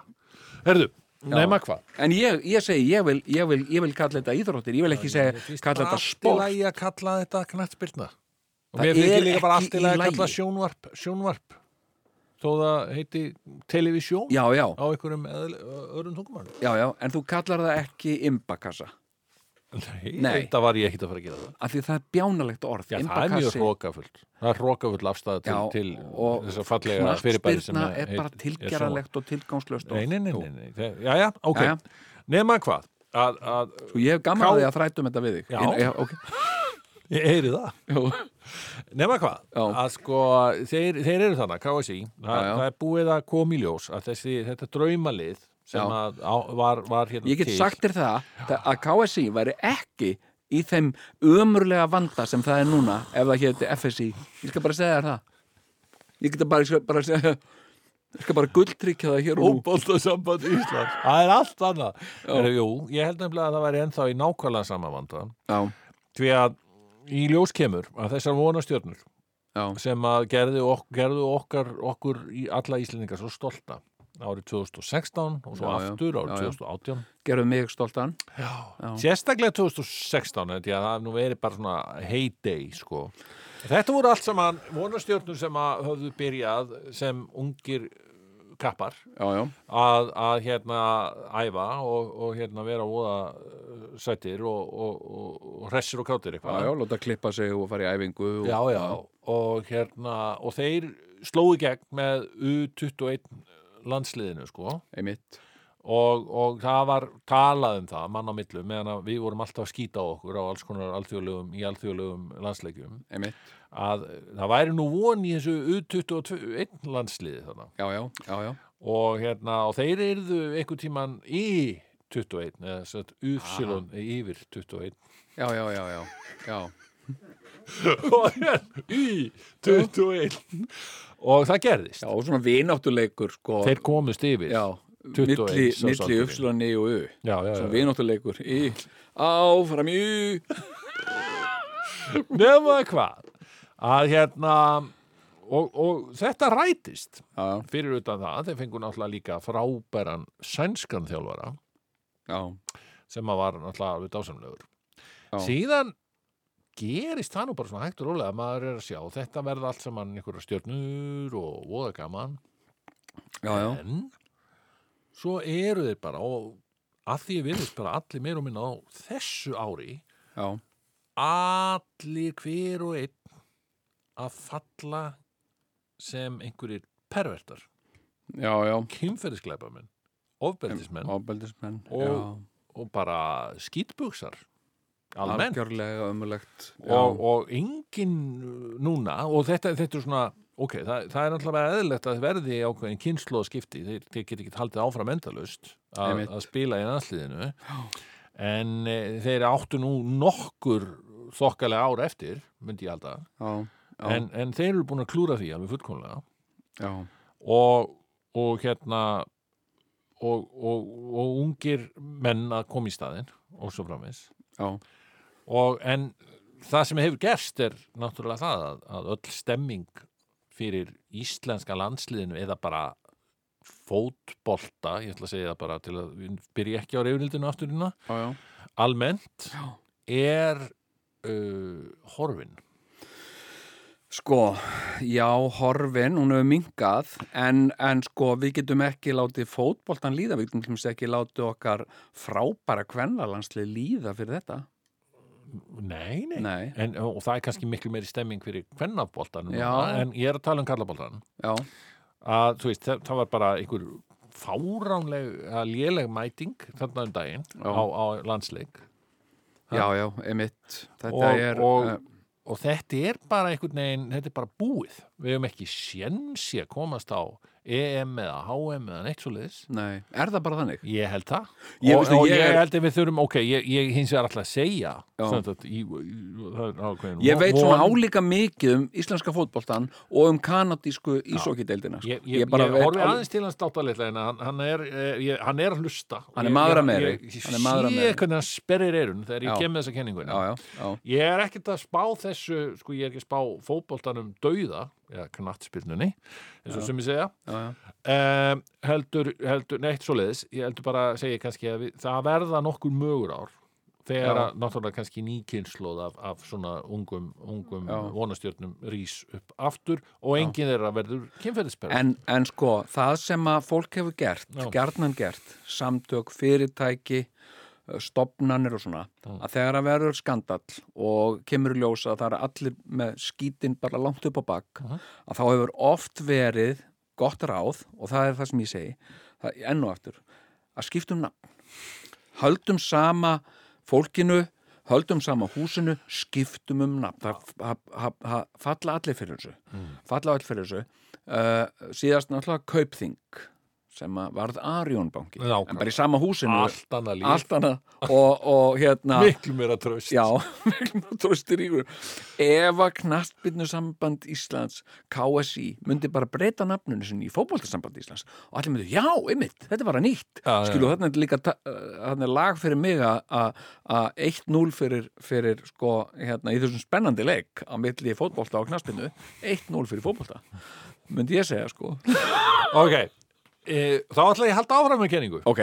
Speaker 3: Herðu, nema hvað?
Speaker 4: en ég, ég segi, ég vil, ég, vil, ég vil kalla þetta íþróttir, ég vil ekki segja kalla þetta
Speaker 3: Allt í
Speaker 4: sport
Speaker 3: lagi að kalla þetta knattspilna. Og
Speaker 4: Það
Speaker 3: mér fyrir
Speaker 4: er
Speaker 3: líka bara allt
Speaker 4: ekki
Speaker 3: í lagi
Speaker 4: í
Speaker 3: að kalla
Speaker 4: lagi.
Speaker 3: sjónvarp, sjónvarp. Þó það heiti televisjón
Speaker 4: já, já,
Speaker 3: á einhverjum eðl- öðrum tungumann.
Speaker 4: já, já, en þú kallar það ekki imbakassa,
Speaker 3: Nei,
Speaker 4: Nei.
Speaker 3: þetta var ég ekkit að fara að gera það.
Speaker 4: af því það er bjánalegt orð
Speaker 3: Já, það er mjög
Speaker 4: Imbakassi-
Speaker 3: hrókafullt. Það er hrókafull afstæða til, til
Speaker 4: og
Speaker 3: þess að fallega fyrirbæri sem
Speaker 4: knattspyrna
Speaker 3: að
Speaker 4: er
Speaker 3: heit-
Speaker 4: bara
Speaker 3: er
Speaker 4: tilgeralegt og tilgangslöst
Speaker 3: sjónvarp. Nei, nei, nei,
Speaker 4: Jú.
Speaker 3: nei, nei. Það- Já, já, ok.
Speaker 4: Jæja.
Speaker 3: Nema hvað? Að, að,
Speaker 4: Sko, ég hef gaman
Speaker 3: Ká-
Speaker 4: að því að þrætum þetta við þig
Speaker 3: Já.
Speaker 4: Inn- já,
Speaker 3: *laughs*
Speaker 4: ok.
Speaker 3: ég heyri það.
Speaker 4: já,
Speaker 3: Nefna hvað,
Speaker 4: Já.
Speaker 3: að sko þeir, þeir eru þarna, KSI Þa,
Speaker 4: Já, já.
Speaker 3: það er búið að koma í ljós að þessi, þetta draumalið
Speaker 4: Já.
Speaker 3: sem að, á, var, var hérna
Speaker 4: ég get
Speaker 3: til
Speaker 4: sagt þér það það- að KSI væri ekki í þeim ömurlega vanda sem það er núna ef það héti FSI ég skal bara segja þér það ég get bara, ég skal bara segja ég skal bara gulltryggja það hér og nú
Speaker 3: Fótboltasamband Íslands Það er allt annað Eru, Jú, ég held nefnilega að það væri ennþá í nákvæmlega sama vanda
Speaker 4: já,
Speaker 3: því að í ljós kemur að þessar vonastjörnur
Speaker 4: já,
Speaker 3: sem að gerðu, ok, gerðu okkar, okkur í alla Íslendingar svo stolta árið 2016 og svo
Speaker 4: Já, já.
Speaker 3: aftur
Speaker 4: Já, já.
Speaker 3: árið 2018
Speaker 4: gerðu mig stoltan Já.
Speaker 3: Sérstaklega 2016, þetta það hafði nú verið bara svona heyday, sko. Þetta voru allt saman vonastjörnur sem að höfðu byrjað sem ungir kappar
Speaker 4: já, já,
Speaker 3: að, að hérna æfa og, og hérna vera óða uh, sættir og, og, og, og hressir og kátir
Speaker 4: já,
Speaker 3: eitthvað.
Speaker 4: já, láta klippa sig og fara í æfingu og,
Speaker 3: já, já. Og hérna, og þeir slói gegn með U21 landsliðinu, sko
Speaker 4: einmitt
Speaker 3: og, og það var talað um það mann á millu meðan að við vorum alltaf að skýta á okkur á alls konar alþjóðlegum í alþjóðlegum landsleikjum
Speaker 4: einmitt,
Speaker 3: að eh, það væri nú von í þessu U21 landsliði þarna
Speaker 4: já, já, já, já
Speaker 3: og hérna og þeir yrðu einhvern tíman í 21 eða sett Upsilon yfir 21
Speaker 4: já, já, já, já, já.
Speaker 3: *laughs* og
Speaker 4: *laughs*
Speaker 3: hérna í 21 og það gerðist
Speaker 4: Já, og svona vináttuleikur sko.
Speaker 3: þeir komust yfir
Speaker 4: Já,
Speaker 3: 21
Speaker 4: milli,
Speaker 3: sá
Speaker 4: milli
Speaker 3: sandurinn.
Speaker 4: uppslunni og u
Speaker 3: já, já,
Speaker 4: Svona
Speaker 3: já.
Speaker 4: vináttuleikur í áfram í
Speaker 3: nema hvað að hérna og, og þetta rætist
Speaker 4: Já,
Speaker 3: fyrir utan það, þeir fengu náttúrulega líka frábæran sænskan þjálfara
Speaker 4: já,
Speaker 3: sem að var náttúrulega alveg dásamlegur
Speaker 4: Já.
Speaker 3: síðan gerist það nú bara svona hægt og rólega að maður er að sjá þetta verða allt saman einhverja stjörnur og voða gaman
Speaker 4: já, já
Speaker 3: en svo eru þeir bara og að því við erum bara allir meir og minna á þessu ári
Speaker 4: Já,
Speaker 3: allir hver og einn að falla sem einhverjir pervertar
Speaker 4: já, já,
Speaker 3: kynferðisglæpa menn, ofbeldismenn
Speaker 4: ábeldismenn
Speaker 3: Og- og bara skýtbuksar almennt
Speaker 4: algjörlega ömulegt
Speaker 3: og, og engin núna og þetta, þetta er svona ok, það, það er náttúrulega eðlilegt að verði ákveðin kynnslóðskipti, þeir, þeir get ekki haldið áfram endalust að,
Speaker 4: Einmitt.
Speaker 3: að spila í landsliðinu en e, þeir áttu nú nokkur þokkalega ár eftir, myndi ég halda
Speaker 4: já, já,
Speaker 3: en, en þeir eru búin að klúra því alveg fullkomlega
Speaker 4: já,
Speaker 3: og, og hérna og, og, og ungir menn að koma í staðinn og svo framins
Speaker 4: já,
Speaker 3: og en það sem hefur gerst er náttúrulega það að, að öll stemming fyrir íslenska landsliðinu eða bara fótbolta, ég ætla að segja það bara til að við byrja ekki á reyfnildinu afturina
Speaker 4: já, já.
Speaker 3: almennt
Speaker 4: Já.
Speaker 3: er uh, horfin
Speaker 4: Sko, já, horfin, hún hefur mingað, en, en sko, við getum ekki látið fótboltan líða, við getum til dæmis ekki látið okkar frábæra kvennalandslið líða fyrir þetta.
Speaker 3: Nei, nei,
Speaker 4: Nei.
Speaker 3: En, og það er kannski miklu meiri stemming fyrir kvennaboltanum
Speaker 4: Já.
Speaker 3: en ég er að tala um kallaboltanum
Speaker 4: Já,
Speaker 3: að þú veist, það, það var bara einhver fáránleg, að léleg mæting þarna um daginn
Speaker 4: Já.
Speaker 3: á, á landsleik
Speaker 4: já, já, emitt. Þetta
Speaker 3: og,
Speaker 4: er,
Speaker 3: og,
Speaker 4: eh,
Speaker 3: og þetta er bara einhvern veginn, þetta er bara búið við hefum ekki sjensi að komast á EM eða HM eða neitt svo liðis
Speaker 4: nei, er það bara þannig?
Speaker 3: Ég held það
Speaker 4: Ég
Speaker 3: og,
Speaker 4: veistu,
Speaker 3: og
Speaker 4: ég
Speaker 3: ég
Speaker 4: er-
Speaker 3: held að við þurfum, ok, ég, ég hins vegar alltaf að segja
Speaker 4: Já.
Speaker 3: sem sagt, í, í, það er ákveðin
Speaker 4: Ég veit svona
Speaker 3: von-
Speaker 4: álíka mikið um íslenska fótboltan og um kanadísku ísókideildina.
Speaker 3: Ég, ég, ég,
Speaker 4: bara veit
Speaker 3: horfi
Speaker 4: al-
Speaker 3: aðeins til hans dátalega en hann, hann, er, eh, ég, hann er að hlusta
Speaker 4: Hann er
Speaker 3: Ég-
Speaker 4: maður að
Speaker 3: ég-
Speaker 4: meiri.
Speaker 3: Ég,
Speaker 4: Hann er maður að
Speaker 3: sé
Speaker 4: meiri.
Speaker 3: hvernig hann sperrir eirun þegar ég
Speaker 4: Já.
Speaker 3: kem með þessa kenninguna
Speaker 4: Já, já, já,
Speaker 3: Ég er ekkert að spá þessu sko ég er ekki að spá fótboltanum dauða eða knattspyrnunni eins og sem ég segja
Speaker 4: já, já.
Speaker 3: um, heldur, heldur, neitt svoleiðis ég heldur bara að segja kannski að við, það verða nokkur mögur ár þegar
Speaker 4: Já.
Speaker 3: að náttúrulega kannski nýkynnslóð af, af svona ungum, ungum
Speaker 4: Já.
Speaker 3: vonastjörnum rís upp aftur og enginn þeirra verður kynferðisperð
Speaker 4: En, en sko, það sem að fólk hefur gert,
Speaker 3: Já.
Speaker 4: gjarnan gert, samtök, fyrirtæki, eh, stofnanir og svona, að þegar að verður skandall og kemur í ljós að það er allir með skítinn bara langt upp á bakk, að þá hefur oft verið gott ráð, og það er það sem ég segi, það, enn og aftur, að skiptum nafn. Höldum sama fólkinu, höldum sama húsinu, skiptum um nafn. Það það- það- það falla allir fyrir þessu.
Speaker 3: Mm.
Speaker 4: Falla allir fyrir þessu. Uh, síðast náttúrulega Kaupþing sem að varð Arjónbanki.
Speaker 3: Nákvæmlega.
Speaker 4: En bara í sama húsinu.
Speaker 3: allt annað líf,
Speaker 4: Allt annað. Og, og hérna...
Speaker 3: miklu meira tröst
Speaker 4: Já, *laughs* vegna tróstir ígur. Ef að knastbyrnusamband Íslands, KSI, myndi bara breyta nafnunum sinni í fótboltasamband Íslands og allir myndi, já, einmitt, þetta var að nýtt.
Speaker 3: Já, já.
Speaker 4: Skilu, þarna er líka ta- uh, þarna er lag fyrir mig að- að að 1-0 fyrir, fyrir sko, hérna, í þessum spennandi leik á milli fótbolta og knastbyrnu, 1-0 fyrir fótbolta. Myndi ég segja, sko.
Speaker 3: ok, e, þá ætla ég að halda áfram með kenningu
Speaker 4: Ok.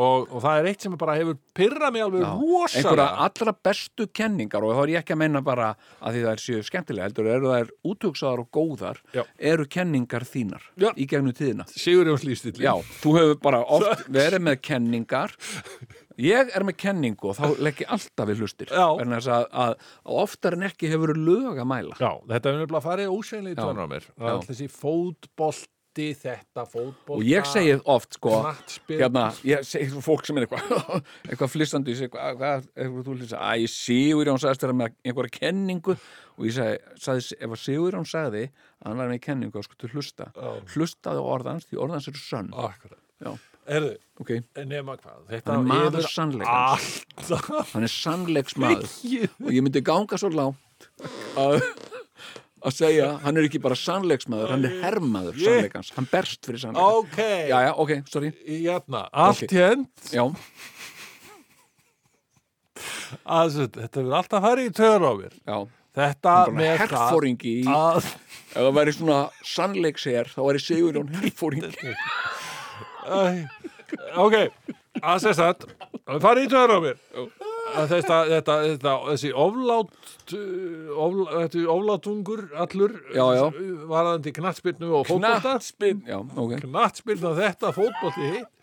Speaker 3: og, og það er eitt sem bara hefur pyrrað mig alveg
Speaker 4: Já. einhverja
Speaker 3: rosalega
Speaker 4: allra bestu kenningar og þá er ég ekki að meina bara að því það er séu skemmtilega heldur, eru þær útugsaðar og góðar
Speaker 3: Já.
Speaker 4: eru kenningar þínar
Speaker 3: Já.
Speaker 4: í gegnum tíðina
Speaker 3: Sigur Jóns Lífstilli
Speaker 4: Já, þú hefur bara oft verið með kenningar ég er með kenningu og þá legg ég alltaf við hlustir
Speaker 3: Já.
Speaker 4: vegna þess að, að, að oftar en ekki hefur verið lög að mæla
Speaker 3: Já, þetta er nefnilega að fara í ósegli í
Speaker 4: Já.
Speaker 3: tónar á mér
Speaker 4: Já.
Speaker 3: Allt þessi fótbolti, þetta fótbolta
Speaker 4: og ég segi oft sko
Speaker 3: knattspyrn.
Speaker 4: hérna, ég segi svo fólk sem er eitthvað *laughs* eitthvað flissandi, ég segi hvað, hvað eitthvað þú lýsa, að ég Sigur Jón sagðist þeirra með einhverja kenningu og ég segi, sagði, ef að Sigur Jón sagði að hann var með kenningu, þá skultu hlusta
Speaker 3: Já.
Speaker 4: hlustaði á orðans, því orðans eru sönn
Speaker 3: Akkurat.
Speaker 4: já,
Speaker 3: Erðu,
Speaker 4: ok,
Speaker 3: nema hvað Þetta
Speaker 4: hérna- hann er maður
Speaker 3: yfir
Speaker 4: sannleikans *laughs*
Speaker 3: alltaf
Speaker 4: hann er
Speaker 3: *laughs*
Speaker 4: sannleiksmaður
Speaker 3: Mikið.
Speaker 4: og ég myndi ganga svo lágt að *laughs* að segja, hann er ekki bara sannleiksmaður hann er herrmaður sannleikans, hann berst fyrir sannleikans
Speaker 3: Ok,
Speaker 4: já, já, ok, sorry,
Speaker 3: hérna, allt
Speaker 4: Ok.
Speaker 3: okay. hend
Speaker 4: já,
Speaker 3: Þetta verður alltaf að fara í tónar á mér
Speaker 4: já
Speaker 3: Þetta
Speaker 4: Bara
Speaker 3: Ah, með það Ah,
Speaker 4: herfóringi í
Speaker 3: að
Speaker 4: Ef það væri svona sannleiksher, þá væri Sigurjón
Speaker 3: *laughs*
Speaker 4: herfóringi.
Speaker 3: Æ, ok, að sérst að fara í töður á mér að þetta, þetta, þetta, þessi oflátt uh, ofl, þetta oflátungur allur
Speaker 4: Já, já.
Speaker 3: varðandi knattspyrnu og fótbolta
Speaker 4: Knattspyrn. Já, ok.
Speaker 3: knattspyrnu og þetta fótbolti hitt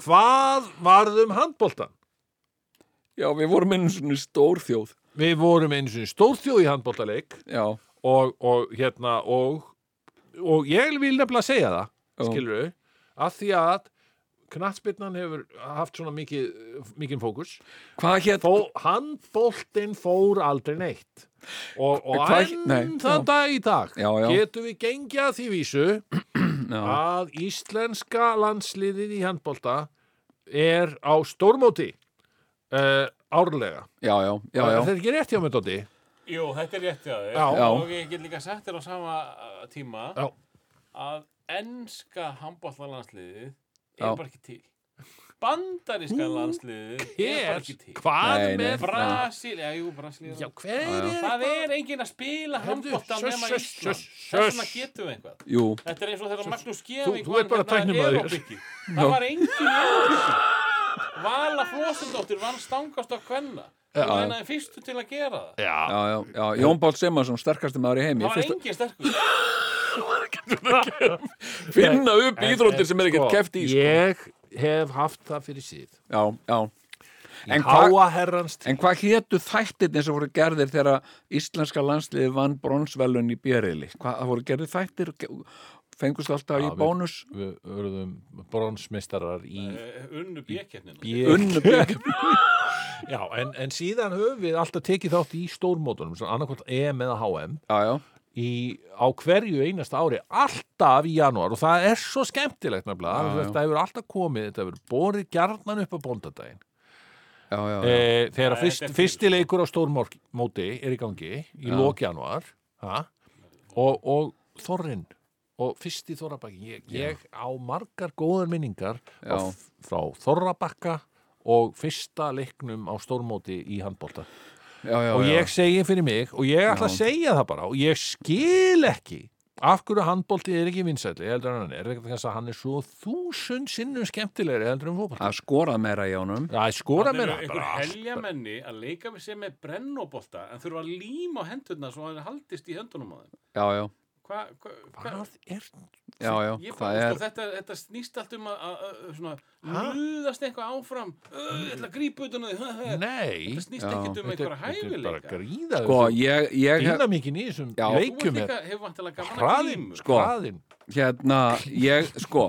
Speaker 3: hvað um varðum handboltan?
Speaker 4: Já, við vorum einu svona stór þjóð.
Speaker 3: Við vorum einu sinni stórþjóð í handboltaleik
Speaker 4: Já,
Speaker 3: og, og hérna og, og ég vil nefnilega segja það skilur við, að því að knattspyrnan hefur haft svona mikið, mikið fókus
Speaker 4: Hvað hétt?
Speaker 3: Fó, handboltinn fór aldrei neitt og, og
Speaker 4: Hvað-
Speaker 3: enn
Speaker 4: nei, já.
Speaker 3: þann dag í dag
Speaker 4: Já, já.
Speaker 3: getum við gengið að því vísu að íslenska landsliðið í handbolta er á stórmóti uh, árlega
Speaker 4: Já, já, já, já.
Speaker 3: þetta er ekki rétt hjá mér, Dóti
Speaker 5: Jú, þetta er rétt hjá þér
Speaker 3: Já.
Speaker 5: og ég get líka sett þér á sama uh, tíma
Speaker 3: Já.
Speaker 5: að ennska handbóllalandsliðið
Speaker 4: Já.
Speaker 5: er bara ekki til Bandaríska landsliðið er bara ekki til
Speaker 3: hvað
Speaker 4: Nei, nei.
Speaker 3: með frá
Speaker 5: Brasilía, jú, Brasilía
Speaker 3: já, hver er
Speaker 5: Það er enginn að spila
Speaker 3: Heyrðu,
Speaker 5: handbóttan
Speaker 3: suss,
Speaker 5: nema
Speaker 3: suss,
Speaker 5: Ísland
Speaker 3: suss,
Speaker 5: Þess vegna
Speaker 3: suss.
Speaker 5: getum við eitthvað
Speaker 4: Jú,
Speaker 5: Þetta er eins og þegar Magnús
Speaker 3: þú-
Speaker 5: Gjeving
Speaker 3: þú ert bara tæknimaður.
Speaker 5: hérna Það var engin Evrópiki Vala Flósundóttir vann stangast á kvenna og
Speaker 4: Já.
Speaker 5: hennaði fyrstu til að gera það
Speaker 3: já,
Speaker 4: já, já, já. Jón Pál Semarsson, sterkasti maður í heimi.
Speaker 5: Það var
Speaker 4: Fyrst,
Speaker 5: engin sterkur
Speaker 4: finna upp íþróttir sem er
Speaker 3: sko,
Speaker 4: ekkert keft í. sko.
Speaker 3: ég hef haft það fyrir síð
Speaker 4: Já, já. En hvað
Speaker 3: háa herrans
Speaker 4: En hvað hétu þættirnir sem voru gerðir þegar íslenska landsliði vann bronsvelun í Björili? Hvað það voru gerðir þættir? Ge- Fengust alltaf í
Speaker 3: við-
Speaker 4: bónus?
Speaker 3: við verðum bronsmistarar í
Speaker 5: Eh, Unnu bjökkjarnina
Speaker 3: B
Speaker 4: Unnu
Speaker 3: *laughs*
Speaker 4: byggjum.
Speaker 3: Já, en, en síðan höfum við alltaf tekið þátt í stórmótunum, svona annarkvæmt EM eða HM,
Speaker 4: Já, já.
Speaker 3: í, á hverju einasta ári, alltaf í janúar og það er svo skemmtilegt nefnilega,
Speaker 4: Já,
Speaker 3: já,
Speaker 4: já.
Speaker 3: þetta hefur alltaf komið, þetta hefur borið gjarnan upp á bóndadaginn.
Speaker 4: Já, já,
Speaker 3: E,
Speaker 4: já.
Speaker 3: þegar
Speaker 5: Já,
Speaker 3: fyrst,
Speaker 5: þetta er
Speaker 3: fyrsti leikur á stórmóti er í gangi í
Speaker 4: Já.
Speaker 3: lok janúar ha? og, og þorrin og fyrsti þorrabakki, ég, ég á margar góðar minningar
Speaker 4: Já.
Speaker 3: á, f- frá þorrabakka og fyrsta leiknum á stórmóti í handbólta
Speaker 4: já, já,
Speaker 3: og
Speaker 4: já.
Speaker 3: ég segi fyrir mig og ég ætla að
Speaker 4: Já.
Speaker 3: segja það bara og ég skil ekki af hverju handbólti er ekki vinsætli heldur en hann er, vegna þess að hann er svo þúsund sinnum skemmtilegri heldur en fótbolti
Speaker 4: Að skora meira í honum.
Speaker 3: Það er skora
Speaker 5: Það
Speaker 3: meira
Speaker 5: eru einhver
Speaker 3: bara allt.
Speaker 5: heljamenni að leika við sér með brennóbolta en þurfa að líma á hendurna svo að það haldist í höndunum á þeim.
Speaker 4: Já, já,
Speaker 5: Hva, hva, hva,
Speaker 3: Hvað er
Speaker 4: já, já.
Speaker 5: ég bara,
Speaker 4: Það
Speaker 5: sko,
Speaker 4: er,
Speaker 5: þetta, þetta snýst allt um að, að, að svona, luðast eitthvað áfram Ö, ég ætla að grípa utan á því Hö, hö.
Speaker 3: Nei
Speaker 5: þetta snýst
Speaker 4: Já,
Speaker 5: ekkert um
Speaker 3: Þetta
Speaker 5: einhverja
Speaker 3: er- þetta er bara
Speaker 5: hæfileika
Speaker 3: gríða
Speaker 4: sko, ég, ég, hef-
Speaker 3: dýnamíkin í þessum
Speaker 4: Já.
Speaker 5: þú
Speaker 3: leikum
Speaker 5: ert
Speaker 3: er
Speaker 5: líka, hefur vantilega gaman að
Speaker 3: hraðin,
Speaker 5: grímu
Speaker 4: Sko.
Speaker 3: hraðin
Speaker 4: hérna, ég, sko,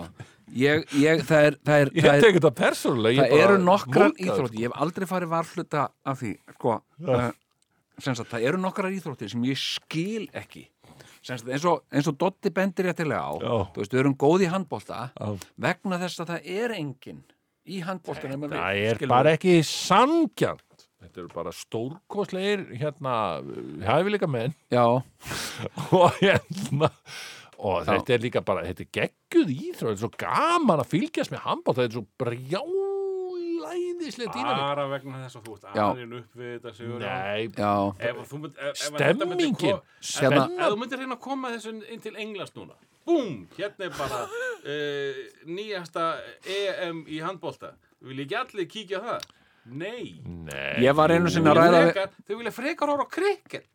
Speaker 4: ég, ég, það er, það er,
Speaker 3: Ég
Speaker 4: það er,
Speaker 3: tek þetta persónulega
Speaker 4: það eru nokkrar íþróttir, ég hef aldrei farið varfluta af því, sko uh, sem sagt, það eru nokkrar íþróttir sem ég skil ekki sem sagt, eins og, eins og Dotti bendir réttilega á
Speaker 3: Já.
Speaker 4: þú veist, við erum góð í handbólta
Speaker 3: Já.
Speaker 4: vegna þess að það er engin í handbólta nema við
Speaker 3: Það er
Speaker 4: skilurðu.
Speaker 3: bara ekki sangjant Þetta eru bara stórkosleir hérna, hæfileika menn
Speaker 4: já,
Speaker 3: *laughs* og hérna og
Speaker 4: Já.
Speaker 3: þetta er líka bara, þetta er gegguð íþrótt þetta er svo gaman að fylgjast með handbótt þetta er svo brjálæðislega dýnamík
Speaker 5: bara vegna þess að þú ert
Speaker 4: Já.
Speaker 5: aðrin upp við þetta Sigurjón.
Speaker 3: Nei,
Speaker 4: já,
Speaker 5: Ah, ef að þú mynd, ef, ef að þetta myndi
Speaker 3: stemmingin
Speaker 5: ko-
Speaker 4: Hérna-
Speaker 5: Ef
Speaker 3: spennan
Speaker 5: þú myndir reyna að koma þessu inn til Englands núna Búm, hérna er bara uh, nýjasta EM í handbólta Vil ekki allir kíkja á það? Nei
Speaker 3: Nei,
Speaker 4: ég var einu sinni að
Speaker 5: Þau
Speaker 4: ræða við,
Speaker 5: frekar, Þau vilja frekar horfa á krikket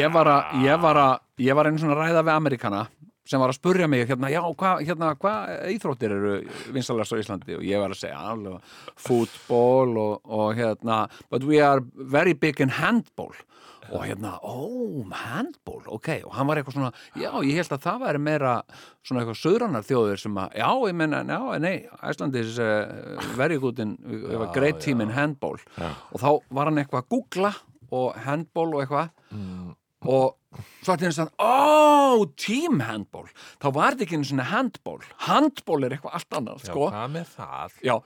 Speaker 4: ég var að, ég var að ég var einu sinni að ræða við Amerikana sem var að spurja mig, hérna, já, hvað hérna, hva íþróttir eru vinsalast á Íslandi og ég var að segja alveg fútból og, og hérna but we are very big in handball og hérna, ó, handball ok, og hann var eitthvað svona, já, ég held að það væri meira svona eitthvað söðranar þjóður sem að, já, ég menna, já, nei Æslandi is uh, very good in uh, great team in handball og þá var hann eitthvað að googla og handball og eitthvað og svo ætti henni sann, ó, team handball þá var þetta ekki einu svona handball handball er eitthvað allt annað,
Speaker 3: Já,
Speaker 4: sko
Speaker 3: hvað með það?
Speaker 4: já,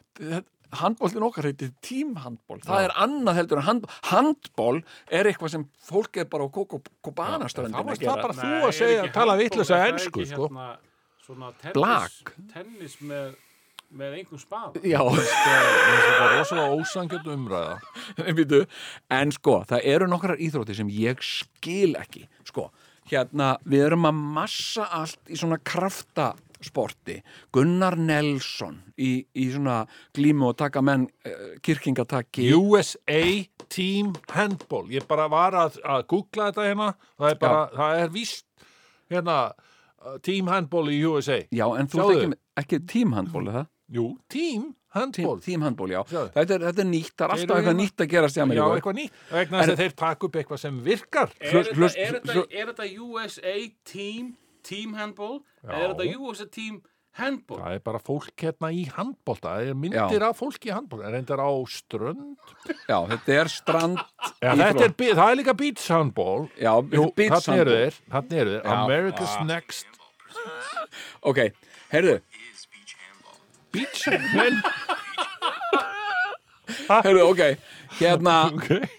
Speaker 4: handbóltin okkar heitir team handball, það er annað heldur en handball, handball er eitthvað sem fólk er bara á
Speaker 3: Það
Speaker 4: kokobanaströndin
Speaker 3: varst það bara þú að segja tala vitlega að ennsku, sko
Speaker 5: hérna, Svona tennis,
Speaker 4: Blak.
Speaker 5: tennis með, með einhver spað
Speaker 4: já,
Speaker 3: Það var rosalega ósangjöld umræða
Speaker 4: En býtu, en sko, það eru nokkrar íþróttir sem ég skil ekki sko, hérna, við erum að massa allt í svona kraftasporti Gunnar Nelson í, í svona glímu og taka menn uh, kirkingataki
Speaker 3: USA Team Handball ég bara var að, að googla þetta hérna það er bara, það er víst hérna, uh, Team Handball í USA
Speaker 4: Já, en þú
Speaker 3: Sjáðu.
Speaker 4: ert ekki, með- ekki tímhandból er það?
Speaker 3: Jú, Team
Speaker 4: Tím,
Speaker 3: Handball
Speaker 4: tímhandból, já,
Speaker 3: Sjáðu.
Speaker 4: þetta er, þetta er nýtt það er
Speaker 3: Þeir
Speaker 4: alltaf
Speaker 3: eru
Speaker 4: eitthvað
Speaker 3: hérna-
Speaker 4: nýtt að gerast í
Speaker 3: Já,
Speaker 4: Ameríku
Speaker 3: eitthvað nýtt vegna þess að þeir taka upp eitthvað sem virkar
Speaker 5: Er
Speaker 4: Hlust-
Speaker 5: þetta-
Speaker 4: hlust-
Speaker 5: er þetta-
Speaker 4: hlust-
Speaker 5: er þetta USA team, team handball?
Speaker 3: Já.
Speaker 5: Er þetta USA team handbók
Speaker 3: Það er bara fólk hérna í handbólta, það er myndir af fólki í handbólta, reyndar á strönd.
Speaker 4: Já, þetta er strand
Speaker 3: Já, þetta er, bi- það er líka beach handball.
Speaker 4: Já,
Speaker 3: Jú,
Speaker 4: beach
Speaker 3: þarna eru
Speaker 4: handball.
Speaker 3: þeir, þarna eru þeir,
Speaker 4: Já. Ah.
Speaker 3: America's Next
Speaker 4: Ok, heyrðu, *laughs*
Speaker 3: Beach Men.
Speaker 4: heyrðu, ok
Speaker 3: *laughs*
Speaker 4: Hérna,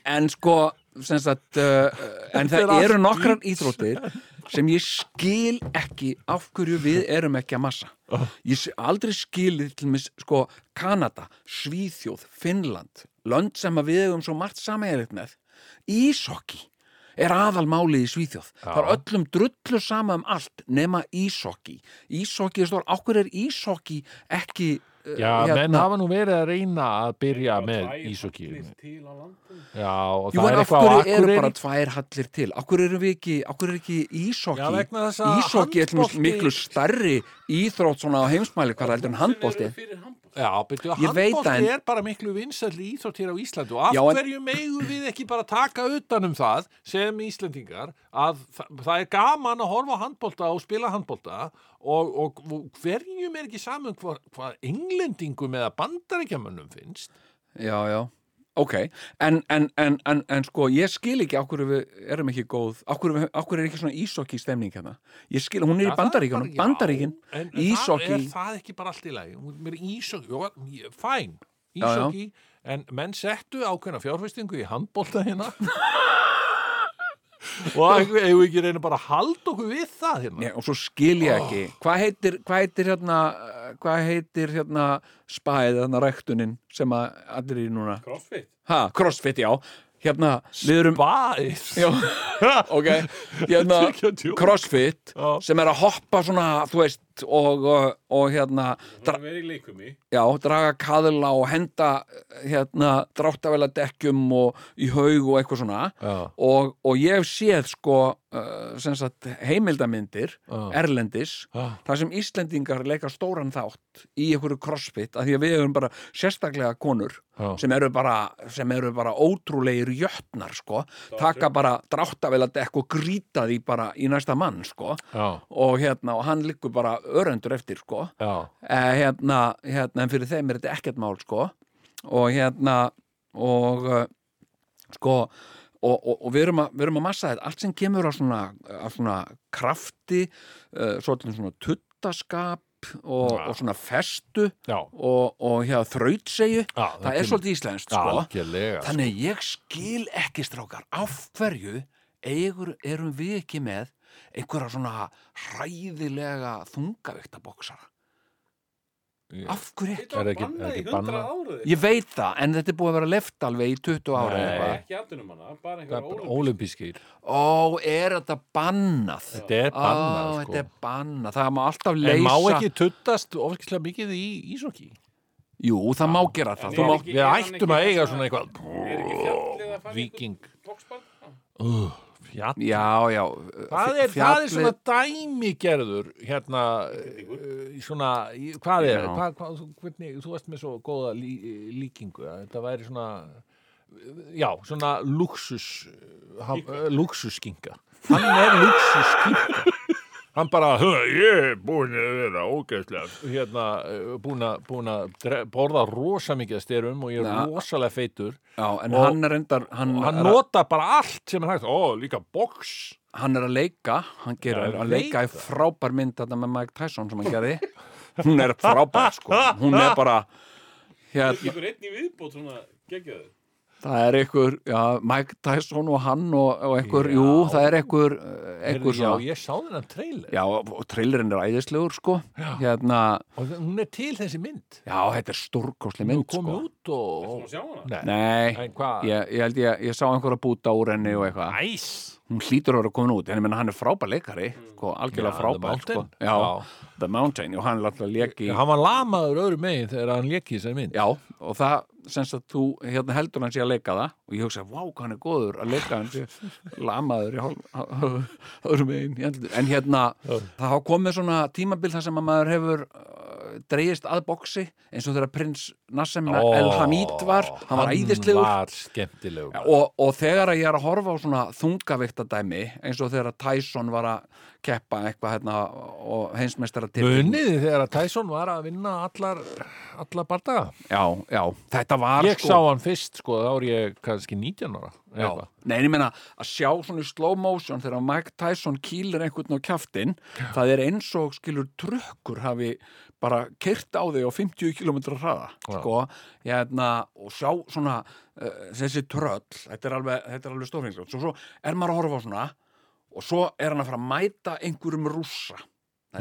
Speaker 4: en sko sem sagt, uh, uh, en það
Speaker 3: Þetta er
Speaker 4: eru
Speaker 3: allt
Speaker 4: nokkrar íþróttir sem ég skil ekki af hverju við erum ekki að massa Ég s- aldrei skil til mis, sko, Kanada, Svíþjóð Finnland, lönd sem að við hefum svo margt sameiginlegt með Ísokki er aðalmálið í Svíþjóð. Það er öllum drullu sama um allt nema ísokki. Ísokki, þú veist, okkur er ísokki ekki... uh,
Speaker 3: Já, menn hafa nú verið að reyna að byrja með ísokýrinu.
Speaker 5: til á landinu
Speaker 3: Já, og
Speaker 4: Jú,
Speaker 3: það
Speaker 4: en
Speaker 3: er
Speaker 4: af
Speaker 3: eitthvað á
Speaker 4: hverju eru bara
Speaker 3: akkurinn.
Speaker 4: tvær hallir til? Af hverju eru við ekki, af hverju er ekki ísokki?
Speaker 3: Já, vegna þess að
Speaker 4: Ísokki er til dæmis
Speaker 3: handbolti-
Speaker 4: miklu stærri íþrótt svona á heimsmæli hvað heldur en handbólti.
Speaker 5: fyrir handbók
Speaker 3: Já, byrju,
Speaker 4: Ég veit
Speaker 3: handbólti
Speaker 4: það, en-
Speaker 3: er bara miklu vinsæll íþrótt hér á Íslandu og af
Speaker 4: Já, en-
Speaker 3: hverju megum við ekki bara taka utan um það sem Íslendingar að þa það er gaman að horfa á handbólta og spila handbólta og, og, og hverjum er ekki saman hvað, hvað englendingum eða bandarækjamönnum finnst
Speaker 4: Já, já. Ok, en, en, en, en, en sko, ég skil ekki af hverju við erum ekki góð, af hverju, við- af hverju er ekki svona ísokki stemning hérna. Ég skil, hún
Speaker 3: Já,
Speaker 4: er í
Speaker 3: það er
Speaker 4: bandaríkjunum,
Speaker 3: bara- já,
Speaker 4: bandaríkin,
Speaker 3: en- en það
Speaker 4: ísokki.
Speaker 3: Er það ekki bara allt í lagi? Mér er ísokki, jó, ég- fæn,
Speaker 4: Já, já.
Speaker 3: ísokki, en menn settu ákveðna fjárfestingu í handbólta
Speaker 4: *laughs*
Speaker 3: hérna. og ef við ekki reyna bara að halda okkur við það hérna.
Speaker 4: Nei, og svo skil ég ekki hvað heitir, hvað heitir hérna uh, hvað heitir hérna spæð hérna ræktunin sem að allir er í núna
Speaker 5: crossfit
Speaker 4: ha, crossfit já hérna, við erum
Speaker 3: Bæs. *laughs*
Speaker 4: já, *laughs* ok, hérna
Speaker 3: Ekki að djóka.
Speaker 4: crossfit
Speaker 3: Já.
Speaker 4: sem er að hoppa svona, þú veist og, og, og hérna, dra,
Speaker 5: það verið í leikumi
Speaker 4: já, draga kaðla og henda hérna, dráttavela dekkjum og í haug og eitthvað svona
Speaker 3: Já.
Speaker 4: og, og ég hef séð sko uh, sem sagt heimildamindir
Speaker 3: Já.
Speaker 4: erlendis
Speaker 3: Já.
Speaker 4: þar sem Íslendingar leika stóran þátt í einhverju crossfit af því að við erum bara sérstaklega konur
Speaker 3: Já.
Speaker 4: sem eru, bara, sem eru bara ótrúlegir jötnar sko taka bara dráttavel að dekk og grýta því bara í næsta mann sko
Speaker 3: Já,
Speaker 4: og hérna og hann liggur bara örendur eftir sko
Speaker 3: já.
Speaker 4: eh, hérna, hérna, en fyrir þeim er þetta ekkert mál sko og hérna og eh, sko og, og, og við, erum að, við erum að massa þetta allt sem kemur á svona, af svona krafti uh, svolítið svona tuttaskap og,
Speaker 3: Já.
Speaker 4: og svona festu
Speaker 3: Já,
Speaker 4: og, og hérna,
Speaker 3: Já,
Speaker 4: þrautsegju það, er
Speaker 3: kemur-
Speaker 4: svolítið íslenskt
Speaker 3: Já,
Speaker 4: sko
Speaker 3: algjörlega. sko.
Speaker 4: þannig að ég skil ekki strákar af hverju eigur erum við ekki með einhverja svona hræðilega þungavíkta
Speaker 3: Ég-
Speaker 4: af hverju ekki?
Speaker 5: þetta
Speaker 3: Er
Speaker 5: var
Speaker 3: ekki- er
Speaker 5: bannað í
Speaker 3: ekki
Speaker 5: 100
Speaker 3: bannað?
Speaker 5: áraði
Speaker 4: Ég veit það, en þetta er búið að vera left alveg í 20 ára
Speaker 3: Nei.
Speaker 4: eða eitthvað.
Speaker 5: ekki atvinnum hana,
Speaker 3: Það
Speaker 5: bara
Speaker 3: sko. er
Speaker 5: einhver
Speaker 3: bara
Speaker 5: ólum
Speaker 3: ólimpískir.
Speaker 4: Ó, er þetta bannað?
Speaker 3: Þetta er bannað,
Speaker 4: Ó,
Speaker 3: sko.
Speaker 4: þetta er bannað. Það má alltaf leysa.
Speaker 3: En má ekki tuttast ofskilslega mikið í ísokki?
Speaker 4: Jú, það má gera það.
Speaker 5: En
Speaker 4: Þú
Speaker 5: er
Speaker 4: má...
Speaker 5: ekki-
Speaker 3: Við
Speaker 5: gera hann
Speaker 3: ættum
Speaker 5: ekki
Speaker 3: að eiga
Speaker 5: þessa-
Speaker 3: svona eitthvað.
Speaker 5: er ekki fjallið að fara
Speaker 3: Víking.
Speaker 5: boxbarn
Speaker 3: Uh, fjall.
Speaker 4: Já, já.
Speaker 3: Það er, það er svona dæmigerður hérna uh, svona, í- hvað er,
Speaker 4: Já.
Speaker 3: hvað, hvað, þú- hvernig, þú varst með svo góða lí, líkingu, að þetta væri svona já, svona luxus hann, luxuskinga hann er luxuskinga hann bara, "Hö, ég er búin að vera ógeðslega hérna, uh, búin að- búin að dre- borða rosa mikið af styrum og ég er
Speaker 4: Já.
Speaker 3: rosalega feitur
Speaker 4: Já, en
Speaker 3: Og-
Speaker 4: hann er endar... Hann,
Speaker 3: og hann
Speaker 4: er að-
Speaker 3: nota bara allt sem er hægt, ó, líka box
Speaker 4: hann er að leika. Hann
Speaker 3: Já,
Speaker 4: gerir
Speaker 3: ég
Speaker 4: að
Speaker 3: veit
Speaker 4: leika í
Speaker 3: það.
Speaker 4: frábær mynd þetta með Mike Tyson sem hann gerði. *laughs* Hún er frábær, sko. Hún er bara... Hérna,
Speaker 5: ykkur einn í viðbót svona geggjaður
Speaker 4: Það er einhver, já, Mike Tyson og hann og, og einhver, jú,
Speaker 3: Já.
Speaker 4: það er einhver,
Speaker 3: Heyrðu,
Speaker 4: einhver svona.
Speaker 3: já, ég sá þennan trailer
Speaker 4: Já, og og trailerinn er æðislegur, sko. Hérna,
Speaker 3: og þa- hún er til þessi mynd
Speaker 4: já, þetta er stórkosli
Speaker 3: hún
Speaker 4: mynd,
Speaker 3: komið
Speaker 4: sko.
Speaker 3: út og
Speaker 5: og sjá hana
Speaker 3: Nei.
Speaker 4: Nei,
Speaker 3: en hvað
Speaker 4: ég, ég held ég, ég sá einhverja búta úr henni og eitthvað.
Speaker 3: Æs
Speaker 4: Hún hlýtur að vera komin út, en ég menna hann er frábær leikari, sko, algjörlega
Speaker 3: Já, The
Speaker 4: frábær, sko.
Speaker 3: Mountain.
Speaker 4: Já,
Speaker 3: Já.
Speaker 4: The Mountain, og hann er alltaf leik í...
Speaker 3: hann var lamaður öðru megin þegar hann leki þessari mynd
Speaker 4: Já, og það, semst að þú, hérna heldur hann sé að leika það og ég hugsa, vá, hvað hann er góður að leika hann sé lamaður í hálfum einn, en hérna, það hafa komið svona tímabil þar sem að maður hefur uh, dreigist að boksi, eins og þegar prins Nassem
Speaker 3: Ó,
Speaker 4: El Hamid var, hann var æðislegur.
Speaker 3: hann var skemmtilegur
Speaker 4: Og, og þegar að ég er að horfa á svona þungavikta dæmi eins og þegar að Tyson var að keppa eitthvað hérna og heimsmeistara til
Speaker 3: Muniði þegar að Tyson var að vinna allar, allar bardaga.
Speaker 4: Já, já, þetta var
Speaker 3: Ég sá hann fyrst, sko, þá er ég kannski 19 ára.
Speaker 4: Já,
Speaker 3: eitthvað.
Speaker 4: nei, en ég meina að sjá svona í slow motion þegar Mike Tyson kýlir einhvern á kjaftin það er eins og skilur trukkur hafi bara kyrt á þig á 50 km hraða
Speaker 3: Já.
Speaker 4: sko, hérna, og sjá svona uh, þessi tröll, þetta er alveg, þetta er alveg stórfengljótt, svo, svo er maður að horfa á svona og svo er hann að fara að mæta einhverjum rússa, það er einhver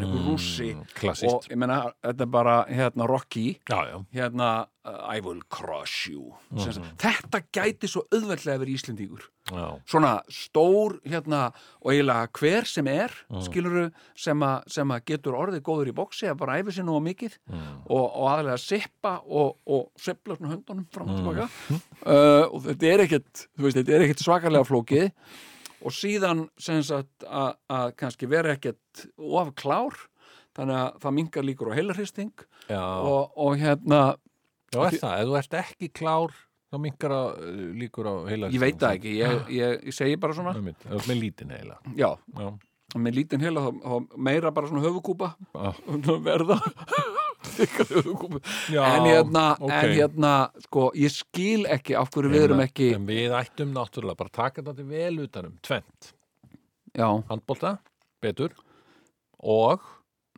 Speaker 3: Mm,
Speaker 4: rússi
Speaker 3: klassískt.
Speaker 4: og ég meina, þetta er bara hérna Rocky
Speaker 3: Já, já.
Speaker 4: hérna uh, I will crush you mm þetta gæti svo auðveldlega verið Íslendingur
Speaker 3: já.
Speaker 4: svona stór hérna og eiginlega hver sem er mm. skiluru sem, a, sem að getur orðið góður í boksi að bara æfi sér nú mikið
Speaker 3: mm.
Speaker 4: og, og aðlega sippa og, og sveifla svona höndunum fram og tilbaka uh, og þetta er ekkit þú veist, þetta er ekkit svakalega flókið og síðan sem sagt að, að kannski vera ekkit of klár þannig að það mingar líkur á heilarhristing
Speaker 3: Já,
Speaker 4: og, og hérna
Speaker 3: já er það. Ef þú ert ekki klár, þá minkar að líkur á heila.
Speaker 4: Ég veit það ekki,
Speaker 3: Ah.
Speaker 4: ég, ég, ég segi bara svona
Speaker 3: Einmitt, ef þú ert með lítinn heila.
Speaker 4: Já,
Speaker 3: Já.
Speaker 4: með lítinn heila þá, þá meira bara svona höfukúpa
Speaker 3: Já.
Speaker 4: verða þykkar höfukúpa
Speaker 3: Já,
Speaker 4: en, hérna,
Speaker 3: ok.
Speaker 4: en hérna, sko, ég skil ekki af hverju við erum ekki
Speaker 3: En við ættum náttúrulega bara að taka þetta vel utanum. Tvent.
Speaker 4: Já,
Speaker 3: Handbólta, betur. Og,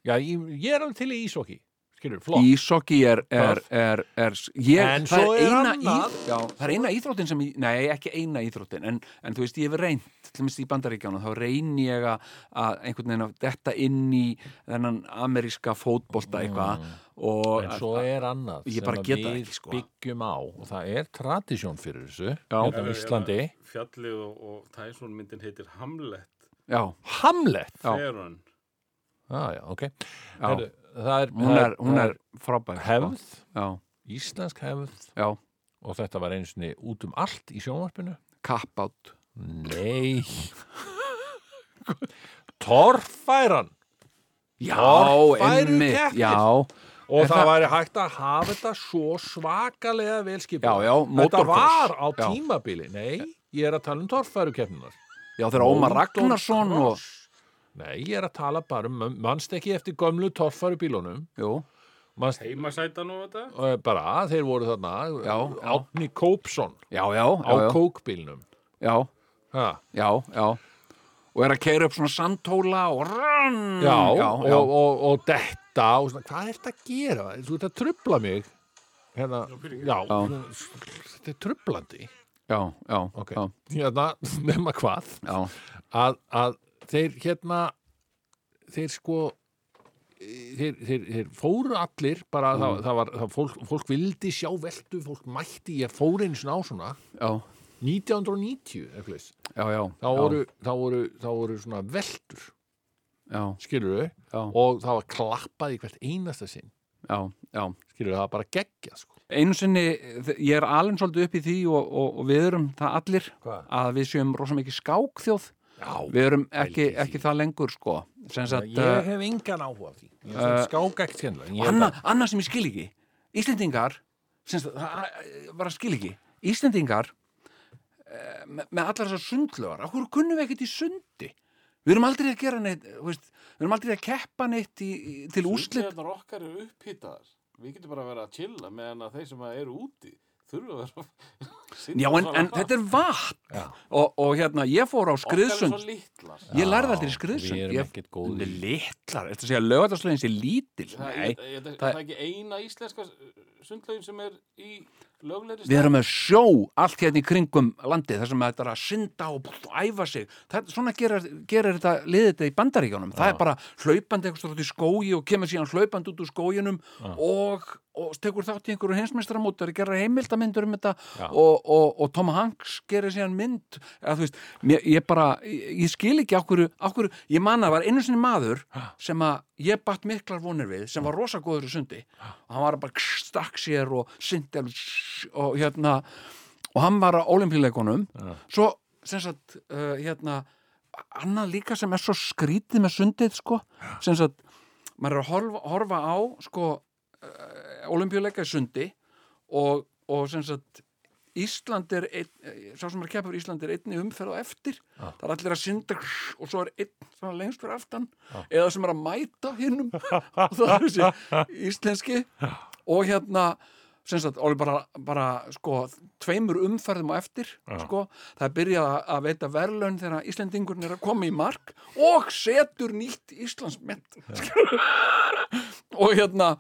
Speaker 3: já, ég, ég er alveg til í ísokki. Skilur, flott.
Speaker 4: ísokki er, er, er, er ég,
Speaker 3: En
Speaker 4: það
Speaker 3: svo er
Speaker 4: eina
Speaker 3: annað.
Speaker 4: íþ- Já, það er eina íþróttin sem, ég- nei, ekki eina íþróttin en, en þú veist, ég hef reynt, til minnst í bandaríkjánum þá reyni ég að- að einhvern veginn að detta inn í þennan ameríska fótbolta eitthvað og
Speaker 3: Mm. en svo er annað
Speaker 4: Ég
Speaker 3: sem
Speaker 4: bara
Speaker 3: að
Speaker 4: get það
Speaker 3: við
Speaker 4: ekki, sko.
Speaker 3: byggjum á og það er tradisjón fyrir þessu
Speaker 4: Já.
Speaker 3: hérna á Íslandi
Speaker 5: Fjallið og, og Tyson myndin heitir Hamlet
Speaker 4: Já,
Speaker 3: Hamlet
Speaker 4: Já.
Speaker 5: Ferun
Speaker 3: ah, já, okay.
Speaker 4: Já.
Speaker 3: Heru, það er,
Speaker 4: hún
Speaker 3: það
Speaker 4: er, hún
Speaker 3: það
Speaker 4: er frábær sko.
Speaker 3: hefð,
Speaker 4: Já,
Speaker 3: íslensk hefð
Speaker 4: já,
Speaker 3: og þetta var einu sinni út um allt í sjónvarpinu
Speaker 4: kapp átt
Speaker 3: nei Torfæran
Speaker 4: Já,
Speaker 3: Torfærukeppnir.
Speaker 4: einmitt Já,
Speaker 3: og
Speaker 4: Er
Speaker 3: það
Speaker 4: það-
Speaker 3: væri hægt að hafa þetta svo svakalega velskip
Speaker 4: Já, já,
Speaker 3: þetta
Speaker 4: motocross.
Speaker 3: var á
Speaker 4: Já.
Speaker 3: tímabili nei, ég er að tala um torfærukeppnunar
Speaker 4: já þegar Ómar Ragnarsson og,
Speaker 3: Nei, ég er að tala bara um mannst ekki eftir gömlu torfaru bílunum
Speaker 4: Jú,
Speaker 3: manst,
Speaker 5: Heimasætan og þetta
Speaker 3: uh, bara, þeir voru þarna
Speaker 4: Já, já.
Speaker 3: Átni Kópsson
Speaker 4: já,
Speaker 3: á
Speaker 4: já, já, já,
Speaker 3: kókbílnum
Speaker 4: já,
Speaker 3: ha.
Speaker 4: já, já og er að keira upp svona sandhóla og rann
Speaker 3: Já,
Speaker 4: Mm, já,
Speaker 3: og,
Speaker 4: já.
Speaker 3: Og, og, detta og svona, hvað er þetta að gera? Þú ert að trubla mig hérna, já, þetta er trublandi
Speaker 4: já, já,
Speaker 3: okay.
Speaker 4: já,
Speaker 3: hérna, nema hvað
Speaker 4: já,
Speaker 3: að, að þeir hérna þeir sko þeir, þeir, þeir fóru allir bara
Speaker 4: Mm.
Speaker 3: það, það var, það fólk, fólk vildi sjá veltu, fólk mætti ég fóru eins og á svona
Speaker 4: já,
Speaker 3: 1990 eitthvað leys.
Speaker 4: já, já,
Speaker 3: þá voru, þá, voru, þá voru svona veltur
Speaker 4: já,
Speaker 3: skilur við
Speaker 4: já,
Speaker 3: og það var klappað í hvert einasta sinn
Speaker 4: já, já
Speaker 3: skilur við, það var bara geggja sko.
Speaker 4: Einu sinni, þ- ég er alveg svolítið upp í því og, og, og við erum það allir
Speaker 3: Hvað?
Speaker 4: að við séum rosa mikið skákþjóð
Speaker 3: Já,
Speaker 4: við erum ekki,
Speaker 3: Pældi í því.
Speaker 4: ekki það lengur sko sem sagt, uh,
Speaker 3: ég hef engan áhuga á því ég
Speaker 4: eh,
Speaker 3: er uh, skáka ekkert skemmlega Ég er
Speaker 4: Anna, annað sem ég skil ekki Íslendingar sem, sagt, það það- bara skil ekki Íslendingar eh, með, með allar þessar sundlögar okkur kunnum við ekkert í sundi við erum aldrei að gera neitt þú veist, við erum aldrei að keppa neitt í, í, til úslit
Speaker 5: Sundlegarnar okkar eru upphýtaðar Við getum bara að vera að chilla meðan að þeir sem að eru úti þurfa að vera
Speaker 4: já en, en þetta er vatn og, og hérna ég fór á
Speaker 5: Okkar
Speaker 4: skriðsund
Speaker 5: er svo litlar
Speaker 4: ég lærði aldrei
Speaker 3: Já,
Speaker 4: skriðsund
Speaker 3: við erum
Speaker 4: Ég-
Speaker 3: ekkert góð í-
Speaker 4: litlar, þetta sé að lögataslögin sé lítil
Speaker 5: Það,
Speaker 4: nei,
Speaker 5: ég, ég, það,
Speaker 4: það-
Speaker 5: það er ekki eina íslenska sundlaugin sem er í löglegri
Speaker 4: Við erum með sjó allt hérna í kringum landið þar sem þetta er að synda og pff, æfa sig. Það, svona gerir, gerir þetta liðið þetta í bandaríkjónum. Það er bara hlaupandi eitthvað út í skói og kemur síðan hlaupandi út úr skóginum og, og tekur þátt í einhverju heimsmeistramótari, gerir heimildamindur um þetta og, og, og Tom Hanks gerir síðan mynd. Eða, þú veist, mér, ég bara, ég, ég skil ekki okkur, okkur, ég man að það var einu sinni maður sem að ég batt miklar vonir við sem var rosa góður í sundi og hann var bara kss, stakk sér og syndi alveg kss, og hérna og hann var á olimpíuleikunum svo sem sagt uh, hérna annað líka sem er svo skrítið með sundið sko sem sagt maður er að horfa, horfa á sko uh, olimpíuleika í sundi og, og sem sagt Ísland er einn, eh, sá sem er að keppa fyrir Ísland er einni umferð á eftir það er allir að synda og svo er einn svona lengst fyrir aftan eða sem er að mæta hinnum og það er þessi íslenski og hérna sem sagt, orðið bara, bara sko, tveimur umferðum á eftir sko, það er byrjað að- að veita verðlaun þegar Íslendingurinn er að koma í mark og setur nýtt Íslandsmet og hérna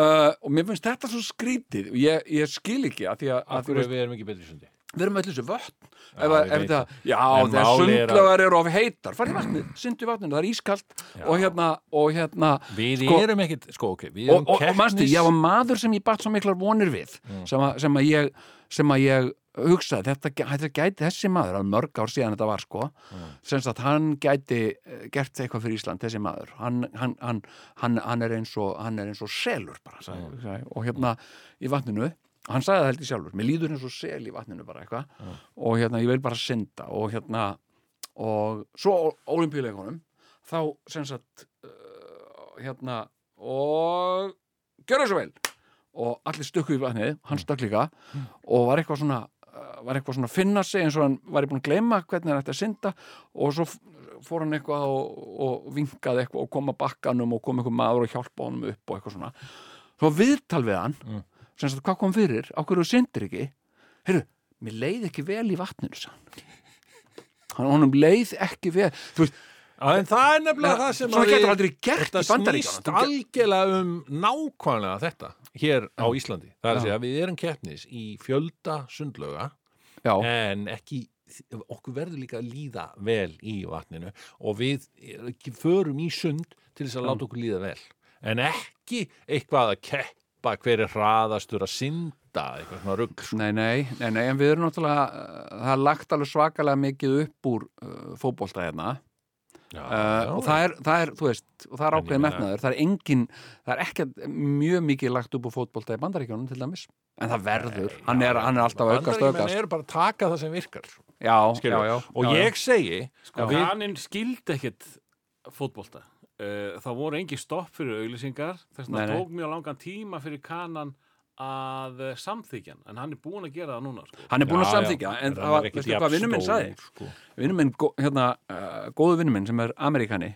Speaker 4: Uh, og mér finnst þetta svo skrítið og ég, ég skil ekki að því að, að þú
Speaker 3: Akkur
Speaker 4: veist-
Speaker 3: við erum ekki betri sundi
Speaker 4: við erum öll þessu vötn
Speaker 3: Já,
Speaker 4: ef, að-
Speaker 3: ég
Speaker 4: ef
Speaker 3: veit
Speaker 4: það, já,
Speaker 3: En
Speaker 4: þegar
Speaker 3: málið er að-
Speaker 4: sundlögar eru of heitar farið vatnið, syndu vatnið, það er ískalt og hérna, og hérna
Speaker 3: Við
Speaker 4: Sko-
Speaker 3: erum ekkit, sko ok Við
Speaker 4: og,
Speaker 3: erum
Speaker 4: og, og manstu, ég var maður sem ég batt svo miklar vonir við sem, að, sem að ég sem að ég hugsaði, þetta, gæ- þetta gæti þessi maður, alveg mörg ár síðan þetta var sko, sem sagt hann gæti eh, gert eitthvað fyrir Ísland, þessi maður hann, hann, hann, hann, hann er eins og hann er eins og selur bara sagði, sagði, og hérna í vatninu hann sagði það held ég sjálfur, mér líður eins og sel í vatninu bara eitthvað, og hérna ég vil bara synda og hérna og svo olimpíuleikunum þá sem sagt uh, hérna og gjör það svo vel og allir stökku í vatnið, hann stökk líka og var eitthvað svona uh, var eitthvað svona að finna sig eins og hann var búin að gleyma hvernig hann ætti að synda og svo f- fór hann eitthvað og, og vinkaði eitthvað og kom að bakkanum og kom eitthvað maður og hjálpa honum upp og eitthvað svona svo viðtal við hann
Speaker 3: Mm.
Speaker 4: sem sagt hvað kom fyrir, á hverju þú syndir ekki heyrðu, mér leið ekki vel í vatninu sann hann honum leið ekki vel þú veist,
Speaker 3: En það er nefnilega það sem
Speaker 4: Eh, svona
Speaker 3: að við-
Speaker 4: getur aldrei gert
Speaker 3: Þetta
Speaker 4: í
Speaker 3: snýst
Speaker 4: bandaríkjana
Speaker 3: algjörlega um nákvæmlega þetta hér á Íslandi. Það er að
Speaker 4: Já.
Speaker 3: segja að við erum keppnis í fjölda sundlöga
Speaker 4: já,
Speaker 3: en ekki okkur verður líka að líða vel í vatninu og við förum í sund til þess að láta okkur líða vel en ekki eitthvað að keppa hver er hraðastur að synda eitthvað svona rugg
Speaker 4: Nei, nei, nei, nei, en við erum náttúrulega, uh, það er lagt alveg svakalega mikið upp úr uh, fótbolta hérna
Speaker 3: Ah, já,
Speaker 4: uh, og það er, það er, þú veist, og það
Speaker 3: En
Speaker 4: er
Speaker 3: ég
Speaker 4: ákveðið
Speaker 3: meina-
Speaker 4: metnaður, það er engin, það er ekki mjög mikið lagt upp úr fótbolta í bandaríkjónum til dæmis, en það verður, hann, er, hann er alltaf að aukast,
Speaker 3: Bandaríkjamenn
Speaker 4: aukast,
Speaker 3: eru bara að taka það sem virkar
Speaker 4: já, já,
Speaker 3: skilur.
Speaker 4: já,
Speaker 3: og
Speaker 4: já,
Speaker 3: ég segi
Speaker 5: Sko,
Speaker 3: við-
Speaker 5: Kaninn skildi ekkit fótbolta. Uh, það voru engi stopp fyrir auglýsingar, þess
Speaker 4: Nei,
Speaker 5: að
Speaker 4: nei.
Speaker 5: tók mjög langan tíma fyrir kanan að eh, samþykja hann, en hann er búinn að gera það núna. Sko.
Speaker 4: Hann er búin að
Speaker 3: Já,
Speaker 4: samþykja,
Speaker 3: já.
Speaker 4: en
Speaker 3: Hann
Speaker 4: það var,
Speaker 3: er ekkit
Speaker 4: veistu
Speaker 3: jafn
Speaker 4: hvað vinnum minn
Speaker 3: stór,
Speaker 4: sagði?
Speaker 3: sko.
Speaker 4: Vinnum minn, gó- hérna, uh, góðu vinnum minn sem er Amerikani,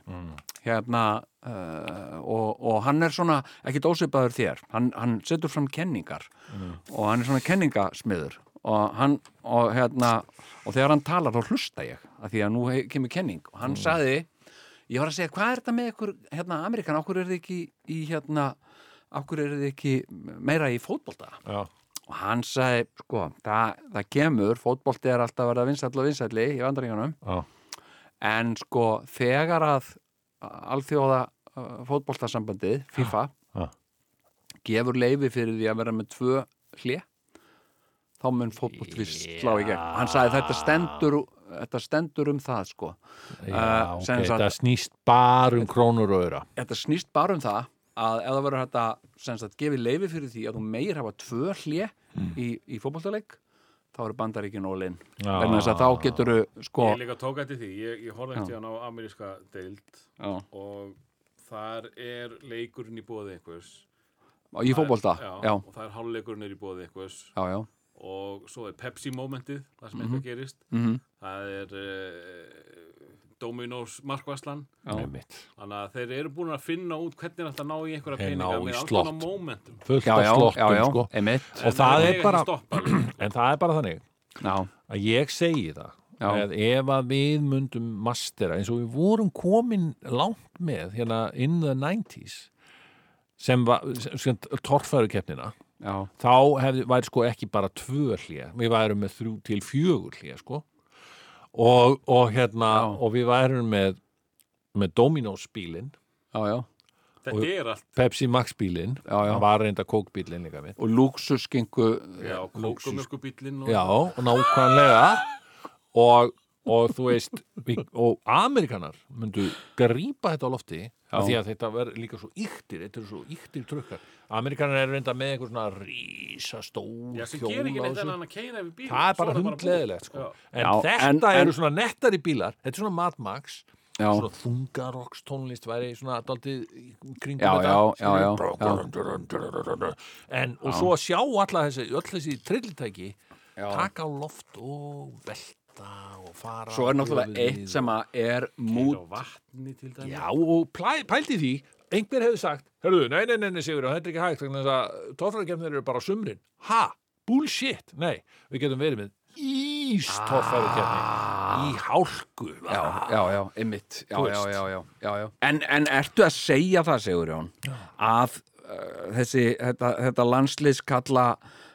Speaker 4: hérna, uh, og, og hann er svona, ekki dósipaður þér, hann, hann setur fram kenningar og hann er svona kenningasmiður og hann, og hérna, og þegar hann talar þá hlusta ég, að því að nú he- kemur kenning og hann sagði, ég var að segja, hvað er þetta með ykkur, hérna, Amerikan, okkur er þið ekki í, hérna, okkur er þið ekki meira í fótbolta?
Speaker 3: já,
Speaker 4: og hann sagði, sko, það, það kemur, fótbolti er alltaf að verða vinsall og vinsalli í vandaringunum,
Speaker 3: já,
Speaker 4: en sko, þegar að alþjóða uh, fótboltasambandið, FIFA,
Speaker 3: Já.
Speaker 4: gefur leifi fyrir því að vera með tvö hlje, þá mun fótbolti við slá í gegn. Hann sagði, þetta stendur, þetta stendur um það, sko.
Speaker 3: já
Speaker 4: Eh,
Speaker 3: ok,
Speaker 4: sem sagt-
Speaker 3: það snýst bara um krónur og öra
Speaker 4: Þetta snýst bara um það að ef það verður þetta, sem sagt, gefið leifi fyrir því að þú meir hafa tvö hlje
Speaker 3: Mm.
Speaker 4: í, í fótboltaleik, þá eru bandaríkin ólinn vegna þess að þá getur sko
Speaker 5: Ég líka tók eftir því, ég, ég horfði eftir hann á ameríska deild
Speaker 4: já,
Speaker 5: og þar er leikurinn í bóði einhvers.
Speaker 4: í fótbolta
Speaker 5: Það er-
Speaker 4: já,
Speaker 5: Og það er hálfleikurinn er í bóði einhvers
Speaker 4: já, já,
Speaker 5: og svo er Pepsi momentið, það sem eitthvað gerist.
Speaker 4: Mhm.
Speaker 5: Það er uh, Dominos markvæslan.
Speaker 3: Einmitt.
Speaker 5: Þannig að þeir eru búin að finna út hvernig þetta ná í einhverja
Speaker 3: Þeir ná
Speaker 5: peninga
Speaker 3: í
Speaker 5: með
Speaker 3: slott.
Speaker 5: ákveðna momentum.
Speaker 3: fullt
Speaker 4: já,
Speaker 3: af
Speaker 4: já, já,
Speaker 3: slottum
Speaker 4: já,
Speaker 3: sko.
Speaker 4: einmitt
Speaker 3: og það
Speaker 5: mega
Speaker 3: er
Speaker 5: ekki
Speaker 3: bara *clears throat*
Speaker 5: stoppa.
Speaker 3: en það er bara þannig
Speaker 4: já,
Speaker 3: að ég segi það
Speaker 4: Já.
Speaker 3: að ef að við mundum mastera eins og við vorum komin langt með hérna in the 90s sem var sem, sem torfæru keppnina
Speaker 4: já,
Speaker 3: þá hefði, væri sko ekki bara tvö hlje við værum með þrjú til fjögur hlje sko og, og hérna
Speaker 4: Já.
Speaker 3: og við værum með með Dominos bílinn
Speaker 4: já, já
Speaker 5: Þetta er allt,
Speaker 3: Pepsi Max bílinn
Speaker 4: Já, já.
Speaker 3: það var reynda Coke bílinn líka við
Speaker 4: og lúksuskingu
Speaker 5: já, kókumökkubíllinn og...
Speaker 3: Já, og nákvæmlega og, og þú veist við, og Amerikanar myndu grípa þetta á lofti af því að þetta verður líka svo yktir þetta eru svo yktir trukkar Amerikanar er reynda með einhver svona rísastór
Speaker 5: Já, sem
Speaker 3: hjól á
Speaker 5: gerir ekki neitt
Speaker 3: þessu.
Speaker 5: en hann að keira yfir bíl.
Speaker 3: það er bara hundleðilegt sko. en
Speaker 4: Já,
Speaker 3: þetta
Speaker 4: en- en-
Speaker 3: eru svona nettari bílar þetta er svona Mad Max
Speaker 4: Já.
Speaker 3: svona þungarokks tónlist væri svona daldið kringum
Speaker 4: Já, já, já, já,
Speaker 3: skilur. en og svo að sjá alla þessi öll þessi trillitæki
Speaker 4: Já.
Speaker 3: taka á loft og velta og fara
Speaker 4: Svo er náttúrulega
Speaker 3: höfuðið
Speaker 4: eitt sem að er mút
Speaker 5: og vatni til dæmis
Speaker 3: Já, og plæ- pældi því, einhver hefði sagt, hörðu, nei, nei, nei, nei Sigur, þetta er ekki hægt, þannig að tóffarukemnir eru bara á sumrin. Ha, bullshit, nei, við getum verið með ístóffarukemni í hálku.
Speaker 4: Ah.
Speaker 3: Ah.
Speaker 4: já, já, já, einmitt já,
Speaker 3: Þú
Speaker 4: já,
Speaker 3: veist.
Speaker 4: já, já, já, já. En, en ertu að segja það, segur Jón að uh, þessi, þetta, þetta landsliðskalla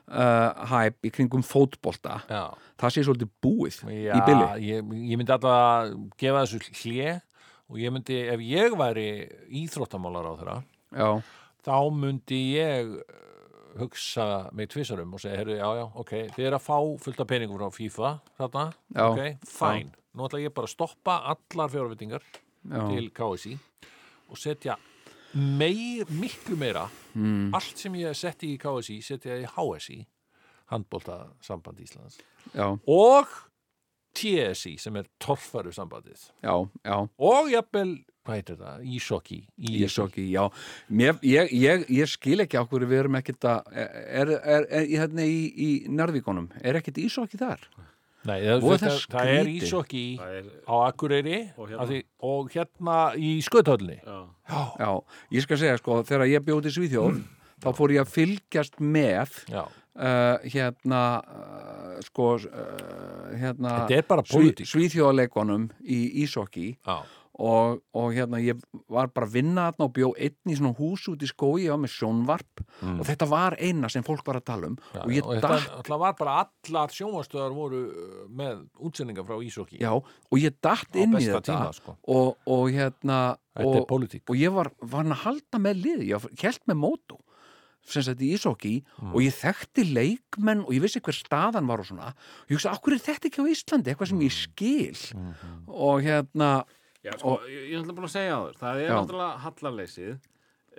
Speaker 4: uh, hæp í kringum fótbolta
Speaker 3: Já.
Speaker 4: það sé svolítið búið
Speaker 3: Já,
Speaker 4: í bili
Speaker 3: Ég, ég myndi alltaf að gefa þessu hlje og ég myndi, ef ég væri íþróttamálar á þeirra,
Speaker 4: já,
Speaker 3: þá myndi ég eh, hugsa mig tvisarum og segja, heyrðu, já, já, ok, þið er að fá fullt af peningum frá FIFA, þarna,
Speaker 4: Já,
Speaker 3: ok, fæn. Nú ætla ég bara að stoppa allar fjárvitingar
Speaker 4: já,
Speaker 3: til KSI og setja meir, miklu meira,
Speaker 4: Hmm.
Speaker 3: allt sem ég setti í KSI, setja ég í HSI, handbólta samband Íslands
Speaker 4: já,
Speaker 3: og TSI sem er torfaru sambandið
Speaker 4: já, já
Speaker 3: og jafnvel, hvað heitir það, ísokki
Speaker 4: ég svo ekki, já Mér, ég, ég, ég skil ekki á hverju við erum ekkert að er, er, er, í hérna í, í Narvíkonum, er ekkert í svo ekki þar
Speaker 3: Nei, það,
Speaker 4: Voða
Speaker 3: það, það er
Speaker 4: skrítið.
Speaker 3: ísokki
Speaker 5: það er
Speaker 3: á Akureyri
Speaker 5: Og
Speaker 3: og
Speaker 5: hérna.
Speaker 3: hérna, því, og hérna í sköthöllinni
Speaker 5: já,
Speaker 4: já, ég skal segja sko, þegar ég bjóti Svíþjóð þá fór ég að fylgjast með
Speaker 3: Já,
Speaker 4: uh, hérna uh, sko uh, hérna
Speaker 3: Þetta er bara pólitík.
Speaker 4: svíþjóðaleikonum í Ísokki
Speaker 3: já,
Speaker 4: og, og hérna ég var bara að vinna þarna og bjó einn í svona hús út í skói og með sjónvarp og þetta var eina sem fólk var að tala um
Speaker 3: Mm. já
Speaker 4: og ég
Speaker 3: þetta
Speaker 4: datt
Speaker 3: alltaf var bara allar sjónvastöðar voru uh, með útsendingar frá ísokki
Speaker 4: Já, og ég
Speaker 3: Á
Speaker 4: datt inn í
Speaker 3: besta
Speaker 4: þetta
Speaker 3: tíma, sko.
Speaker 4: og, og hérna
Speaker 3: Þetta er
Speaker 4: og,
Speaker 3: pólitík.
Speaker 4: og ég var vann að halda með lið ég held með mótu sem sagt í Ísóki og ég þekkti leikmenn og ég vissi hver staðan var og svona og ég hugsa, okkur er þetta ekki á Íslandi eitthvað sem ég skil og hérna,
Speaker 5: já sko, ég, ég ætla bara að segja á þér það er
Speaker 4: Já.
Speaker 5: náttúrulega hallarleysið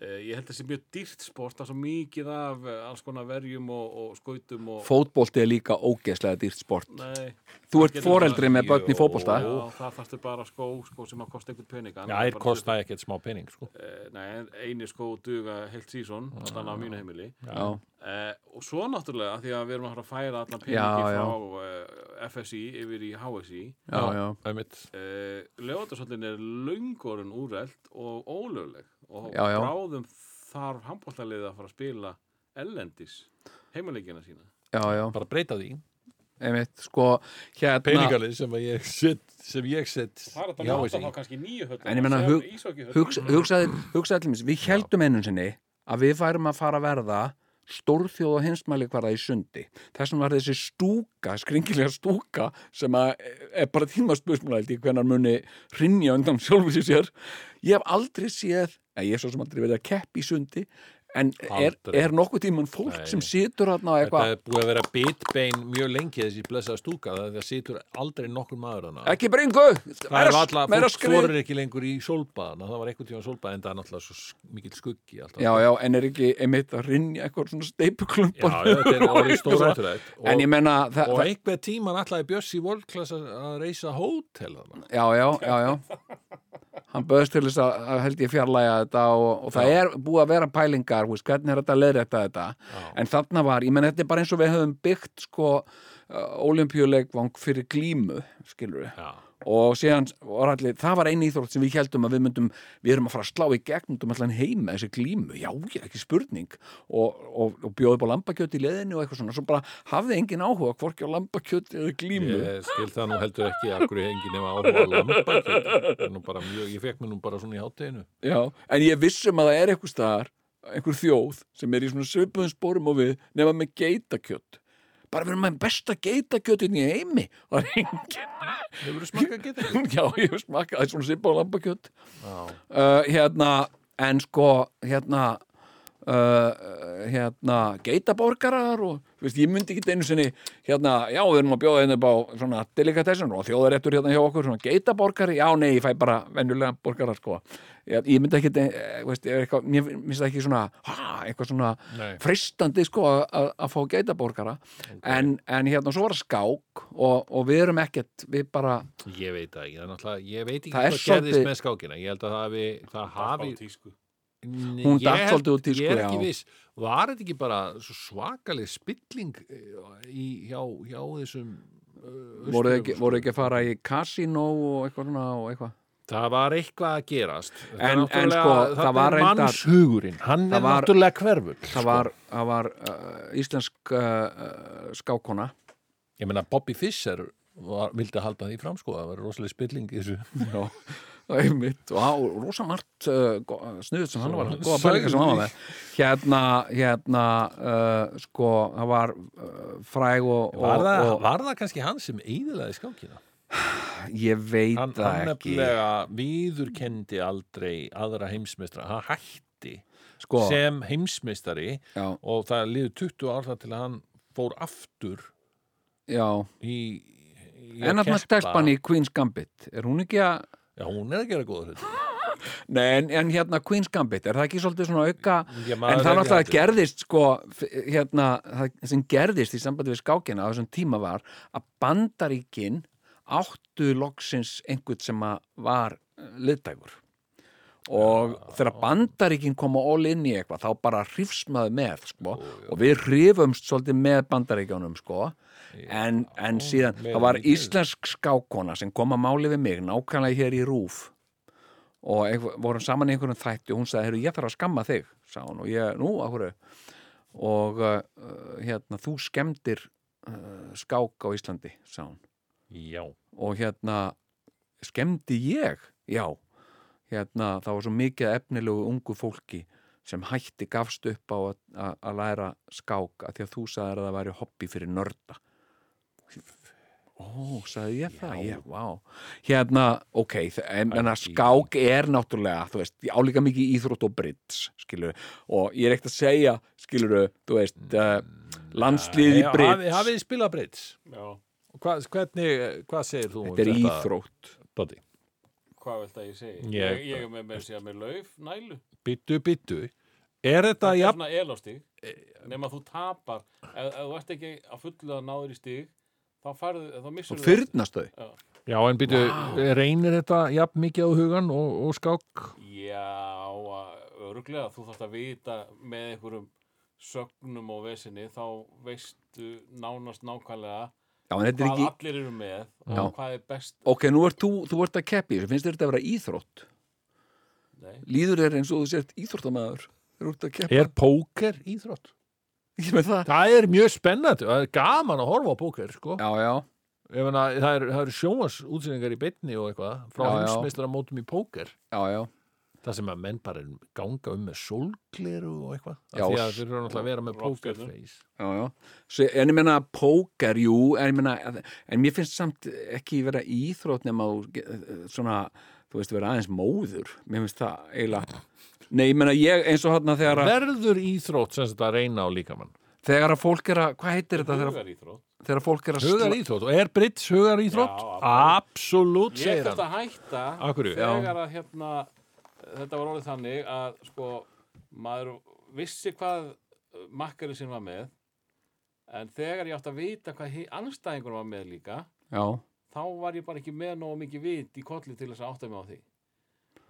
Speaker 5: Eh, ég held að það sé mjög dýrt sport það er svo mikið af eh, alls konar verjum og, og skautum og
Speaker 4: fótbolti er líka ógeðslega dýrt sport
Speaker 5: Nei,
Speaker 4: þú
Speaker 5: það
Speaker 4: ert
Speaker 5: getur
Speaker 4: foreldri
Speaker 5: bara-
Speaker 4: með börn í fótbolta
Speaker 5: Já, það þarftu bara skó, skó sem að kosta einhvern pening
Speaker 3: Já, þeir kosta ekkert smá pening, sko
Speaker 5: Eh, Nei, eini skó duga heilt sísón þannig á mínu heimili
Speaker 4: já,
Speaker 5: eh, og svo náttúrulega af því að við erum að fara að færa
Speaker 4: Já,
Speaker 5: allan peningi
Speaker 4: já.
Speaker 5: frá eh, FSI yfir í HSI
Speaker 4: já, já,
Speaker 3: einmitt.
Speaker 5: eh, Leótarsöllin er löngorinn úrelt og ólögleg og
Speaker 4: Já, já.
Speaker 5: bráðum þarf handbóltalið að fara að spila ellendis heimaleikina sína
Speaker 4: já, já,
Speaker 3: Bara breyta því
Speaker 4: einmitt sko, hérna
Speaker 3: Peningalið sem að ég set, sem ég set
Speaker 5: Það er þetta
Speaker 3: Já,
Speaker 5: að láta
Speaker 3: þessi.
Speaker 5: þá kannski nýju höllum
Speaker 4: En ég meina, hug- hugsa,
Speaker 3: Mm.
Speaker 4: hugsaði, hugsaði allir mis, við heldum einu sinni að við færum að fara að verða stórþjóð og hinsmæli hverða í sundi þessum var þessi stúka, skringilega stúka sem að eh, er bara tímaspursmúlældi hvenar muni rinja undan sjálfu sér sér ég hef aldrei séð, eða ég hef svo sem aldrei verið að keppi í sundi en er,
Speaker 3: Aldrei.
Speaker 4: er nokkuð tíman fólk
Speaker 3: Nei.
Speaker 4: sem situr þarna og
Speaker 3: Þetta
Speaker 4: eitthvað
Speaker 3: er búið að vera bitbein mjög lengi þessi blessaða stúka það það situr aldrei nokkur maður hana
Speaker 4: ekki bringu,
Speaker 3: Það er alltaf,
Speaker 4: meira
Speaker 3: fólk
Speaker 4: skrið
Speaker 3: þorir ekki lengur í sólbaðana, það var eitthvað tíma sólbað en það er náttúrulega svo s- mikill skuggi alltaf.
Speaker 4: já, já, en er ekki einmitt að rinja eitthvað svona
Speaker 3: já,
Speaker 4: steipuklumpa
Speaker 3: já, þetta er orðið stóðrætturætt.
Speaker 4: en ég menna það,
Speaker 3: Og
Speaker 4: það,
Speaker 3: einhver tíman ætlaði Bjössi Volklass að reysa hótel þarna.
Speaker 4: já, já, já, já hann böðst til þess að, að held ég fjarlæga þetta og, og það er búið að vera pælingar þú veist, hvernig er þetta að leiðrætta þetta en þarna var, ég menn þetta er bara eins og við höfum byggt sko olimpíuleikvang fyrir glímu, skilur við
Speaker 3: Já.
Speaker 4: og síðan var allir, það var einn íþrótt sem við heldum að við myndum, við erum að fara að slá í gegn um allan heim með þessi glímu, já, já, ekki spurning og, og, og bjóði upp á lambakjöti í leðinu og eitthvað svona, svo bara hafði engin áhuga hvorki á lambakjöti eða glímu
Speaker 3: Ég skil það nú heldur ekki að hverju hengi nema áhuga á lambakjöti. Ég fekk mér nú bara svona í hátteginu.
Speaker 4: Já, en ég vissum að það er eitthvað staðar, einhver þjóð sem er í svona svipuðum spórum og við nema með geitakjött. Bara við erum með besta geitakjöttin í heimi. Það er engin,
Speaker 3: Hefur þú smakað getið?
Speaker 4: *laughs* já, ég hef smakað, það er svona svipað á lambakjött. Uh, hérna, en sko, hérna, uh, hérna, geitaborgarar og, þú veist, ég myndi ekki einu sinni, hérna, já, við erum að bjóða hérna upp á svona delikatessin og þjóðaréttur hérna hjá okkur, svona geitaborgari, já, nei, ég fæ bara venjulega borgara, sko. Ég, ég myndi ekki, eh, veist, ég er eitthvað, mér finnst það ekki svona, ha, eitthvað svona
Speaker 3: Nei.
Speaker 4: freistandi, sko, að- að að fá geitaborgara. En, en hérna, svo var það skák og, og við erum ekkert, við bara,
Speaker 3: Ég veit það ekki, það er náttúrulega, ég veit ekki
Speaker 4: Það er
Speaker 3: hvað gerðist
Speaker 4: svolítið-
Speaker 3: með skákina. Ég held að það hafi, það hafi,
Speaker 5: tísku
Speaker 4: Hún
Speaker 3: Ég
Speaker 4: datt
Speaker 3: held-
Speaker 4: svolítið úr tísku,
Speaker 3: Ég er ekki
Speaker 4: já.
Speaker 3: viss, var þetta ekki bara svo svakaleg spilling eh, í, hjá, hjá þessum eh,
Speaker 4: voru ekki,
Speaker 3: Austur-Evrópskum?
Speaker 4: voru ekki að fara í kasínó og eitthvað svona og eitthvað
Speaker 3: Það var eitthvað að gerast Þetta
Speaker 4: En- en
Speaker 3: náttúrulega-
Speaker 4: sko,
Speaker 3: þarna
Speaker 4: það var
Speaker 3: er
Speaker 4: reyndar-
Speaker 3: Mannshugurinn, hann
Speaker 4: Það
Speaker 3: er
Speaker 4: var-
Speaker 3: náttúrulega hverfur
Speaker 4: það var,
Speaker 3: Sko.
Speaker 4: það var uh, íslensk uh, uh, skákona
Speaker 3: Ég meina Bobby Fischer var, vildi halda því fram sko, það var rosaleg spilling í þessu
Speaker 4: Já, *laughs* það er mitt og á, rosa margt uh, snuðut sem hann var
Speaker 3: Svo-
Speaker 4: góða pælingar sem hann var
Speaker 3: sögðu.
Speaker 4: með hérna, hérna uh, sko, það var uh, fræg og,
Speaker 3: var,
Speaker 4: og,
Speaker 3: það,
Speaker 4: og
Speaker 3: var það kannski hann sem eiðilaði skákina?
Speaker 4: ég veit
Speaker 3: Hann,
Speaker 4: það
Speaker 3: hann
Speaker 4: ekki
Speaker 3: nefnilega viðurkendi aldrei aðra heimsmeistra, hann hætti
Speaker 4: sko,
Speaker 3: sem heimsmeistari
Speaker 4: já,
Speaker 3: og það liðu 20 ár þar til að hann fór aftur
Speaker 4: já
Speaker 3: í, í
Speaker 4: en þarna stelpan í Queen's Gambit er hún ekki að
Speaker 3: Já, hún er að gera góða hlut
Speaker 4: Nei, en, en hérna Queen's Gambit, er það ekki svolítið svona auka
Speaker 3: Já, Mm, maður er
Speaker 4: en það
Speaker 3: ekki
Speaker 4: náttúrulega
Speaker 3: hættur.
Speaker 4: gerðist sko, f- hérna, það sem gerðist í sambandi við skákina á þessum tíma var að bandaríkin áttu loksins einhvern sem að var eh, liðdægur og þegar bandaríkin koma all inn í eitthvað þá bara hrifsmaðu með sko, og við hrifumst svolítið með bandaríkjónum sko en, en síðan,
Speaker 3: meira
Speaker 4: það var
Speaker 3: en við gerum.
Speaker 4: íslensk skákona sem kom að máli við mig nákvæmlega hér í Rúf og einhver, vorum saman í einhverjum þætti og hún sagði, heyrðu, ég þarf að skamma þig sá hún og ég, nú, af hverju og uh, hérna, þú skemmtir uh, skák á Íslandi, sá hún
Speaker 3: Já,
Speaker 4: og hérna, skemmti ég? Já, hérna, það var svo mikið af efnilegu ungu fólki sem hætti gafst upp á að- að að læra skák að því að þú sagðir að það væri hobby fyrir nörda Ó, sagði ég það? Já, vá. Hérna, ok, þ- en, en að skák er náttúrulega, þú veist, ég álíka mikið íþrótt og britts, skilur og ég er ekkert að segja, skilur þú veist, uh, landslið
Speaker 3: Mm,
Speaker 4: í
Speaker 3: Já,
Speaker 4: britts
Speaker 3: hafi- Eh, hafið þið spilað Brits?
Speaker 5: Já,
Speaker 3: Hva, hvernig, hvað segir þú? um
Speaker 4: þetta er íþrótt
Speaker 3: Doddi?
Speaker 5: hvað vilt að ég segi?
Speaker 3: Ég-
Speaker 5: Ég, ég er með með síðan með lauf, nælu.
Speaker 3: Bittu, bittu Er þetta,
Speaker 5: Það er
Speaker 3: jafn,
Speaker 5: svona elástig. Nefn að þú tapar, ef, ef þú ert ekki að fullu að náður í stig, þá farðu, þá missur
Speaker 4: og fyrnast þau
Speaker 3: já, en býtu, reynir þetta jafn mikið á hugan og, og skák?
Speaker 5: Já, öruglega, þú þarft að vita með einhverjum sögnum og vesinni, þá veistu nánast nákvæmlega
Speaker 4: Já, en þetta er
Speaker 5: hvað
Speaker 4: ekki
Speaker 5: allir eru með
Speaker 4: Já.
Speaker 5: og hvað er best
Speaker 4: Ok, nú ert þú, þú ert að keppi, þessu finnst þér þetta að vera íþrótt
Speaker 5: Nei,
Speaker 4: Líður þér eins og þú sért íþróttamæður Þeir ert að keppi
Speaker 3: Er póker íþrótt?
Speaker 4: Ég með það
Speaker 3: Það er mjög spennandi, það er gaman að horfa á póker, sko
Speaker 4: Já, já,
Speaker 3: Ég meina, það eru er sjónvarsútsendingar í bytni og eitthvað frá
Speaker 4: Já, já.
Speaker 3: heimsmeistaramótum í póker
Speaker 4: já, já
Speaker 3: það sem að menn bara er- ganga um með sólgleru og eitthvað
Speaker 4: Já,
Speaker 3: af því að
Speaker 4: s-
Speaker 3: þeir eru náttúrulega að vera með
Speaker 5: rockstjörnur.
Speaker 3: pókerface
Speaker 4: Já, já. Svo, en ég meina póker, jú, en ég meina, en mér finnst samt ekki vera íþrótt nema þú ge- eh, svona, þú veist, vera aðeins móður. Mér finnst það eiginlega. Nei, ég meina, ég eins og hann þegar, að-
Speaker 3: Verður íþrótt sem þetta að reyna á líkamann
Speaker 4: þegar að fólk er að, hvað heitir þetta þegar,
Speaker 5: hugar íþrótt
Speaker 4: þegar fólk er að
Speaker 3: Hugar íþrótt, og er Brits hugar íþrótt?
Speaker 5: Já,
Speaker 3: Absolutt,
Speaker 5: Ég
Speaker 3: segir
Speaker 5: þurft
Speaker 3: hann
Speaker 5: að hætta
Speaker 3: Af hverju?
Speaker 5: þegar að hérna þetta var orðið þannig að sko maður vissi hvað makkari sinn var með en þegar ég átti að vita hvað anstæðingur var með líka
Speaker 4: Já,
Speaker 5: þá var ég bara ekki með nógu mikið vit í kolli til þess að átta mig á því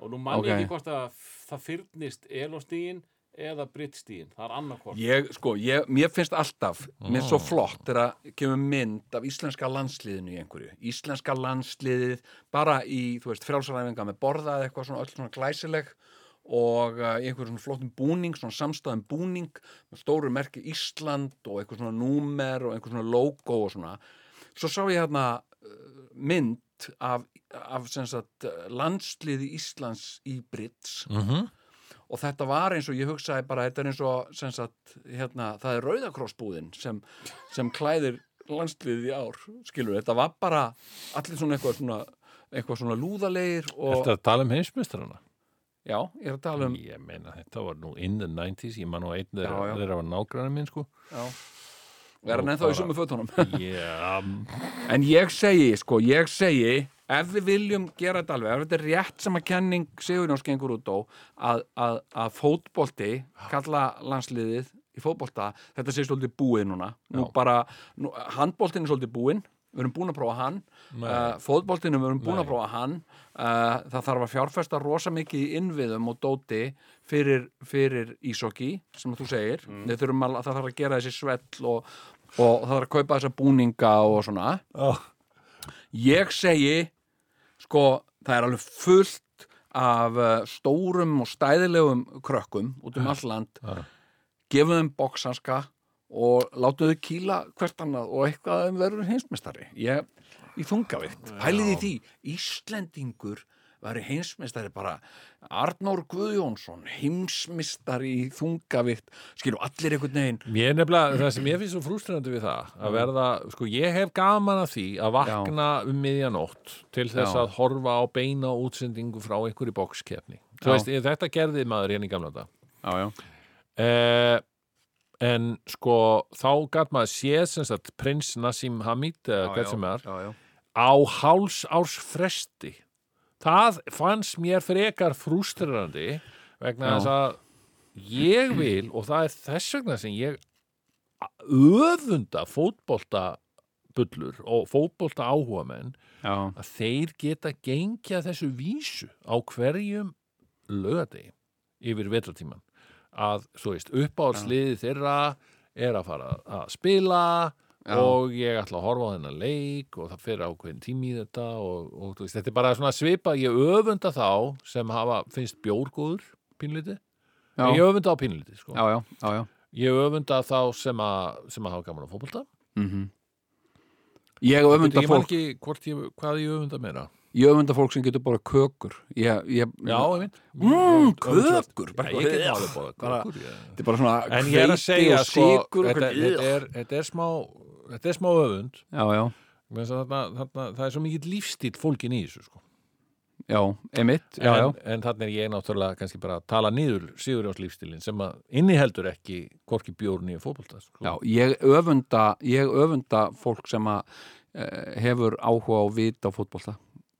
Speaker 5: og nú mann
Speaker 4: Ok.
Speaker 5: ég ekki hvort að það fyrnist elostíin eða brittstíin, það er annarkvort
Speaker 4: Ég, sko, ég, mér finnst alltaf, mér finnst svo flott þegar að kemur mynd af íslenska landsliðinu í einhverju. Íslenska landsliðið, bara í, þú veist, frjálsaræfinga með borða eða eitthvað svona öll svona glæsileg og uh, í einhverjum svona flottum búning, svona samstæðum búning með stóru merki Ísland og einhver svona númer og einhver svona logo og svona. Svo sá ég hérna uh, mynd af, af sem sagt, uh, landsliði Íslands í Brits og þetta var eins og ég hugsaði bara þetta er eins og sem sagt, hérna, það er rauðakrossbúðin sem, sem klæðir landsliðið í ár skilur, þetta var bara allir svona eitthvað svona, eitthvað svona lúðalegir og
Speaker 3: Þetta að tala um heimsmeistrarna
Speaker 4: já, ég er að tala um
Speaker 3: Ég meina, þetta var nú in the 90s Ég man nú einn
Speaker 4: Já, já.
Speaker 3: þeirra þeirra var nágræna minn, sko
Speaker 4: já, verðan ennþá í sumu fötunum
Speaker 3: Já,
Speaker 4: en ég segi, sko, ég segi ef við viljum gera þetta alveg ef þetta er rétt sem að kenning Sigurjóns gengur út á að, að, að fótbolti kalla landsliðið í fótbolta, þetta sé svolítið búið núna nú bara, nú, handboltin er svolítið búin við erum búin að prófa hann uh, fótboltinu, við erum búin
Speaker 3: Nei.
Speaker 4: að prófa hann uh, það þarf að fjárfesta rosa mikið í innviðum og dóti fyrir, fyrir ísokki, sem þú segir mm. að, það þarf að gera þessi svell og, og það þarf að kaupa þessa búninga og svona
Speaker 3: oh.
Speaker 4: ég segi sko, það er alveg fullt af eh, stórum og stæðilegum krökkum út um all land
Speaker 3: já.
Speaker 4: gefum þeim boksanska og látum þau kýla hvert annað og eitthvað að þeim verður heimsmeistari ég, í þungavitt, pælið í því Íslendingur væri heimsmeistari bara Arnór Guðjónsson heimsmeistari í þungavitt skilur allir einhvern veginn
Speaker 3: Mér nefnilega, það sem ég finnst svo frústrandi við það að verða, sko ég hef gaman af því að vakna um miðjanótt til þess
Speaker 4: Já.
Speaker 3: að horfa á beina útsendingu frá einhverju bókskefni
Speaker 4: Já.
Speaker 3: Þú veist, ég- þetta gerði maður hérna í gamla þetta
Speaker 4: já, já.
Speaker 3: eh, En sko þá gat maður séð sem sagt prins Nassim Hamid, eða hvað sem er
Speaker 4: já, já.
Speaker 3: á háls árs fresti það fannst mér frekar frústrarandi vegna
Speaker 4: Já.
Speaker 3: þess að ég vil og það er þess vegna sem ég öfunda fótbolta bullur og fótbolta áhugamenn
Speaker 4: já.
Speaker 3: að þeir geta gengja þessu vísu á hverjum lögadegi yfir vetratíman að, svo veist, uppáhaldsliði þeirra er að fara að spila
Speaker 4: Já.
Speaker 3: og ég ætla að horfa á þennan leik og það fer ákveðin tími í þetta og, og þú veist, þetta er bara svona svipa ég öfunda þá sem hafa finnst bjórgóður pínliti
Speaker 4: Já.
Speaker 3: ég öfunda á pínliti, sko
Speaker 4: já, já, já, já.
Speaker 3: ég öfunda þá sem að, sem að hafa gaman á fótbolta
Speaker 4: Mhm. Ég öfunda
Speaker 3: ég man
Speaker 4: fólk
Speaker 3: ekki hvort ég, hvað ég öfunda meira
Speaker 4: Ég öfunda fólk sem getur bara kökur ég, ég,
Speaker 3: Já, ég veit
Speaker 4: Mm, kökur, bara
Speaker 3: Já, ég get
Speaker 4: eitthvað-
Speaker 3: alveg bóða
Speaker 4: bara-
Speaker 3: kökur ég.
Speaker 4: Þetta er bara svona
Speaker 3: En ég er að
Speaker 4: hveiti
Speaker 3: segja
Speaker 4: og
Speaker 3: sko,
Speaker 4: sykur og
Speaker 3: þetta,
Speaker 4: hvernig-
Speaker 3: þetta, er, þetta er smá þetta er smá öfund
Speaker 4: Já, já,
Speaker 3: vegna þess að þarna, þarna, það er svo mikill lífstíl fólgin í þessu sko.
Speaker 4: já, emitt Já, já,
Speaker 3: en, en þarna er ég náttúrulega kannski bara að tala niður Sigurjóns lífstílin sem að inniheldur ekki hvorki bjórn í fótbolta sko.
Speaker 4: já Ég öfunda, ég öfunda fólk sem að e, hefur áhuga á vita á fótbolta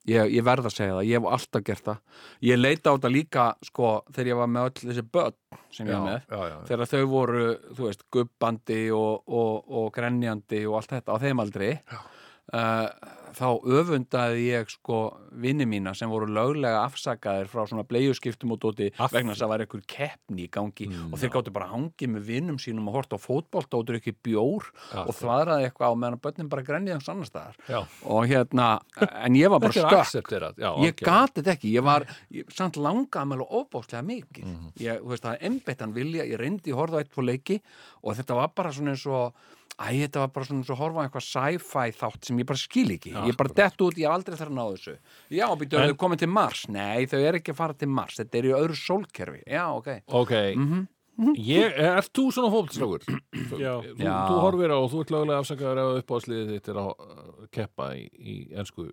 Speaker 4: Ég, ég verð að segja það, ég hef alltaf gert það Ég leita á þetta líka, sko, þegar ég var með öll þessi börn sem ég
Speaker 3: já,
Speaker 4: var með
Speaker 3: já, já,
Speaker 4: þegar þau voru, þú veist, gubbandi og, og, og grenjandi og allt þetta á þeim aldri uh, þá öfundaði ég sko vini mína sem voru löglega afsakaðir frá svona bleiuskiptum og dóti
Speaker 3: Af-
Speaker 4: vegna þess að það var einhver keppni í gangi
Speaker 3: Mm,
Speaker 4: og þeir gáttu bara hangið með vinnum sínum og hort á fótbolta og drukki bjór
Speaker 3: já,
Speaker 4: og þvaraði eitthvað á meðan börnin bara grenjaði hans annars staðar
Speaker 3: já.
Speaker 4: og hérna, en ég var bara
Speaker 3: Þetta er
Speaker 4: stökk
Speaker 3: accepterað já,
Speaker 4: ég
Speaker 3: ok.
Speaker 4: gati þetta ekki, ég var ég, samt langaði mér alveg óbóðslega mikið ég, þú veist, það er einbeittan vilja, ég reyndi að horfa á eitt fór leiki og þetta var bara svona eins og æ, þetta var bara svona eins og horfa á eitthvað sci-fi þátt sem ég bara skil ekki, ég bara dett út, ég hef aldrei þarf að ná þessu já, býttu,
Speaker 3: En-
Speaker 4: þau komið til Mars, nei, þau er ekki að fara til Mars þetta er í öðru sólkerfi, já, ok
Speaker 3: Ok,
Speaker 4: Mhm.
Speaker 3: ég, er þú svona fótboltstrákur?
Speaker 5: Já.
Speaker 3: þú,
Speaker 4: Já.
Speaker 3: þú horfir á, þú ert lögulega afsakaður ef uppáðsliðið þitt er að uh, keppa í, í ensku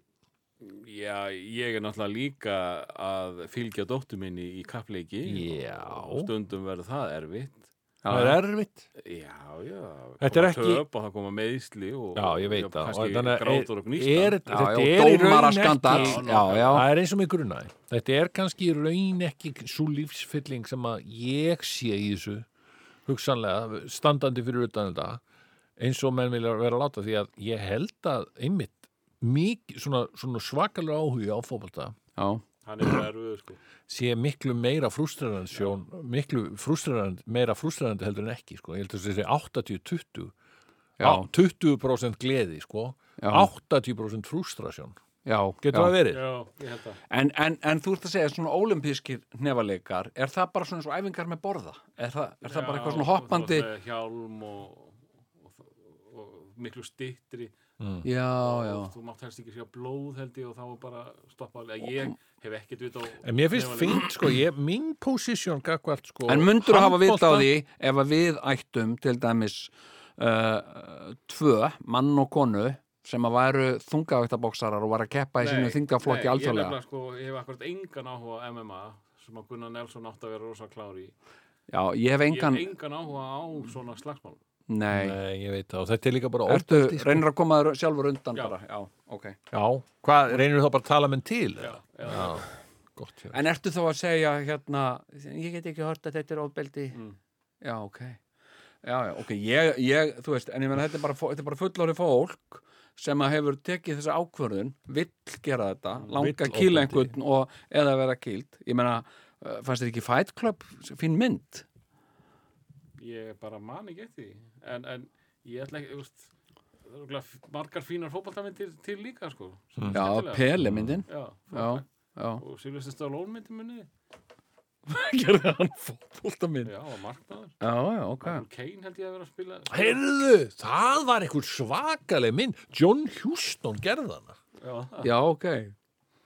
Speaker 5: Já, ég er náttúrulega líka að fylgja dóttur minni í kappleiki
Speaker 3: Já.
Speaker 5: og stundum verður það erfitt
Speaker 3: Það er erfitt
Speaker 5: Já, já
Speaker 3: Þetta er
Speaker 5: koma
Speaker 3: ekki-
Speaker 5: töp og það koma meiðsli og,
Speaker 3: Já, ég veit
Speaker 5: og e-
Speaker 3: það
Speaker 5: kannski
Speaker 3: þannig að
Speaker 5: grátur og gnýstan
Speaker 3: er,
Speaker 4: Já,
Speaker 3: Þetta
Speaker 4: já,
Speaker 3: er í
Speaker 4: dómara
Speaker 3: raun
Speaker 4: skandall.
Speaker 3: ekki
Speaker 4: Já, já.
Speaker 3: Það er eins og mig grunaði Þetta er kannski í raun ekki svo lífsfylling sem að ég sé í þessu hugsanlega, standandi fyrir utan þetta eins og menn vilja vera að láta því að ég held að einmitt mikið, svona, svona svakalega áhugi á fótbolta
Speaker 4: já,
Speaker 5: Hann er erfið, sko
Speaker 3: sé miklu meira frústrarandi sjón, miklu frústrarandi, meira frústrarandi heldur en ekki, sko. Ég heldur þessi 80-20,
Speaker 4: já,
Speaker 3: Á, 20% gleði, sko,
Speaker 4: Já.
Speaker 3: 80% frústrasjón.
Speaker 4: já,
Speaker 3: Getur
Speaker 4: já.
Speaker 3: það verið?
Speaker 5: Já, ég held það
Speaker 4: En, en, en þú ert að segja svona olimpískir nefaleikar, er það bara svona eins og æfingar með borða? Er það, er það bara eitthvað svona hoppandi?
Speaker 5: með Hjálm og, og, og, og miklu stittri
Speaker 4: Já, já.
Speaker 5: og þú mátt helst ekki sjá blóð held ég og þá er bara stoppa alveg að ég hef ekkert vit á
Speaker 3: En mér finnst
Speaker 5: Nei,
Speaker 3: fint, sko, ég, mín posisjón gagvart, sko.
Speaker 4: En myndur að hafa vit á
Speaker 3: handbolta-
Speaker 4: því ef að við ættum til dæmis uh, tvö mann og konu sem að væru þungavægtaboksarar og var að keppa í sínu þingaflokki
Speaker 5: Nei, Ég
Speaker 4: alþjóðlega.
Speaker 5: nefnilega, sko, ég hef akkurat engan áhuga á MMA sem að Gunnar Nelson átti að vera rosa klár í
Speaker 4: Já, ég hef engan,
Speaker 5: Ég hef engan áhuga á svona slagsmál
Speaker 4: nei,
Speaker 3: Nei, ég veit það, og þetta er líka bara
Speaker 4: ertu,
Speaker 3: ofbeldi, sko.
Speaker 4: reynir að koma þér sjálfur undan
Speaker 5: Já.
Speaker 4: bara, já, ok.
Speaker 3: Já, hvað, reynir þá bara að tala menn til?
Speaker 5: Já,
Speaker 3: eða?
Speaker 5: já.
Speaker 3: Já, gott hér.
Speaker 4: En ertu þá að segja hérna, ég get ekki hort að þetta er ofbeldi?
Speaker 3: Mm.
Speaker 4: Já, ok. Já, já, ok, ég, ég, þú veist, en ég menn þetta er bara, fó- þetta er bara fullori fólk sem að hefur tekið þessa ákvörðun vill gera þetta,
Speaker 3: Vill
Speaker 4: langa
Speaker 3: ofbeldi.
Speaker 4: kýla einhvern og eða vera kýld ég meina, eh, fannst þér ekki Fight Club fín mynd?
Speaker 5: ég bara man ekki eftir því en, en ég ætla ekki úst, það eru örugglega margar fínar fótballtamindir til líka sko sem eru
Speaker 4: Mm. Já,
Speaker 5: skemmtilegar.
Speaker 4: Pele myndin
Speaker 5: já,
Speaker 3: Mm,
Speaker 4: Já, já
Speaker 5: og Silvestin Stallone myndin munni
Speaker 4: Gerði hann fótbolta mynd
Speaker 5: já, og Markmaður
Speaker 4: Já, já, ok
Speaker 5: Michael Kane held ég að vera að spila
Speaker 3: Heyrðu, það var einhver svakaleg minn John Houston gerði hana
Speaker 5: já,
Speaker 4: Já, ok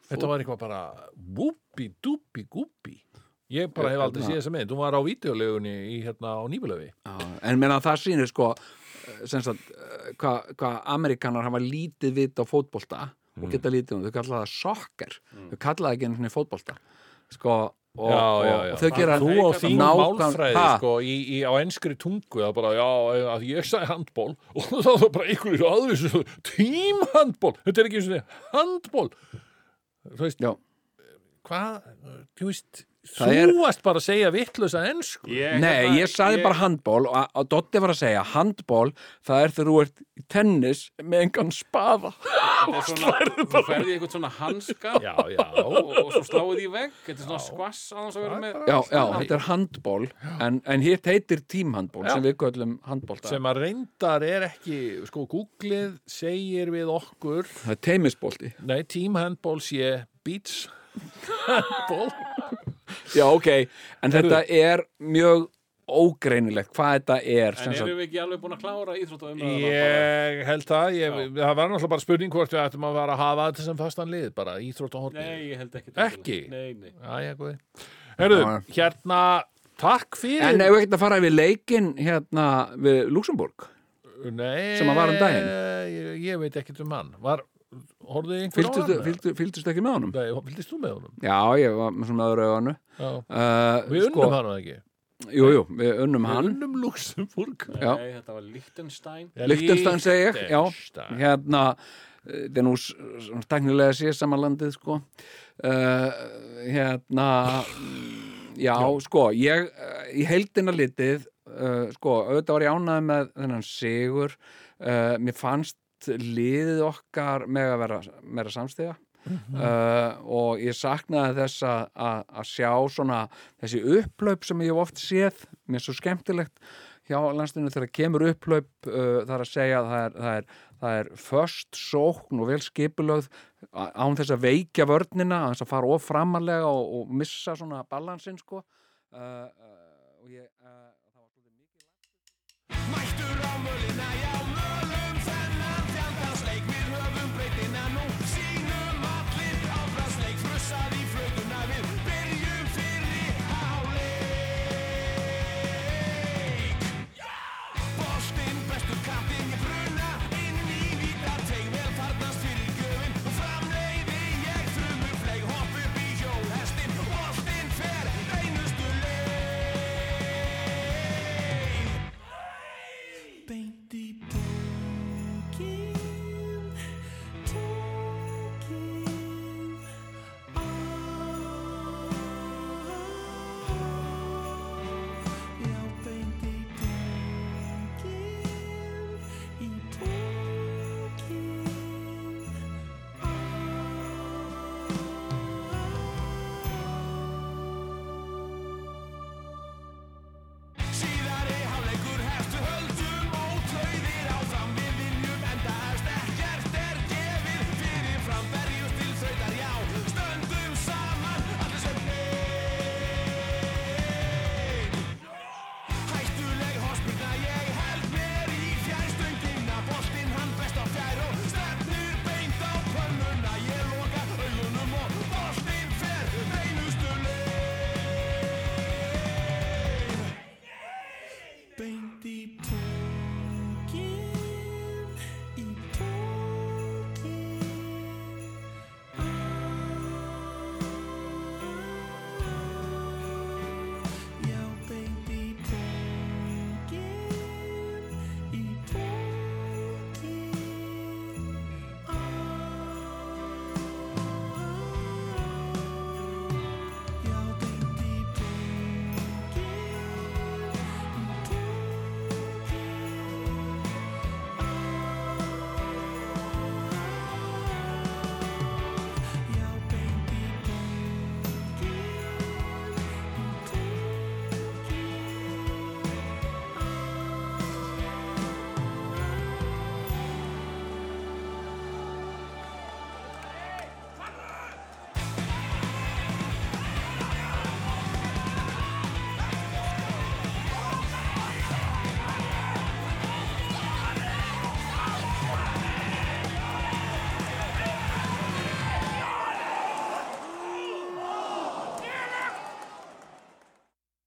Speaker 3: Þetta var eitthvað bara whoopi doopi goopi Ég bara
Speaker 4: Ég-
Speaker 3: hef aldrei
Speaker 4: hérna-
Speaker 3: séð þessa mynd Hún var á videolegunni í hérna á Nýbulöfi
Speaker 4: Já, en meina það sýnir sko eh, sem sagt, eh, hvað hva Amerikanar hafa lítið vit á fótbolta
Speaker 3: Mm.
Speaker 4: og geta lítið um, þau kalla það soccer þau kalla það ekki einu sinni fótbolta sko, og, og, og þau gera
Speaker 3: Þú á þín
Speaker 4: nákvæm-
Speaker 3: málfræði
Speaker 4: Ha?
Speaker 3: sko í, í, á enskri tungu það bara, já, að ég sagði handból *laughs* og þá var bara einhverjir aðri svo, tímhandból, þetta er ekki einu sinni handból Þú veist,
Speaker 4: Já.
Speaker 3: hvað þú veist,
Speaker 4: Það er-
Speaker 3: þú varst bara að segja vittlösa ensku
Speaker 5: Ég,
Speaker 4: Nei, ég saði bara handból og, og Dotti var að segja, handból það er þegar þú ert í tennis með engan spaða
Speaker 5: slærðu bara þú ferði eitthvað svona hanska
Speaker 3: Já, já,
Speaker 5: og, og svo sláið í vegg þetta er svona skvass aðeins að vera með
Speaker 4: Já, já, þetta er handból en, en hitt heitir tímhandból sem við köllum handbólta
Speaker 3: sem að reyndar er ekki sko, Googlið segir við okkur
Speaker 4: það er teimisbólti
Speaker 3: nei, tímhandból sé beach handból
Speaker 4: Já, ok, en þetta er mjög ógreinilegt hvað þetta er sem
Speaker 5: en
Speaker 4: sagt,
Speaker 5: erum við ekki alveg búin að klára íþróttaumræðuna
Speaker 3: ég held það ég,
Speaker 5: Já.
Speaker 3: það var náttúrulega bara spurning hvort við ættum að vera að hafa þetta sem fastan lið bara íþrótt og horni
Speaker 5: Nei, ég held ekki
Speaker 3: Ekki?
Speaker 5: Nei, nei
Speaker 3: Jæja, góði Herðu,
Speaker 4: Já.
Speaker 3: hérna, takk fyrir
Speaker 4: En ef við ekkert að fara við leikinn hérna við Luxemburg
Speaker 3: nei,
Speaker 4: sem að var um daginn.
Speaker 3: ég, ég veit ekkert um hann var, horfðu einhver á
Speaker 4: Fylgdist
Speaker 3: hann?
Speaker 4: fylgdu, fylgdustu ekki með honum?
Speaker 3: Nei, fylgdist þú með honum?
Speaker 4: Já, ég var með svona öðru öðanu
Speaker 3: Já.
Speaker 4: uh,
Speaker 3: Við unnum hann eða ekki
Speaker 4: Jú, jú, við unnum um hann
Speaker 3: Við unnum Luxemburg
Speaker 5: Nei,
Speaker 4: Já.
Speaker 5: þetta var Lichtenstein
Speaker 4: Lichtenstein segi ég, já.
Speaker 3: Liechtenstein.
Speaker 4: Hérna, eh, þetta er nú s- svona tæknilega sér samanlandið sko uh, Hérna Já, sko, ég eh, í heildina litið uh, sko, auðvitað var ég ánæði með þennan sigur uh, mér fannst liðið okkar með að vera meira samstega uh, og ég saknaði þess að- að að sjá svona þessi upplaup sem ég hef oft séð mér er svo skemmtilegt hjá landstinu þegar kemur upplaup uh, þar að segja að það er, það er, það er först sókn og vel skipulöð á- án þess að veikja vörnina án þess að fara of framarlega og, og missa svona balansinn sko uh, uh, og ég uh,